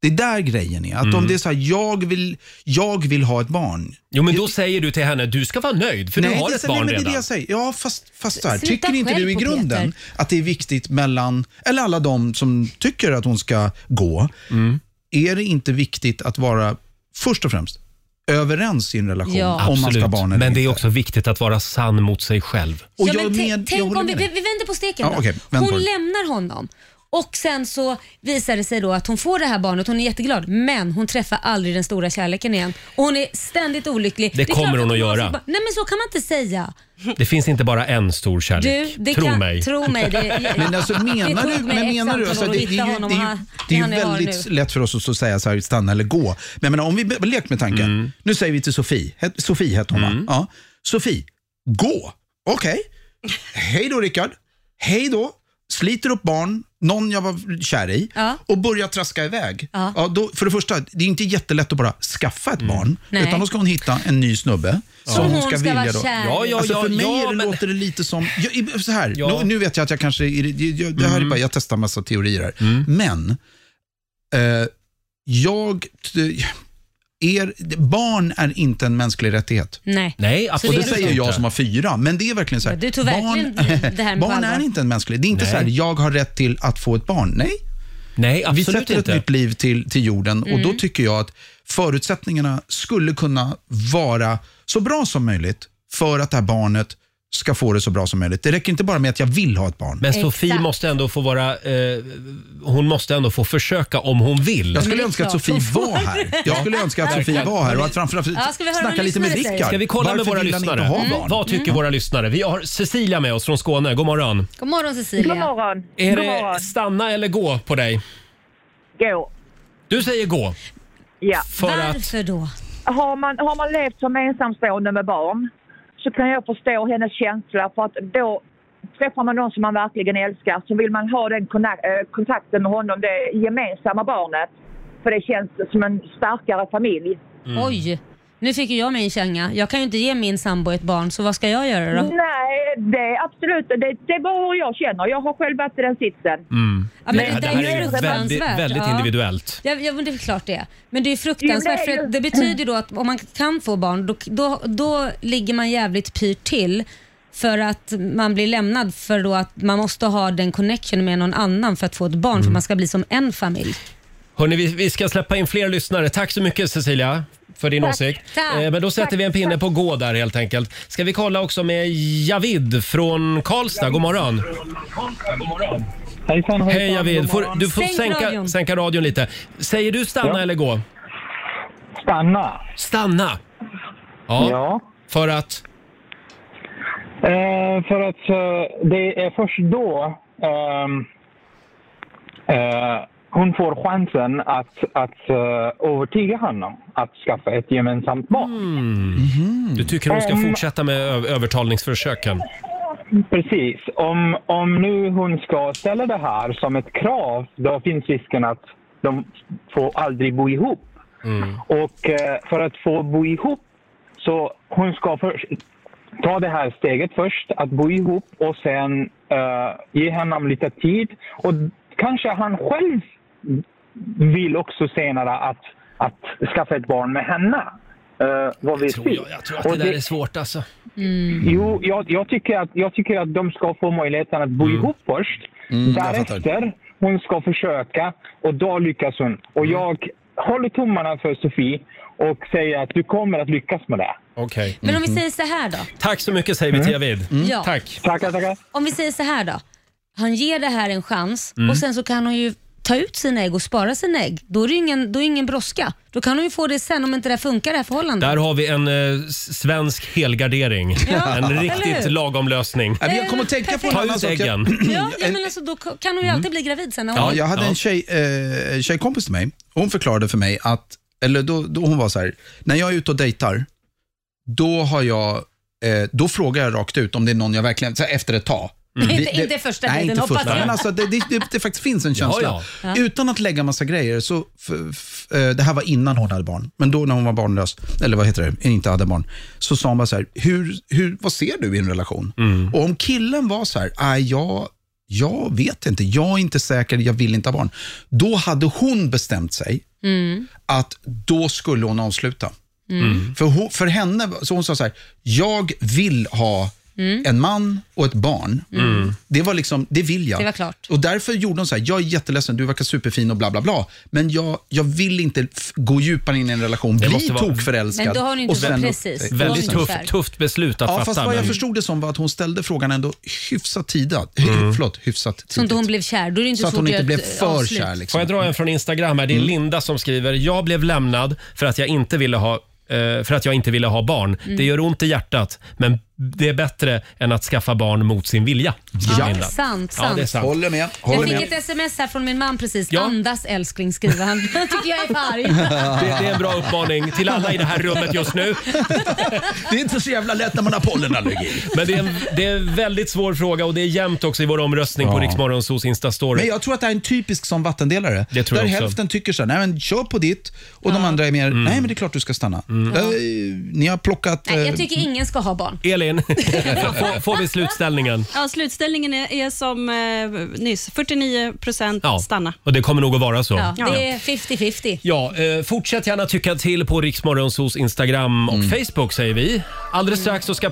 Speaker 10: det är där grejen är. Att om
Speaker 1: Mm.
Speaker 10: det är så här, jag vill, jag vill ha ett barn.
Speaker 1: Jo, men då säger du till henne, du ska vara nöjd för
Speaker 10: nej,
Speaker 1: du har
Speaker 10: det,
Speaker 1: ett barn
Speaker 10: nej, men det är det
Speaker 1: redan.
Speaker 10: jag säger. Ja, fast, fast så här,
Speaker 1: Sluta
Speaker 10: tycker inte
Speaker 1: själv
Speaker 10: du i
Speaker 1: på
Speaker 10: grunden
Speaker 1: Peter.
Speaker 10: att det är viktigt mellan, eller alla de som tycker att hon ska gå,
Speaker 1: Mm.
Speaker 10: är det inte viktigt att vara, först och främst, överens i en relation om man ska ha
Speaker 1: Absolut.
Speaker 10: barn eller
Speaker 1: Men det är också viktigt att vara sann mot sig själv.
Speaker 10: Och
Speaker 2: ja,
Speaker 10: jag
Speaker 2: men eh, tänk-
Speaker 10: men- jag
Speaker 2: tänk
Speaker 10: håller
Speaker 2: om vi,
Speaker 10: med
Speaker 2: vi
Speaker 10: dig.
Speaker 2: vi vänder på steken
Speaker 10: Ja,
Speaker 2: då.
Speaker 10: okej, vänd
Speaker 2: Hon
Speaker 10: på det.
Speaker 2: lämnar honom och sen så visar det sig då att hon får det här barnet, hon är jätteglad, men hon träffar aldrig den stora kärleken igen. Och hon är ständigt olycklig.
Speaker 1: Det
Speaker 2: är klart
Speaker 1: kommer hon att
Speaker 2: har
Speaker 1: göra.
Speaker 2: sitt barn- Nej men så kan man inte säga.
Speaker 1: Det finns inte bara en stor kärlek.
Speaker 2: Du, det
Speaker 1: tro
Speaker 2: kan-
Speaker 1: mig.
Speaker 2: tro mig, det-
Speaker 10: Men alltså menar
Speaker 2: Det
Speaker 10: du,
Speaker 2: tog mig
Speaker 10: men
Speaker 2: X
Speaker 10: menar du
Speaker 2: antal
Speaker 10: alltså,
Speaker 2: år att
Speaker 10: det, det, är ju-
Speaker 2: hitta
Speaker 10: det,
Speaker 2: honom
Speaker 10: är ju-
Speaker 2: här.
Speaker 10: det är ju
Speaker 2: Han är har
Speaker 10: väldigt
Speaker 2: nu.
Speaker 10: lätt för oss att säga så här, stanna eller gå. Men jag menar, om vi be- lek med tanken. Nu säger vi till Sofie, het, Sofie hette hon va? Ja. Sofie, gå. Okej. Hej då Rickard. Hej då. Sliter upp barn, någon jag var kär i och börjar traska iväg. Ja. då, för det första, det är inte jättelätt att bara skaffa ett barn.
Speaker 1: Nej.
Speaker 10: Utan då ska hon hitta en ny snubbe.
Speaker 1: Ja.
Speaker 10: Som
Speaker 1: Som
Speaker 10: hon
Speaker 1: hon
Speaker 10: ska,
Speaker 1: ska
Speaker 10: vilja
Speaker 1: vara
Speaker 10: då.
Speaker 1: kär i. Ja, ja,
Speaker 10: alltså, för
Speaker 1: ja,
Speaker 10: mig
Speaker 1: ja,
Speaker 10: är det,
Speaker 1: men-
Speaker 10: låter det lite som, jag, i- så här,
Speaker 1: Ja. Mm.
Speaker 10: nu, nu vet jag att jag kanske, jag, jag, det här är bara, jag testar massa teorier här. Men, eh, jag, t- er, barn är inte en mänsklig rättighet.
Speaker 2: Nej.
Speaker 1: Nej,
Speaker 10: Och
Speaker 1: absolut
Speaker 10: det säger
Speaker 1: inte.
Speaker 10: jag som har fyra, men det är verkligen så här.
Speaker 2: Ja, du tog verkligen det här på
Speaker 10: barn
Speaker 2: allvar.
Speaker 10: är inte en mänsklig, det är inte
Speaker 1: Nej.
Speaker 10: så här, jag har rätt till att få ett barn. Nej.
Speaker 1: Nej, absolut
Speaker 10: Vi sätter
Speaker 1: inte.
Speaker 10: ett nytt liv till, till jorden och då
Speaker 1: Mm.
Speaker 10: tycker jag att förutsättningarna skulle kunna vara så bra som möjligt för att det här barnet ska få det så bra som möjligt. Det räcker inte bara med att jag vill ha ett barn.
Speaker 1: Men Sofie måste ändå få vara... Eh, hon måste ändå få försöka om hon vill.
Speaker 10: Jag skulle önska att Sofie var här. Jag skulle önska att Sofie var här och att framförallt
Speaker 1: Ja,
Speaker 2: ska vi höra
Speaker 10: snacka
Speaker 2: vad
Speaker 10: lite med
Speaker 2: lyssnare säger?
Speaker 10: Rickard.
Speaker 1: Ska vi kolla med
Speaker 10: Varför
Speaker 1: våra
Speaker 10: vill han
Speaker 1: lyssnare?
Speaker 10: Inte ha
Speaker 1: Mm.
Speaker 10: barn?
Speaker 1: Vad tycker våra lyssnare? Vi har Cecilia med oss från Skåne. God morgon.
Speaker 2: God morgon Cecilia.
Speaker 9: God morgon.
Speaker 1: Är
Speaker 9: God
Speaker 1: det
Speaker 9: morgon.
Speaker 1: stanna eller gå på dig?
Speaker 9: Gå.
Speaker 1: Du säger gå.
Speaker 9: Ja.
Speaker 1: För Varför
Speaker 2: då?
Speaker 9: Har man, har man levt som ensamstående med barn så kan jag förstå hennes känsla för att då träffar man någon som man verkligen älskar så vill man ha den konak- eh, kontakten med honom, det gemensamma barnet. För det känns som en starkare familj.
Speaker 1: Mm.
Speaker 2: Oj, nu fick ju jag mig en känga. Jag kan ju inte ge min sambo ett barn, så vad ska jag göra
Speaker 5: Mm.
Speaker 2: då?
Speaker 9: Nej, det är absolut, det, det är bara hur jag känner. Jag har själv varit i den sitsen.
Speaker 2: Mm. Ja, men
Speaker 1: Nej,
Speaker 2: det
Speaker 1: det
Speaker 2: där
Speaker 1: här
Speaker 2: är ju
Speaker 1: är ju väldigt,
Speaker 2: fruktansvärt,
Speaker 1: väldigt
Speaker 2: ja.
Speaker 1: individuellt.
Speaker 2: Ja, ja, men det är klart det. Men det
Speaker 9: Jo,
Speaker 2: är ju fruktansvärt
Speaker 9: det är
Speaker 2: för
Speaker 9: ju-
Speaker 2: att det betyder ju då att om man kan få barn då, då, då ligger man jävligt pyrt till för att man blir lämnad för då att man måste ha den connection med någon annan för att få ett barn
Speaker 1: Mm.
Speaker 2: för man ska bli som en familj.
Speaker 1: Hörni, vi, vi ska släppa in fler lyssnare. Tack så mycket Cecilia för din
Speaker 2: Tack.
Speaker 1: åsikt.
Speaker 2: Tack.
Speaker 1: Eh, men då sätter
Speaker 2: Tack.
Speaker 1: vi en pinne på gå där helt enkelt. Ska vi kolla också med Javid från Karlstad. God morgon.
Speaker 18: Hejsan, hejsan.
Speaker 1: Hej Javid.
Speaker 18: God
Speaker 1: Får,
Speaker 18: morgon.
Speaker 1: du får
Speaker 18: Sänk
Speaker 1: sänka,
Speaker 18: radion.
Speaker 1: sänka radion lite. Säger du stanna
Speaker 18: Ja.
Speaker 1: eller gå?
Speaker 18: Stanna.
Speaker 1: Stanna? Ja. För att?
Speaker 18: Eh, för att eh, det är först då ehm, eh, hon får chansen att, att eh, övertyga honom att skaffa ett gemensamt barn.
Speaker 1: Du tycker hon ska
Speaker 18: Om-
Speaker 1: fortsätta med ö- övertalningsförsöken?
Speaker 18: Precis. Om, om nu hon ska ställa det här som ett krav, då finns risken att de får aldrig bo ihop. Och eh, för att få bo ihop så hon ska först ta det här steget först, att bo ihop och sen eh, ge honom lite tid. Och kanske han själv vill också senare att, att skaffa ett barn med henne. Eh, vad vet vi?
Speaker 1: Jag tror att det
Speaker 18: Och
Speaker 1: där är svårt alltså.
Speaker 18: Jo, jag, jag, tycker att, jag tycker att de ska få möjligheten att bo ihop först.
Speaker 8: Mm, jag
Speaker 18: Därefter, hon ska försöka och då lyckas hon. Och jag håller tummarna för Sofie och säger att du kommer att lyckas med det.
Speaker 1: Okej.
Speaker 2: Men om vi säger så här då.
Speaker 1: Tack så mycket säger vi till Javid.
Speaker 2: Ja.
Speaker 1: Tack.
Speaker 18: Tackar, tackar.
Speaker 2: Om vi säger så här då. Han ger det här en chans
Speaker 1: Mm.
Speaker 2: och sen så kan hon ju ta ut sina ägg och spara sina ägg. Då är det ju ingen, då är det ingen brådska. Då kan hon ju få det sen om inte det här funkar det här förhållandet.
Speaker 1: Där har vi en eh, s- svensk helgardering.
Speaker 2: Ja,
Speaker 1: En
Speaker 2: eller
Speaker 1: riktigt
Speaker 2: hur?
Speaker 1: lagom lösning.
Speaker 10: Ja, men jag kommer att tänka på en
Speaker 1: Ta
Speaker 10: annan
Speaker 1: ut
Speaker 10: sak.
Speaker 1: äggen.
Speaker 2: Ja, ja men alltså, då kan hon ju alltid bli gravid sen. när hon-
Speaker 10: Mm. Ja, jag hade en tjej, eh, tjejkompis till mig. Hon förklarade för mig att, eller då, då hon var så här, när jag är ute och dejtar, då har jag, eh, då frågar jag rakt ut om det är någon jag verkligen, så här, efter ett tag.
Speaker 2: Mm.
Speaker 10: Vi-
Speaker 2: Inte-
Speaker 10: det-
Speaker 2: inte första
Speaker 10: Nej,
Speaker 2: dejten,
Speaker 10: inte
Speaker 2: hoppas
Speaker 10: första.
Speaker 2: jag.
Speaker 10: Men alltså, det, det, det, det faktiskt finns en
Speaker 2: Ja,
Speaker 10: känsla.
Speaker 2: ja.
Speaker 10: Utan att lägga massa grejer, så, f, f, eh, det här var innan hon hade barn, men då när hon var barnlös, eller vad heter det, inte hade barn, så sa hon bara så här, hur, hur, vad ser du i en relation?
Speaker 2: Mm.
Speaker 10: Och om killen var så här, "Nej, jag, jag vet inte, jag är inte säker, jag vill inte ha barn. Då hade hon bestämt sig
Speaker 8: Mm.
Speaker 10: att då skulle hon avsluta.
Speaker 8: Mm.
Speaker 10: För, hon, för henne, så hon sa så här, jag vill ha
Speaker 2: Mm.
Speaker 10: en man och ett barn.
Speaker 8: Mm.
Speaker 10: Det var liksom, det vill jag.
Speaker 8: Det var klart.
Speaker 10: Och därför gjorde hon så här, jag är jätteledsen, du verkar superfin och bla bla bla, men jag, jag vill inte f- gå djupare in i en relation,
Speaker 1: Det
Speaker 10: bli
Speaker 1: måste vara-
Speaker 10: tokförälskad.
Speaker 2: Men då har hon inte
Speaker 10: och sen-
Speaker 2: varit- precis. Då har hon
Speaker 1: Väldigt
Speaker 2: inte
Speaker 1: tufft,
Speaker 2: varit.
Speaker 1: tufft beslut att
Speaker 10: Ja,
Speaker 1: fatta.
Speaker 10: fast vad jag
Speaker 1: men-
Speaker 10: förstod det som var att hon ställde frågan ändå hyfsat tida,
Speaker 1: Mm.
Speaker 10: förlåt, hyfsat tidigt.
Speaker 2: Så inte hon blev kär. Då är det inte
Speaker 10: Så att hon
Speaker 2: att
Speaker 10: inte
Speaker 2: göra
Speaker 10: blev
Speaker 2: ett
Speaker 10: för
Speaker 2: avslut.
Speaker 10: kär, liksom.
Speaker 1: Får jag dra en från Instagram här? Det är
Speaker 2: Mm.
Speaker 1: Linda som skriver. Jag blev lämnad för att jag inte ville ha eh, för att jag inte ville ha barn.
Speaker 2: Mm.
Speaker 1: Det gör ont i hjärtat, men det är bättre än att skaffa barn mot sin vilja. skriver
Speaker 2: Ja,
Speaker 1: Linda.
Speaker 2: sant,
Speaker 1: Ja, det är
Speaker 2: sant.
Speaker 1: sant.
Speaker 10: Håller med.
Speaker 2: Jag fick ett sms här från min man precis.
Speaker 1: Ja.
Speaker 2: Andas älskling skriver han. Han tycker jag är för arg.
Speaker 1: Det, det är en bra uppmaning till alla i det här rummet just nu.
Speaker 10: Det är inte så jävla lätt när man har pollenallergi.
Speaker 1: Men det är en, det är en väldigt svår fråga och det är jämnt också i vår omröstning på
Speaker 10: Ja.
Speaker 1: Riksmorgonsos Insta-story.
Speaker 10: Men jag tror att det här är en typisk sån vattendelare.
Speaker 1: Det tror
Speaker 10: där
Speaker 1: jag också. Mm.
Speaker 10: hälften tycker så här, nej men kör på ditt. Och de andra är mer, nej men det är klart du ska stanna. Eh, ni har plockat...
Speaker 2: Nej, jag
Speaker 10: eh,
Speaker 2: tycker ingen ska ha barn.
Speaker 1: Elin, får, får vi slutställningen?
Speaker 6: Ja, slutställningen är, är som eh, nyss, 49 procent stanna.
Speaker 1: Och det kommer nog att vara så.
Speaker 2: Ja, det är 50-50.
Speaker 1: Ja, eh, fortsätt gärna tycka till på Riksmorgonsos Instagram och Facebook säger vi. Alldeles strax så ska eh,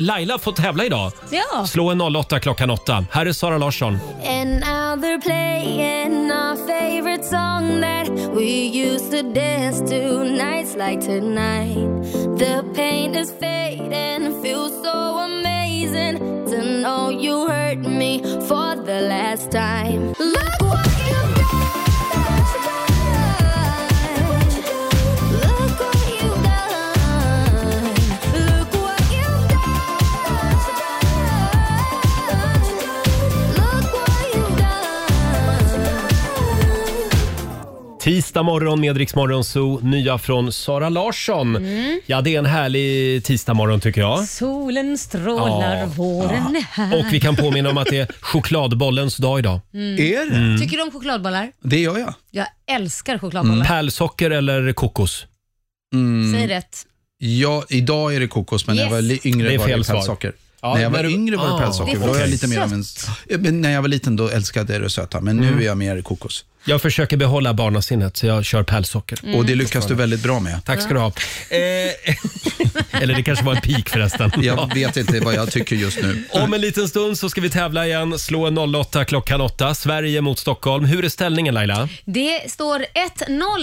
Speaker 1: Laila få tävla idag.
Speaker 2: Ja.
Speaker 1: Slå en 08 klockan 8. Här är Sara Larsson.
Speaker 16: And now they're playing our favorite song that we used to dance to nights like tonight. The pain is fading, feels so amazing to know you hurt me for the last time. Look what you've done. Look what you've done. Look what you've done. Look what you've done.
Speaker 1: Tisdag morgon med Riksmorgonso. Nya från Sara Larsson. Ja, det är en härlig tisdag morgon tycker jag.
Speaker 2: Solen strålar,
Speaker 1: Ja.
Speaker 2: våren är här.
Speaker 1: Och vi kan påminna om att det är chokladbollens dag idag.
Speaker 2: Mm.
Speaker 1: Mm.
Speaker 2: Tycker du om chokladbollar?
Speaker 10: Det gör jag.
Speaker 2: Jag älskar chokladbollar.
Speaker 1: Mm. Pärlsocker eller kokos?
Speaker 2: Säg rätt.
Speaker 10: Ja, idag är det kokos, men när jag var li-
Speaker 1: Yes.
Speaker 10: yngre
Speaker 1: Det är
Speaker 10: var det
Speaker 1: fel svar.
Speaker 10: pälssocker.
Speaker 1: Ja,
Speaker 10: när jag var
Speaker 1: när du-
Speaker 10: yngre var
Speaker 1: Ah.
Speaker 10: det pälssocker.
Speaker 1: Det är
Speaker 10: Då var jag
Speaker 1: för
Speaker 10: lite mer av en... Ja, Men när jag var liten då älskade jag det söta, men nu
Speaker 1: Mm.
Speaker 10: är jag mer kokos.
Speaker 1: Jag försöker behålla barnasinnet så jag kör pärlsocker.
Speaker 10: Mm. Och det lyckas du väldigt bra med.
Speaker 1: Tack ska du ha. Eh, Eller det kanske var en pik förresten.
Speaker 10: Jag vet inte vad jag tycker just nu.
Speaker 1: Om en liten stund så ska vi tävla igen. Slå en 08 klockan 8. Sverige mot Stockholm. Hur är ställningen Laila?
Speaker 2: Det står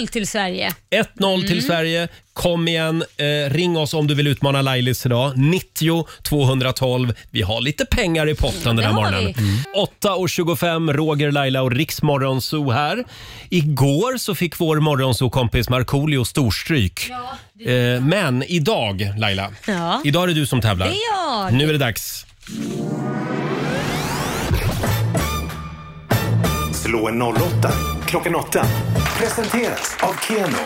Speaker 2: 1-0 till Sverige.
Speaker 1: 1-0
Speaker 2: Mm.
Speaker 1: till Sverige. Kom igen, eh, ring oss om du vill utmana Lailis idag. 90 212. Vi har lite pengar i potten den här
Speaker 8: Det har
Speaker 1: morgonen.
Speaker 8: vi. Mm.
Speaker 1: 8.25, Roger, Laila och Riksmorgonzoo här. Igår så fick vår morgonzoo-kompis Markoolio storstryk. eh, men idag, Laila,
Speaker 2: Ja.
Speaker 1: idag är det du som tävlar.
Speaker 2: Det är jag.
Speaker 1: Nu är det dags.
Speaker 8: Slå en 08 klockan 8. Presenteras av Keno.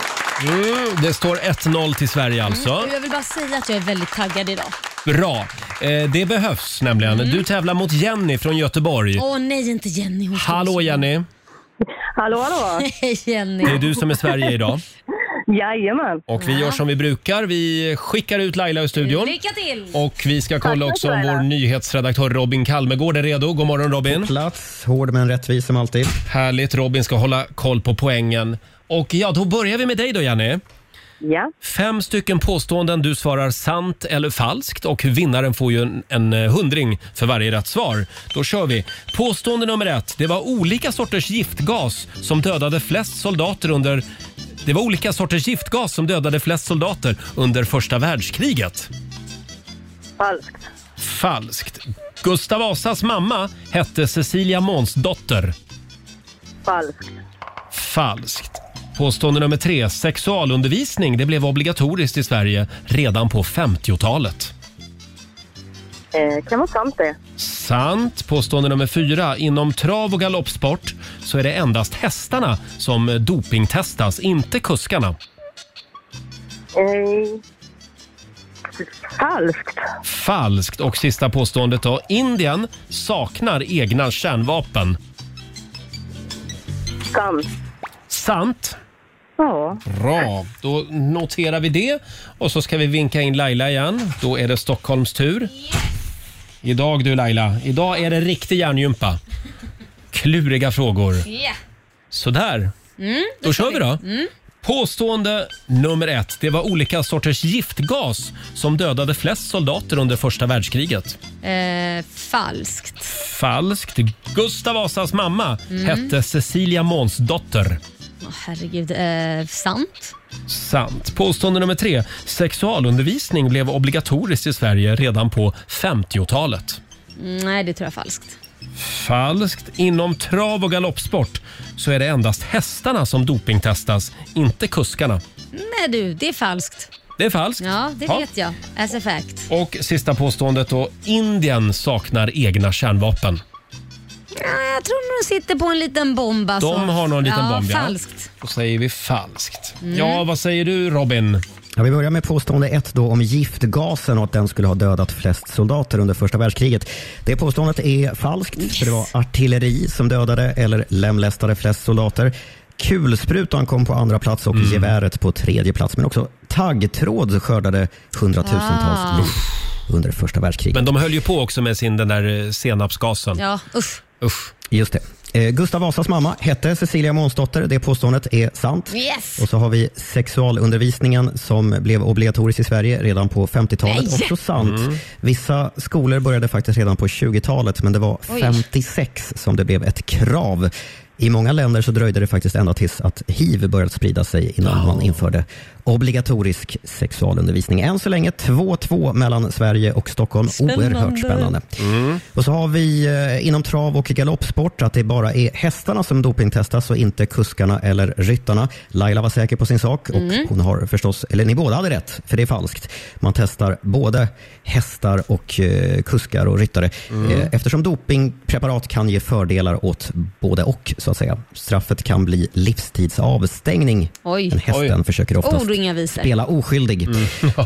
Speaker 1: Mm, det står 1-0 till Sverige alltså.
Speaker 2: Och Jag vill bara säga att jag är väldigt taggad idag.
Speaker 1: Bra. Eh, det behövs nämligen. Du tävlar mot Jenny från Göteborg.
Speaker 2: Mm. Åh nej, inte Jenny. Hon står
Speaker 1: Hallå
Speaker 2: också.
Speaker 1: Jenny.
Speaker 2: Hallå, hallå. Hej Jenny.
Speaker 1: Det är du som är Sverige idag.
Speaker 19: Jajamän.
Speaker 1: Och vi gör som vi brukar. Vi skickar ut Laila ur studion.
Speaker 2: Lycka till!
Speaker 1: Och vi ska kolla
Speaker 2: Tack,
Speaker 1: också om
Speaker 2: Laila.
Speaker 1: vår nyhetsredaktör Robin Kalmegård är redo. God morgon Robin. På
Speaker 19: plats, hård men rättvis som alltid.
Speaker 1: Härligt, Robin ska hålla koll på poängen. Och ja, då börjar vi med dig då Jenny.
Speaker 20: Ja.
Speaker 1: Fem stycken påståenden, du svarar sant eller falskt och vinnaren får ju en, en eh, hundring för varje rätt svar. Då kör vi! Påstående nummer ett, det var olika sorters giftgas som dödade flest soldater under... Det var olika sorters giftgas som dödade flest soldater under första världskriget.
Speaker 20: Falskt.
Speaker 1: Falskt. Gustav Vasas mamma hette Cecilia Månsdotter.
Speaker 20: Falskt.
Speaker 1: Falskt. Påstående nummer tre. Sexualundervisning det blev obligatoriskt i Sverige redan på 50-talet.
Speaker 20: Eh, kan vara sant det.
Speaker 1: Sant. Påstående nummer fyra. Inom trav och galoppsport så är det endast hästarna som dopingtestas, inte kuskarna.
Speaker 20: Eh, falskt.
Speaker 1: Falskt. Och sista påståendet då. Indien saknar egna kärnvapen.
Speaker 20: Sant.
Speaker 1: Sant.
Speaker 20: Ja.
Speaker 1: Bra, då noterar vi det. Och så ska vi vinka in Laila igen. Då är det Stockholms tur. Idag du Laila, idag är det riktig hjärngympa. Kluriga frågor.
Speaker 2: Yeah.
Speaker 1: Sådär,
Speaker 2: Mm,
Speaker 1: då kör vi då.
Speaker 2: Mm.
Speaker 1: Påstående nummer ett. Det var olika sorters giftgas som dödade flest soldater under första världskriget.
Speaker 2: Eh, falskt.
Speaker 1: Falskt. Gustav Vasas mamma
Speaker 2: Mm.
Speaker 1: hette Cecilia Månsdotter.
Speaker 2: Åh, herregud, eh, sant?
Speaker 1: Sant. Påstående nummer tre. Sexualundervisning blev obligatoriskt i Sverige redan på 50-talet.
Speaker 2: Mm, Nej, det tror jag är falskt.
Speaker 1: Falskt. Inom trav och galoppsport så är det endast hästarna som dopingtestas, inte kuskarna.
Speaker 2: Nej du, det är falskt.
Speaker 1: Det är falskt.
Speaker 2: Ja, det
Speaker 1: Ja.
Speaker 2: vet jag. As a fact.
Speaker 1: Och sista påståendet då. Indien saknar egna kärnvapen.
Speaker 2: Ja, jag tror nog de sitter på en liten bomb. Alltså.
Speaker 1: De har någon liten
Speaker 2: ja,
Speaker 1: bomb, ja.
Speaker 2: Falskt.
Speaker 1: Då säger vi falskt.
Speaker 2: Mm.
Speaker 1: Ja, vad säger du Robin?
Speaker 19: Ja, vi börjar med påstående ett då om giftgasen och att den skulle ha dödat flest soldater under första världskriget. Det påståendet är falskt, för det var artilleri som dödade eller lemlästade flest soldater. Kulsprutan kom på andra plats och geväret på tredje plats, men också taggtråd skördade hundratusentals
Speaker 2: Ah.
Speaker 19: liv under första världskriget.
Speaker 1: Men de höll ju på också med sin den där eh, senapsgasen.
Speaker 2: Ja, usch.
Speaker 19: Just det. Eh, Gustav Vasas mamma hette Cecilia Månsdotter. Det påståendet är sant.
Speaker 2: Yes.
Speaker 19: Och så har vi sexualundervisningen som blev obligatorisk i Sverige redan på 50-talet.
Speaker 2: Nej.
Speaker 19: Också sant.
Speaker 2: Mm.
Speaker 19: Vissa skolor började faktiskt redan på 20-talet, men det var
Speaker 2: Oj.
Speaker 19: 56 som det blev ett krav. I många länder så dröjde det faktiskt ända tills att hiv började sprida sig innan man införde obligatorisk sexualundervisning. Än så länge 2-2 mellan Sverige och Stockholm. Oerhört spännande. Och så har vi eh, inom trav och galoppsport att det bara är hästarna som dopingtestas och inte kuskarna eller ryttarna. Laila var säker på sin sak och
Speaker 2: Mm.
Speaker 19: hon har förstås, eller ni båda hade rätt, för det är falskt. Man testar både hästar och eh, kuskar och ryttare
Speaker 1: Mm.
Speaker 19: eh, eftersom dopingpreparat kan ge fördelar åt både och så att säga. Straffet kan bli livstidsavstängning.
Speaker 2: Oj. Oh,
Speaker 19: Men hästen försöker oftast
Speaker 2: Ord och inga visor.
Speaker 19: spela oskyldig.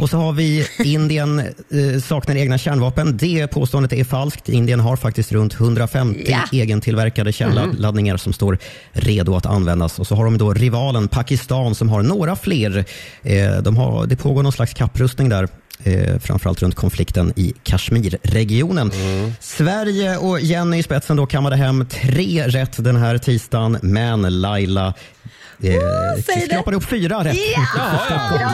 Speaker 19: Och så har vi Indien eh, saknar egna kärnvapen. Det påståendet är falskt. Indien har faktiskt runt 150
Speaker 2: Ja.
Speaker 19: egentillverkade kärnladdningar
Speaker 17: Mm.
Speaker 19: som står redo att användas. Och så har de då rivalen Pakistan som har några fler. Eh, de har, det pågår någon slags kapprustning där. Eh, framförallt runt konflikten i Kashmirregionen. Sverige och Jenny i spetsen då kammade hem tre rätt den här tisdagen, men Laila eh,
Speaker 17: det.
Speaker 19: skrapade upp fyra rätt.
Speaker 17: Ja!
Speaker 19: Första gången.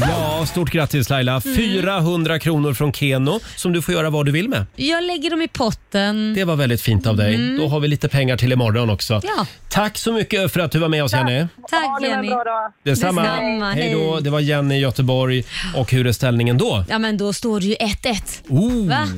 Speaker 1: Ja, stort grattis Laila.
Speaker 17: Mm.
Speaker 1: 400 kronor från Keno som du får göra vad du vill med.
Speaker 2: Jag lägger dem i potten.
Speaker 1: Det var väldigt fint av dig.
Speaker 2: Mm.
Speaker 1: Då har vi lite pengar till imorgon också.
Speaker 2: Ja.
Speaker 1: Tack så mycket för att du var med oss Jenny.
Speaker 2: Tack Jenny.
Speaker 1: Detsamma. Hej då. Det var Jenny i Göteborg. Och hur är ställningen då?
Speaker 2: Ja men då står det ju 1-1.
Speaker 1: Oh.
Speaker 2: Va?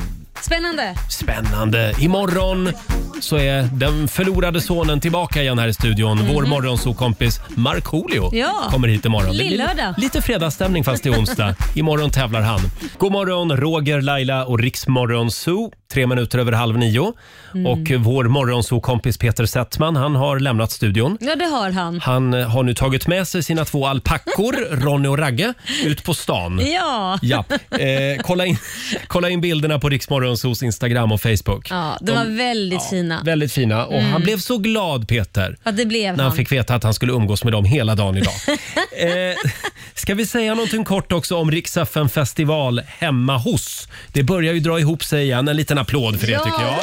Speaker 2: Spännande.
Speaker 1: Spännande. Imorgon så är den förlorade sonen tillbaka igen här i studion. Vår morgonsokompis Markoolio
Speaker 2: Mhm. Ja.
Speaker 1: kommer hit imorgon. Det blir
Speaker 2: Lillördag.
Speaker 1: Lite fredagsstämning fast det är onsdag. Imorgon tävlar han. God morgon Roger, Laila och Riksmorgon Zoo. Tre minuter över halv nio.
Speaker 2: Mm.
Speaker 1: Och vår morgonsokompis Peter Settman, han har lämnat studion.
Speaker 2: Ja det har han.
Speaker 1: Han eh, har nu tagit med sig sina två alpackor, Ronny och Ragge, ut på stan.
Speaker 2: Ja.
Speaker 1: Ja. Eh, kolla, in, kolla in bilderna på Riksmorgonsos Instagram och Facebook.
Speaker 2: Ja, de var väldigt fina.
Speaker 1: Väldigt fina. Och
Speaker 2: Mm.
Speaker 1: Han blev så glad, Peter,
Speaker 2: Ja, det blev
Speaker 1: när han
Speaker 2: han.
Speaker 1: fick veta att han skulle umgås med dem hela dagen idag. eh, Ska vi säga någonting kort också om Riksaffen festival hemma hos? Det börjar ju dra ihop sig igen. En liten applåd för det tycker jag.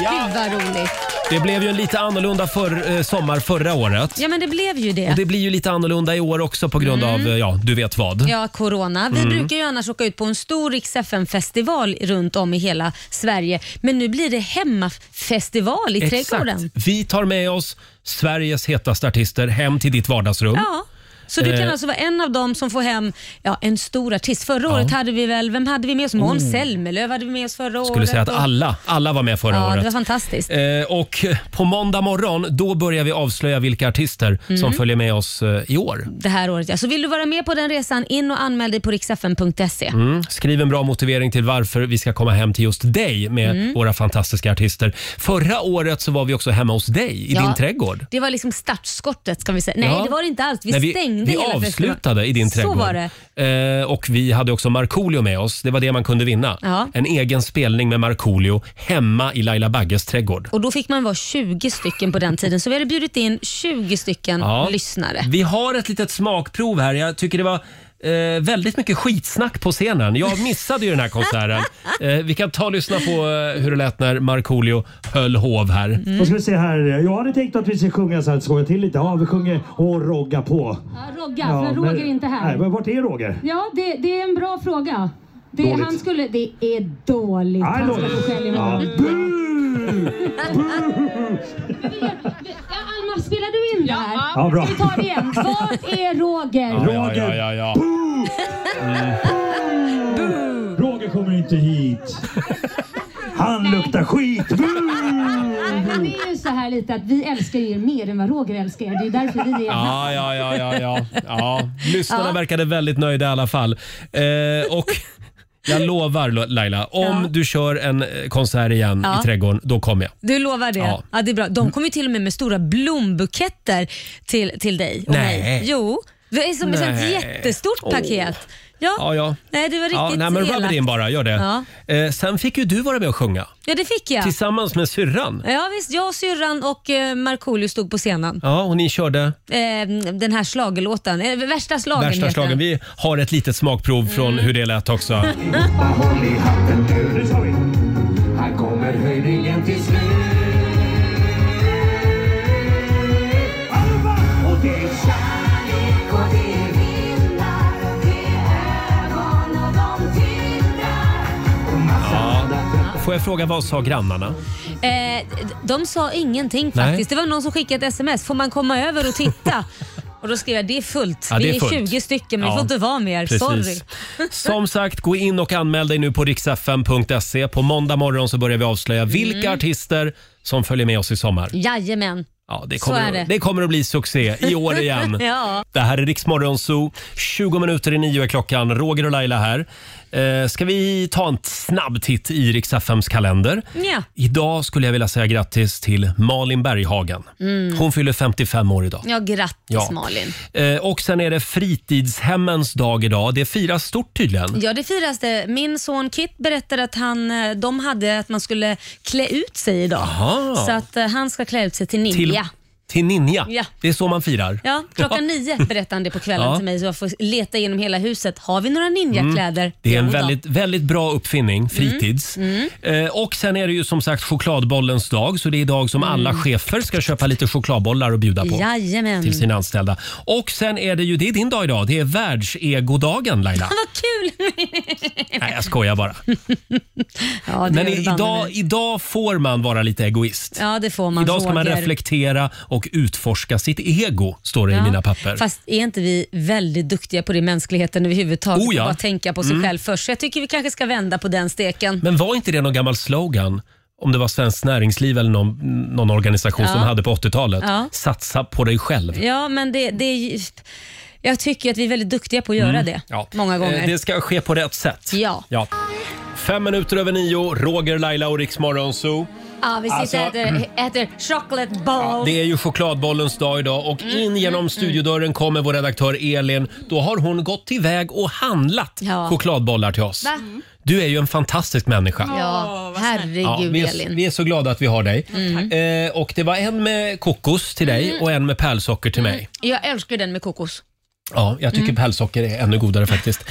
Speaker 2: Gud vad roligt.
Speaker 1: Det blev ju en lite annorlunda för, eh, sommar förra året.
Speaker 2: Ja men det blev ju det.
Speaker 1: Och det blir ju lite annorlunda i år också på grund av, eh, ja, du vet vad.
Speaker 2: Mm. Ja, corona. Vi
Speaker 1: Mm.
Speaker 2: brukar ju annars åka ut på en stor riks festival runt om i hela Sverige. Men nu blir det hemmafestival i trädgården.
Speaker 1: Vi tar med oss Sveriges hetaste artister hem till ditt vardagsrum.
Speaker 2: Ja. Så du kan
Speaker 1: Eh.
Speaker 2: alltså vara en av dem som får hem ja, en stor artist. Förra året hade vi väl, vem hade vi med oss? Måns
Speaker 1: Oh.
Speaker 2: Zelmerlöw hade vi med oss förra året.
Speaker 1: Skulle säga att
Speaker 2: och-
Speaker 1: alla, alla var med förra
Speaker 2: ja,
Speaker 1: året.
Speaker 2: det var fantastiskt.
Speaker 1: Eh, och på måndag morgon, då börjar vi avslöja vilka artister
Speaker 2: Mm.
Speaker 1: som följer med oss eh, i år.
Speaker 2: Det här året ja. Så vill du vara med på den resan, in och anmäl dig på riksfn.se.
Speaker 1: Mm. Skriv en bra motivering till varför vi ska komma hem till just dig med
Speaker 2: Mm.
Speaker 1: våra fantastiska artister. Förra året så var vi också hemma hos dig i
Speaker 2: Ja.
Speaker 1: din trädgård.
Speaker 2: Det var liksom startskottet kan vi säga. Nej,
Speaker 1: Ja.
Speaker 2: det var det inte alls. Vi
Speaker 1: Nej,
Speaker 2: stängde
Speaker 1: Vi
Speaker 2: hela festivalen.
Speaker 1: avslutade i din trädgård.
Speaker 2: Så var det.
Speaker 1: Eh, och vi hade också Markoolio med oss. Det var det man kunde vinna.
Speaker 2: Ja.
Speaker 1: En egen spelning med Markoolio hemma i Laila Bagges trädgård.
Speaker 2: Och då fick man vara 20 stycken på den tiden. Så vi hade bjudit in 20 stycken
Speaker 1: Ja.
Speaker 2: lyssnare.
Speaker 1: Vi har ett litet smakprov här. Jag tycker det var eh, väldigt mycket skitsnack på scenen. Jag missade ju den här konserten. Eh, vi kan ta och lyssna på eh, hur det lät när Markoolio höll hov här.
Speaker 2: Mm.
Speaker 21: Då ska vi se här. Jag hade tänkt att vi ska sjunga så här, skoja till lite. Ja, vi sjunger Åh rogga på.
Speaker 22: Rogga,
Speaker 21: Ja,
Speaker 22: för
Speaker 21: men-
Speaker 22: Roger är inte här.
Speaker 21: Nej, men vart är Roger?
Speaker 22: Ja, det, det är en bra fråga. Det,
Speaker 21: Dåligt.
Speaker 22: han skulle, det är dåligt. Han ska få skäll i
Speaker 21: Ja.
Speaker 22: morgon. Ja, Alma, spelar du in det här?
Speaker 21: Ja, bra.
Speaker 22: Ska vi ta det igen? Var är Roger?
Speaker 21: Roger! Boo! Roger kommer inte hit. Han luktar skit.
Speaker 22: Nej, men det är ju så här lite att vi älskar er mer än vad Roger älskar er. Det är därför vi är här.
Speaker 1: Ja, ja, ja, ja, ja. ja. Lyssnarna
Speaker 22: Ja.
Speaker 1: verkade väldigt nöjda i alla fall. Eh, och jag lovar Laila, om
Speaker 2: Ja.
Speaker 1: du kör en eh, konsert igen
Speaker 2: Ja.
Speaker 1: i trädgården, då kommer jag.
Speaker 2: Du lovar det?
Speaker 1: Ja.
Speaker 2: Ja. det är bra. De kommer ju till och med med stora blombuketter till, till dig och
Speaker 1: Nej.
Speaker 2: mig. Jo, det är som
Speaker 1: Nej.
Speaker 2: ett jättestort
Speaker 1: Åh.
Speaker 2: paket. Ja.
Speaker 1: Ja, ja.
Speaker 2: Nej, det var riktigt
Speaker 1: Ja, nej, men rub
Speaker 2: elakt.
Speaker 1: it in bara, gör det.
Speaker 2: Ja.
Speaker 1: Eh, sen fick ju du vara med och sjunga.
Speaker 2: ja, det fick jag.
Speaker 1: Tillsammans med syrran.
Speaker 2: Ja visst, jag, syrran och eh, Markoolio stod på scenen.
Speaker 1: Ja, och ni körde
Speaker 2: Eh, den här schlagerlåten, eh, värsta slagen
Speaker 1: värsta
Speaker 2: heter
Speaker 1: slagen.
Speaker 2: den.
Speaker 1: Vi har ett litet smakprov från
Speaker 2: Mm.
Speaker 1: hur det lät också.
Speaker 17: Håll i hatten nu, nu kör vi. Här kommer höjningen till slut. Alva! Och det är kärlek och det är vindar. Det är ögon och de tindrar.
Speaker 1: Ja. Får jag fråga, vad sa grannarna?
Speaker 2: Eh, de sa ingenting
Speaker 1: Nej.
Speaker 2: faktiskt. Det var någon som skickade ett sms. Får man komma över och titta? och Då skrev jag det är fullt.
Speaker 1: Ja, det är
Speaker 2: Vi är
Speaker 1: fullt.
Speaker 2: 20 stycken men det
Speaker 1: Ja.
Speaker 2: får inte vara mer.
Speaker 1: Precis.
Speaker 2: Sorry.
Speaker 1: Som sagt, gå in och anmäl dig nu på riksfm.se. E. På måndag morgon så börjar vi avslöja vilka
Speaker 2: Mm.
Speaker 1: artister som följer med oss i sommar.
Speaker 2: Jajamän.
Speaker 1: Ja, det
Speaker 2: Så
Speaker 1: kommer,
Speaker 2: är det.
Speaker 1: det kommer att bli succé i år igen.
Speaker 2: ja.
Speaker 1: Det här är Riksmorgon Zoo. 20 minuter i nio är klockan. Roger och Laila här. Eh, ska vi ta en snabb titt i Riks-FMs kalender?
Speaker 2: Ja.
Speaker 1: Idag skulle jag vilja säga grattis till Malin Berghagen.
Speaker 2: Mm.
Speaker 1: Hon fyller 55 år idag.
Speaker 2: ja, grattis
Speaker 1: Ja.
Speaker 2: Malin.
Speaker 1: Eh, och sen är det fritidshemmens dag idag. Det firas stort tydligen.
Speaker 2: Ja, det firas det. Min son Kit berättade att han, eh, de hade att man skulle klä ut sig idag.
Speaker 1: Aha.
Speaker 2: Så att eh, han ska klä ut sig till ninja.
Speaker 1: Till ninja.
Speaker 2: Ja.
Speaker 1: Det är så man firar.
Speaker 2: Ja, klockan nio berättade han det på kvällen
Speaker 1: Ja.
Speaker 2: till mig så jag får leta igenom hela huset. Har vi några ninjakläder?
Speaker 1: Mm. Det är en
Speaker 2: Jo då.
Speaker 1: väldigt, väldigt bra uppfinning, fritids.
Speaker 2: Mm.
Speaker 1: Eh, och sen är det ju som sagt chokladbollens dag, så det är idag som alla chefer ska köpa lite chokladbollar och bjuda på.
Speaker 2: Mm. Jajamän.
Speaker 1: till sina anställda. Och sen är det ju, det är din dag idag, det är världsegodagen Laila.
Speaker 2: Vad kul!
Speaker 1: Nej, jag skojar bara.
Speaker 2: ja, det
Speaker 1: Men
Speaker 2: gör
Speaker 1: i-
Speaker 2: du banne
Speaker 1: idag,
Speaker 2: mig.
Speaker 1: idag får man vara lite egoist.
Speaker 2: Ja, det får man.
Speaker 1: idag ska man
Speaker 2: Roger.
Speaker 1: reflektera och utforska sitt ego, står det i
Speaker 2: Ja.
Speaker 1: mina papper.
Speaker 2: Fast är inte vi väldigt duktiga på det i mänskligheten överhuvudtaget?
Speaker 1: Oh ja.
Speaker 2: Att bara tänka på sig
Speaker 1: Mm.
Speaker 2: själv först. Så jag tycker vi kanske ska vända på den steken.
Speaker 1: Men var inte det någon gammal slogan? Om det var Svenskt Näringsliv eller någon, någon organisation
Speaker 2: Ja.
Speaker 1: som hade på 80-talet.
Speaker 2: Ja.
Speaker 1: Satsa på dig själv.
Speaker 2: Ja, men det, det är ju, Jag tycker att vi är väldigt duktiga på att göra
Speaker 1: Mm.
Speaker 2: det.
Speaker 1: Ja.
Speaker 2: Många
Speaker 1: Eh,
Speaker 2: gånger.
Speaker 1: Det ska ske på rätt sätt.
Speaker 2: Ja.
Speaker 1: Ja. Fem minuter över nio, Roger, Laila och Rix Morgon Zoo.
Speaker 2: ja, vi sitter
Speaker 1: Alltså-
Speaker 2: och äter, äter chocolate bowl.
Speaker 1: Det är ju chokladbollens dag idag och
Speaker 2: Mm,
Speaker 1: in genom studiodörren kommer vår redaktör Elin. Då har hon gått iväg och handlat
Speaker 2: Ja.
Speaker 1: chokladbollar till oss.
Speaker 2: Va?
Speaker 1: Du är ju en fantastisk människa.
Speaker 2: Ja, herregud
Speaker 1: Ja, vi, är,
Speaker 2: Elin.
Speaker 1: vi är så glada att vi har dig.
Speaker 2: Mm.
Speaker 1: Eh, och Det var en med kokos till dig
Speaker 2: Mm.
Speaker 1: och en med pärlsocker till mig.
Speaker 2: Jag älskar den med kokos.
Speaker 1: Ja, jag tycker
Speaker 2: Mm.
Speaker 1: pärlsocker är ännu godare faktiskt.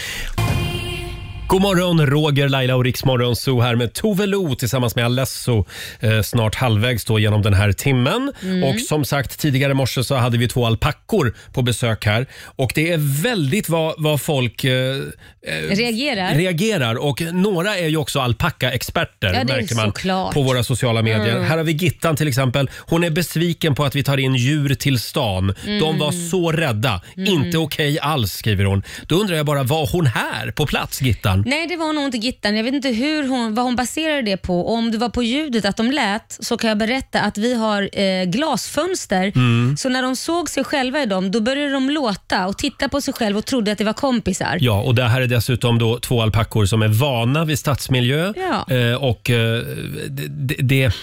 Speaker 1: God morgon, Roger, Laila och Riksmorgon Zoo här med Tove Lo tillsammans med Alesso. Eh, snart halvvägs då genom den här timmen.
Speaker 17: Mm.
Speaker 1: Och som sagt, tidigare i morse så hade vi två alpackor på besök här. Och det är väldigt vad, vad folk eh, eh,
Speaker 2: Reagerar.
Speaker 1: reagerar. Och några är ju också alpackaexperter
Speaker 2: Ja, det är
Speaker 1: märker man
Speaker 2: såklart.
Speaker 1: på våra sociala medier.
Speaker 2: Mm.
Speaker 1: Här har vi Gittan till exempel. Hon är besviken på att vi tar in djur till stan. De
Speaker 2: Mm.
Speaker 1: var så rädda.
Speaker 2: Mm.
Speaker 1: Inte okej alls skriver hon. Då undrar jag bara, var hon här på plats Gittan?
Speaker 2: Nej, det var nog inte Gittan. Jag vet inte hur hon, vad hon baserade det på. Och om det var på ljudet att de lät så kan jag berätta att vi har eh, glasfönster.
Speaker 1: Mm.
Speaker 2: Så när de såg sig själva i dem, då började de låta och titta på sig själva och trodde att det var kompisar.
Speaker 1: Ja, och det här är dessutom då två alpackor som är vana vid stadsmiljö.
Speaker 2: Ja.
Speaker 1: Eh, och eh, det, det- det,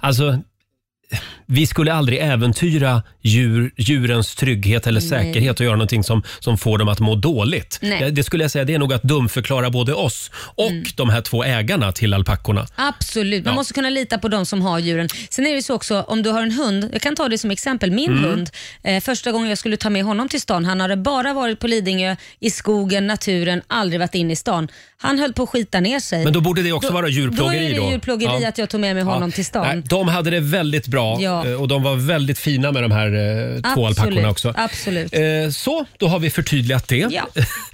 Speaker 1: alltså, vi skulle aldrig äventyra djur, djurens trygghet eller
Speaker 2: Nej.
Speaker 1: säkerhet och göra någonting som, som får dem att må dåligt. Eh,
Speaker 2: Nej. Mm.
Speaker 1: Det, det skulle jag säga, det är nog att dumförklara både oss och de här två ägarna till alpackorna.
Speaker 2: Absolut, man
Speaker 1: Ja.
Speaker 2: måste kunna lita på de som har djuren. Sen är det ju så också om du har en hund, jag kan ta det som exempel, min
Speaker 1: Mm.
Speaker 2: hund, eh, första gången jag skulle ta med honom till stan, han hade bara varit på Lidingö, i skogen, naturen, aldrig varit inne i stan. Han höll på att skita ner sig.
Speaker 1: Men då borde det också vara djurplågeri
Speaker 2: Då är det
Speaker 1: då.
Speaker 2: djurplågeri
Speaker 1: Ja.
Speaker 2: att jag tog med mig honom till stan.
Speaker 1: Nej, de hade det väldigt bra
Speaker 2: Ja.
Speaker 1: eh, och de var väldigt fina med de här eh, två alpackorna också.
Speaker 2: Absolut.
Speaker 1: Eh, Så, då har vi förtydligat det.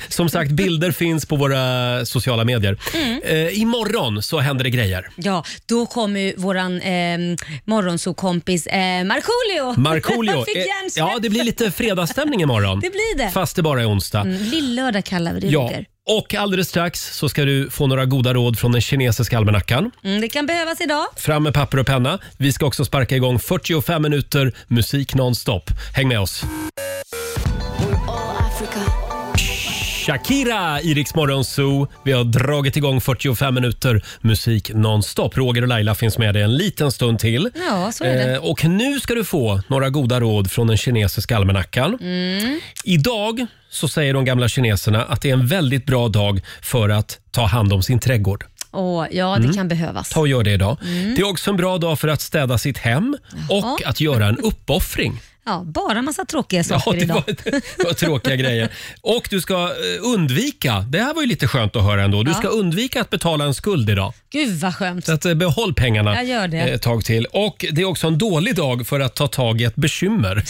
Speaker 1: Som sagt, bilder finns på våra sociala medier.
Speaker 2: Mm.
Speaker 1: Eh, imorgon så händer det grejer.
Speaker 2: Ja, då kommer ju våran eh, morgonsokompis eh, Markoolio.
Speaker 1: Markoolio.
Speaker 2: Han fick
Speaker 1: eh,
Speaker 2: hjärnsläpp.
Speaker 1: ja, det blir lite fredagsstämning imorgon.
Speaker 2: Det blir det.
Speaker 1: Fast det bara är onsdag.
Speaker 2: Mm, Lill-lördag kallar vi det,
Speaker 1: ja.
Speaker 2: Roger.
Speaker 1: Och alldeles strax så ska du få några goda råd från den kinesiska almanackan.
Speaker 2: Mm, det kan behövas idag.
Speaker 1: Fram med papper och penna. Vi ska också sparka igång 45 minuter musik nonstop. Häng med oss. Shakira i Rix Morgon Zoo. Vi har dragit igång 45 minuter musik nonstop. Roger och Laila finns med dig en liten stund till.
Speaker 2: Ja, så är det.
Speaker 1: Eh, och nu ska du få några goda råd från den kinesiska almanackan.
Speaker 2: Mm.
Speaker 1: Idag så säger de gamla kineserna att det är en väldigt bra dag för att ta hand om sin trädgård.
Speaker 2: Åh, ja, det
Speaker 1: Mm.
Speaker 2: kan behövas.
Speaker 1: Ta och gör det idag.
Speaker 2: Mm.
Speaker 1: Det är också en bra dag för att städa sitt hem och att göra en uppoffring.
Speaker 2: Ja, bara massa tråkiga saker
Speaker 1: det
Speaker 2: idag.
Speaker 1: var, det var tråkiga grejer. Och du ska eh, undvika, det här var ju lite skönt att höra ändå, du
Speaker 2: Ja.
Speaker 1: ska undvika att betala en skuld idag.
Speaker 2: Gud vad skönt.
Speaker 1: Så att eh, behåll pengarna
Speaker 2: Jag gör det.
Speaker 1: eh, ett tag till. Och det är också en dålig dag för att ta tag i ett bekymmer.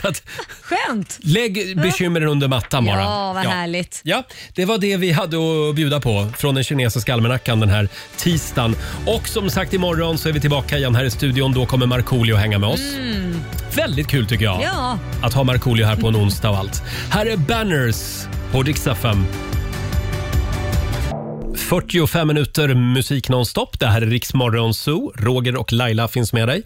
Speaker 1: Så att,
Speaker 2: Skönt.
Speaker 1: lägg bekymren under mattan bara.
Speaker 2: Ja, vad härligt.
Speaker 1: Ja, det var det vi hade att bjuda på från den kinesiska almanackan den här tisdagen. Och som sagt imorgon så är vi tillbaka igen här i studion. Då kommer Markoolio hänga med oss.
Speaker 2: Mm.
Speaker 1: Väldigt kul tycker jag.
Speaker 2: Ja.
Speaker 1: Att ha Markoolio här på en onsdag och allt. Här är Banners på Dix FM. 45 minuter musik nonstop. Det här är Rix Morgon Zoo. Roger och Laila finns med dig.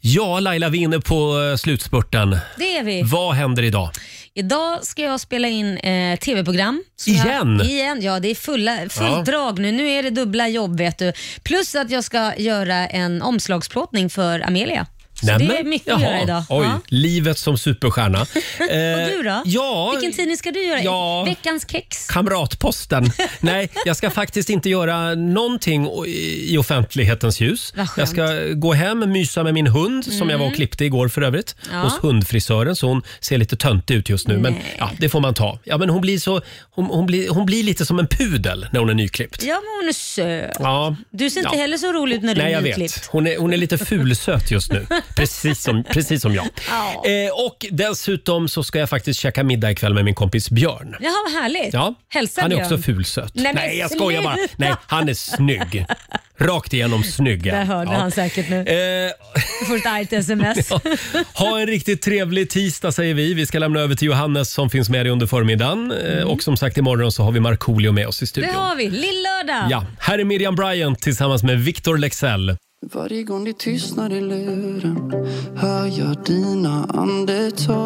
Speaker 1: Ja, Laila, vi är inne på eh, slutspurten.
Speaker 2: Det är vi.
Speaker 1: Vad händer idag?
Speaker 2: Idag ska jag spela in eh, tv-program. Så
Speaker 1: Igen?
Speaker 2: Jag, igen? Ja, det är fulla, fullt
Speaker 1: Ja.
Speaker 2: drag nu. Nu är det dubbla jobb vet du. Plus att jag ska göra en omslagsplåtning för Amelia. Så
Speaker 1: Nämen.
Speaker 2: det är mycket att
Speaker 1: Jaha,
Speaker 2: göra idag.
Speaker 1: Oj,
Speaker 2: Ja.
Speaker 1: livet som superstjärna. Eh,
Speaker 2: Och du då?
Speaker 1: Ja,
Speaker 2: Vilken tidning ska du göra?
Speaker 1: Ja.
Speaker 2: Veckans kex?
Speaker 1: Kamratposten. Nej, jag ska faktiskt inte göra någonting o- i offentlighetens ljus.
Speaker 2: Vad skönt.
Speaker 1: Jag ska gå hem, mysa med min hund som jag var och
Speaker 2: Mm.
Speaker 1: klippte igår för övrigt.
Speaker 2: Ja.
Speaker 1: Hos hundfrisören, så hon ser lite töntig ut just nu. Men
Speaker 2: Nej.
Speaker 1: ja, det får man ta. Ja, men hon, blir så, hon, hon, blir, hon blir lite som en pudel när hon är nyklippt.
Speaker 2: Ja, men hon är söt.
Speaker 1: Ja.
Speaker 2: Du ser inte
Speaker 1: Ja.
Speaker 2: heller så rolig ut när du
Speaker 1: Nej,
Speaker 2: är
Speaker 1: jag
Speaker 2: nyklippt.
Speaker 1: vet. Hon är, hon är lite fulsöt just nu. Precis som, precis som jag.
Speaker 2: Ja.
Speaker 1: Eh, och dessutom så ska jag faktiskt käka middag ikväll med min kompis Björn.
Speaker 2: Jaha, vad härligt.
Speaker 1: Ja,
Speaker 2: Hälsa
Speaker 1: han är
Speaker 2: Björn.
Speaker 1: också fulsöt.
Speaker 2: Nej, men
Speaker 1: jag skojar bara.
Speaker 2: sluta.
Speaker 1: Nej, han är snygg. Rakt igenom snygg.
Speaker 2: Där hörde
Speaker 1: Ja.
Speaker 2: han säkert nu.
Speaker 1: Eh,
Speaker 2: Du får ett argt sms.
Speaker 1: ha en riktigt trevlig tisdag säger vi. Vi ska lämna över till Johannes som finns med dig under förmiddagen. Eh, Och som sagt imorgon så har vi Markoolio med oss i
Speaker 2: Mm. Det
Speaker 1: studion.
Speaker 2: har vi. Lill-lördag.
Speaker 1: Ja, här är Miriam Bryant tillsammans med Victor Lexell.
Speaker 7: Varje gång det tystnar i luren hör jag dina andetag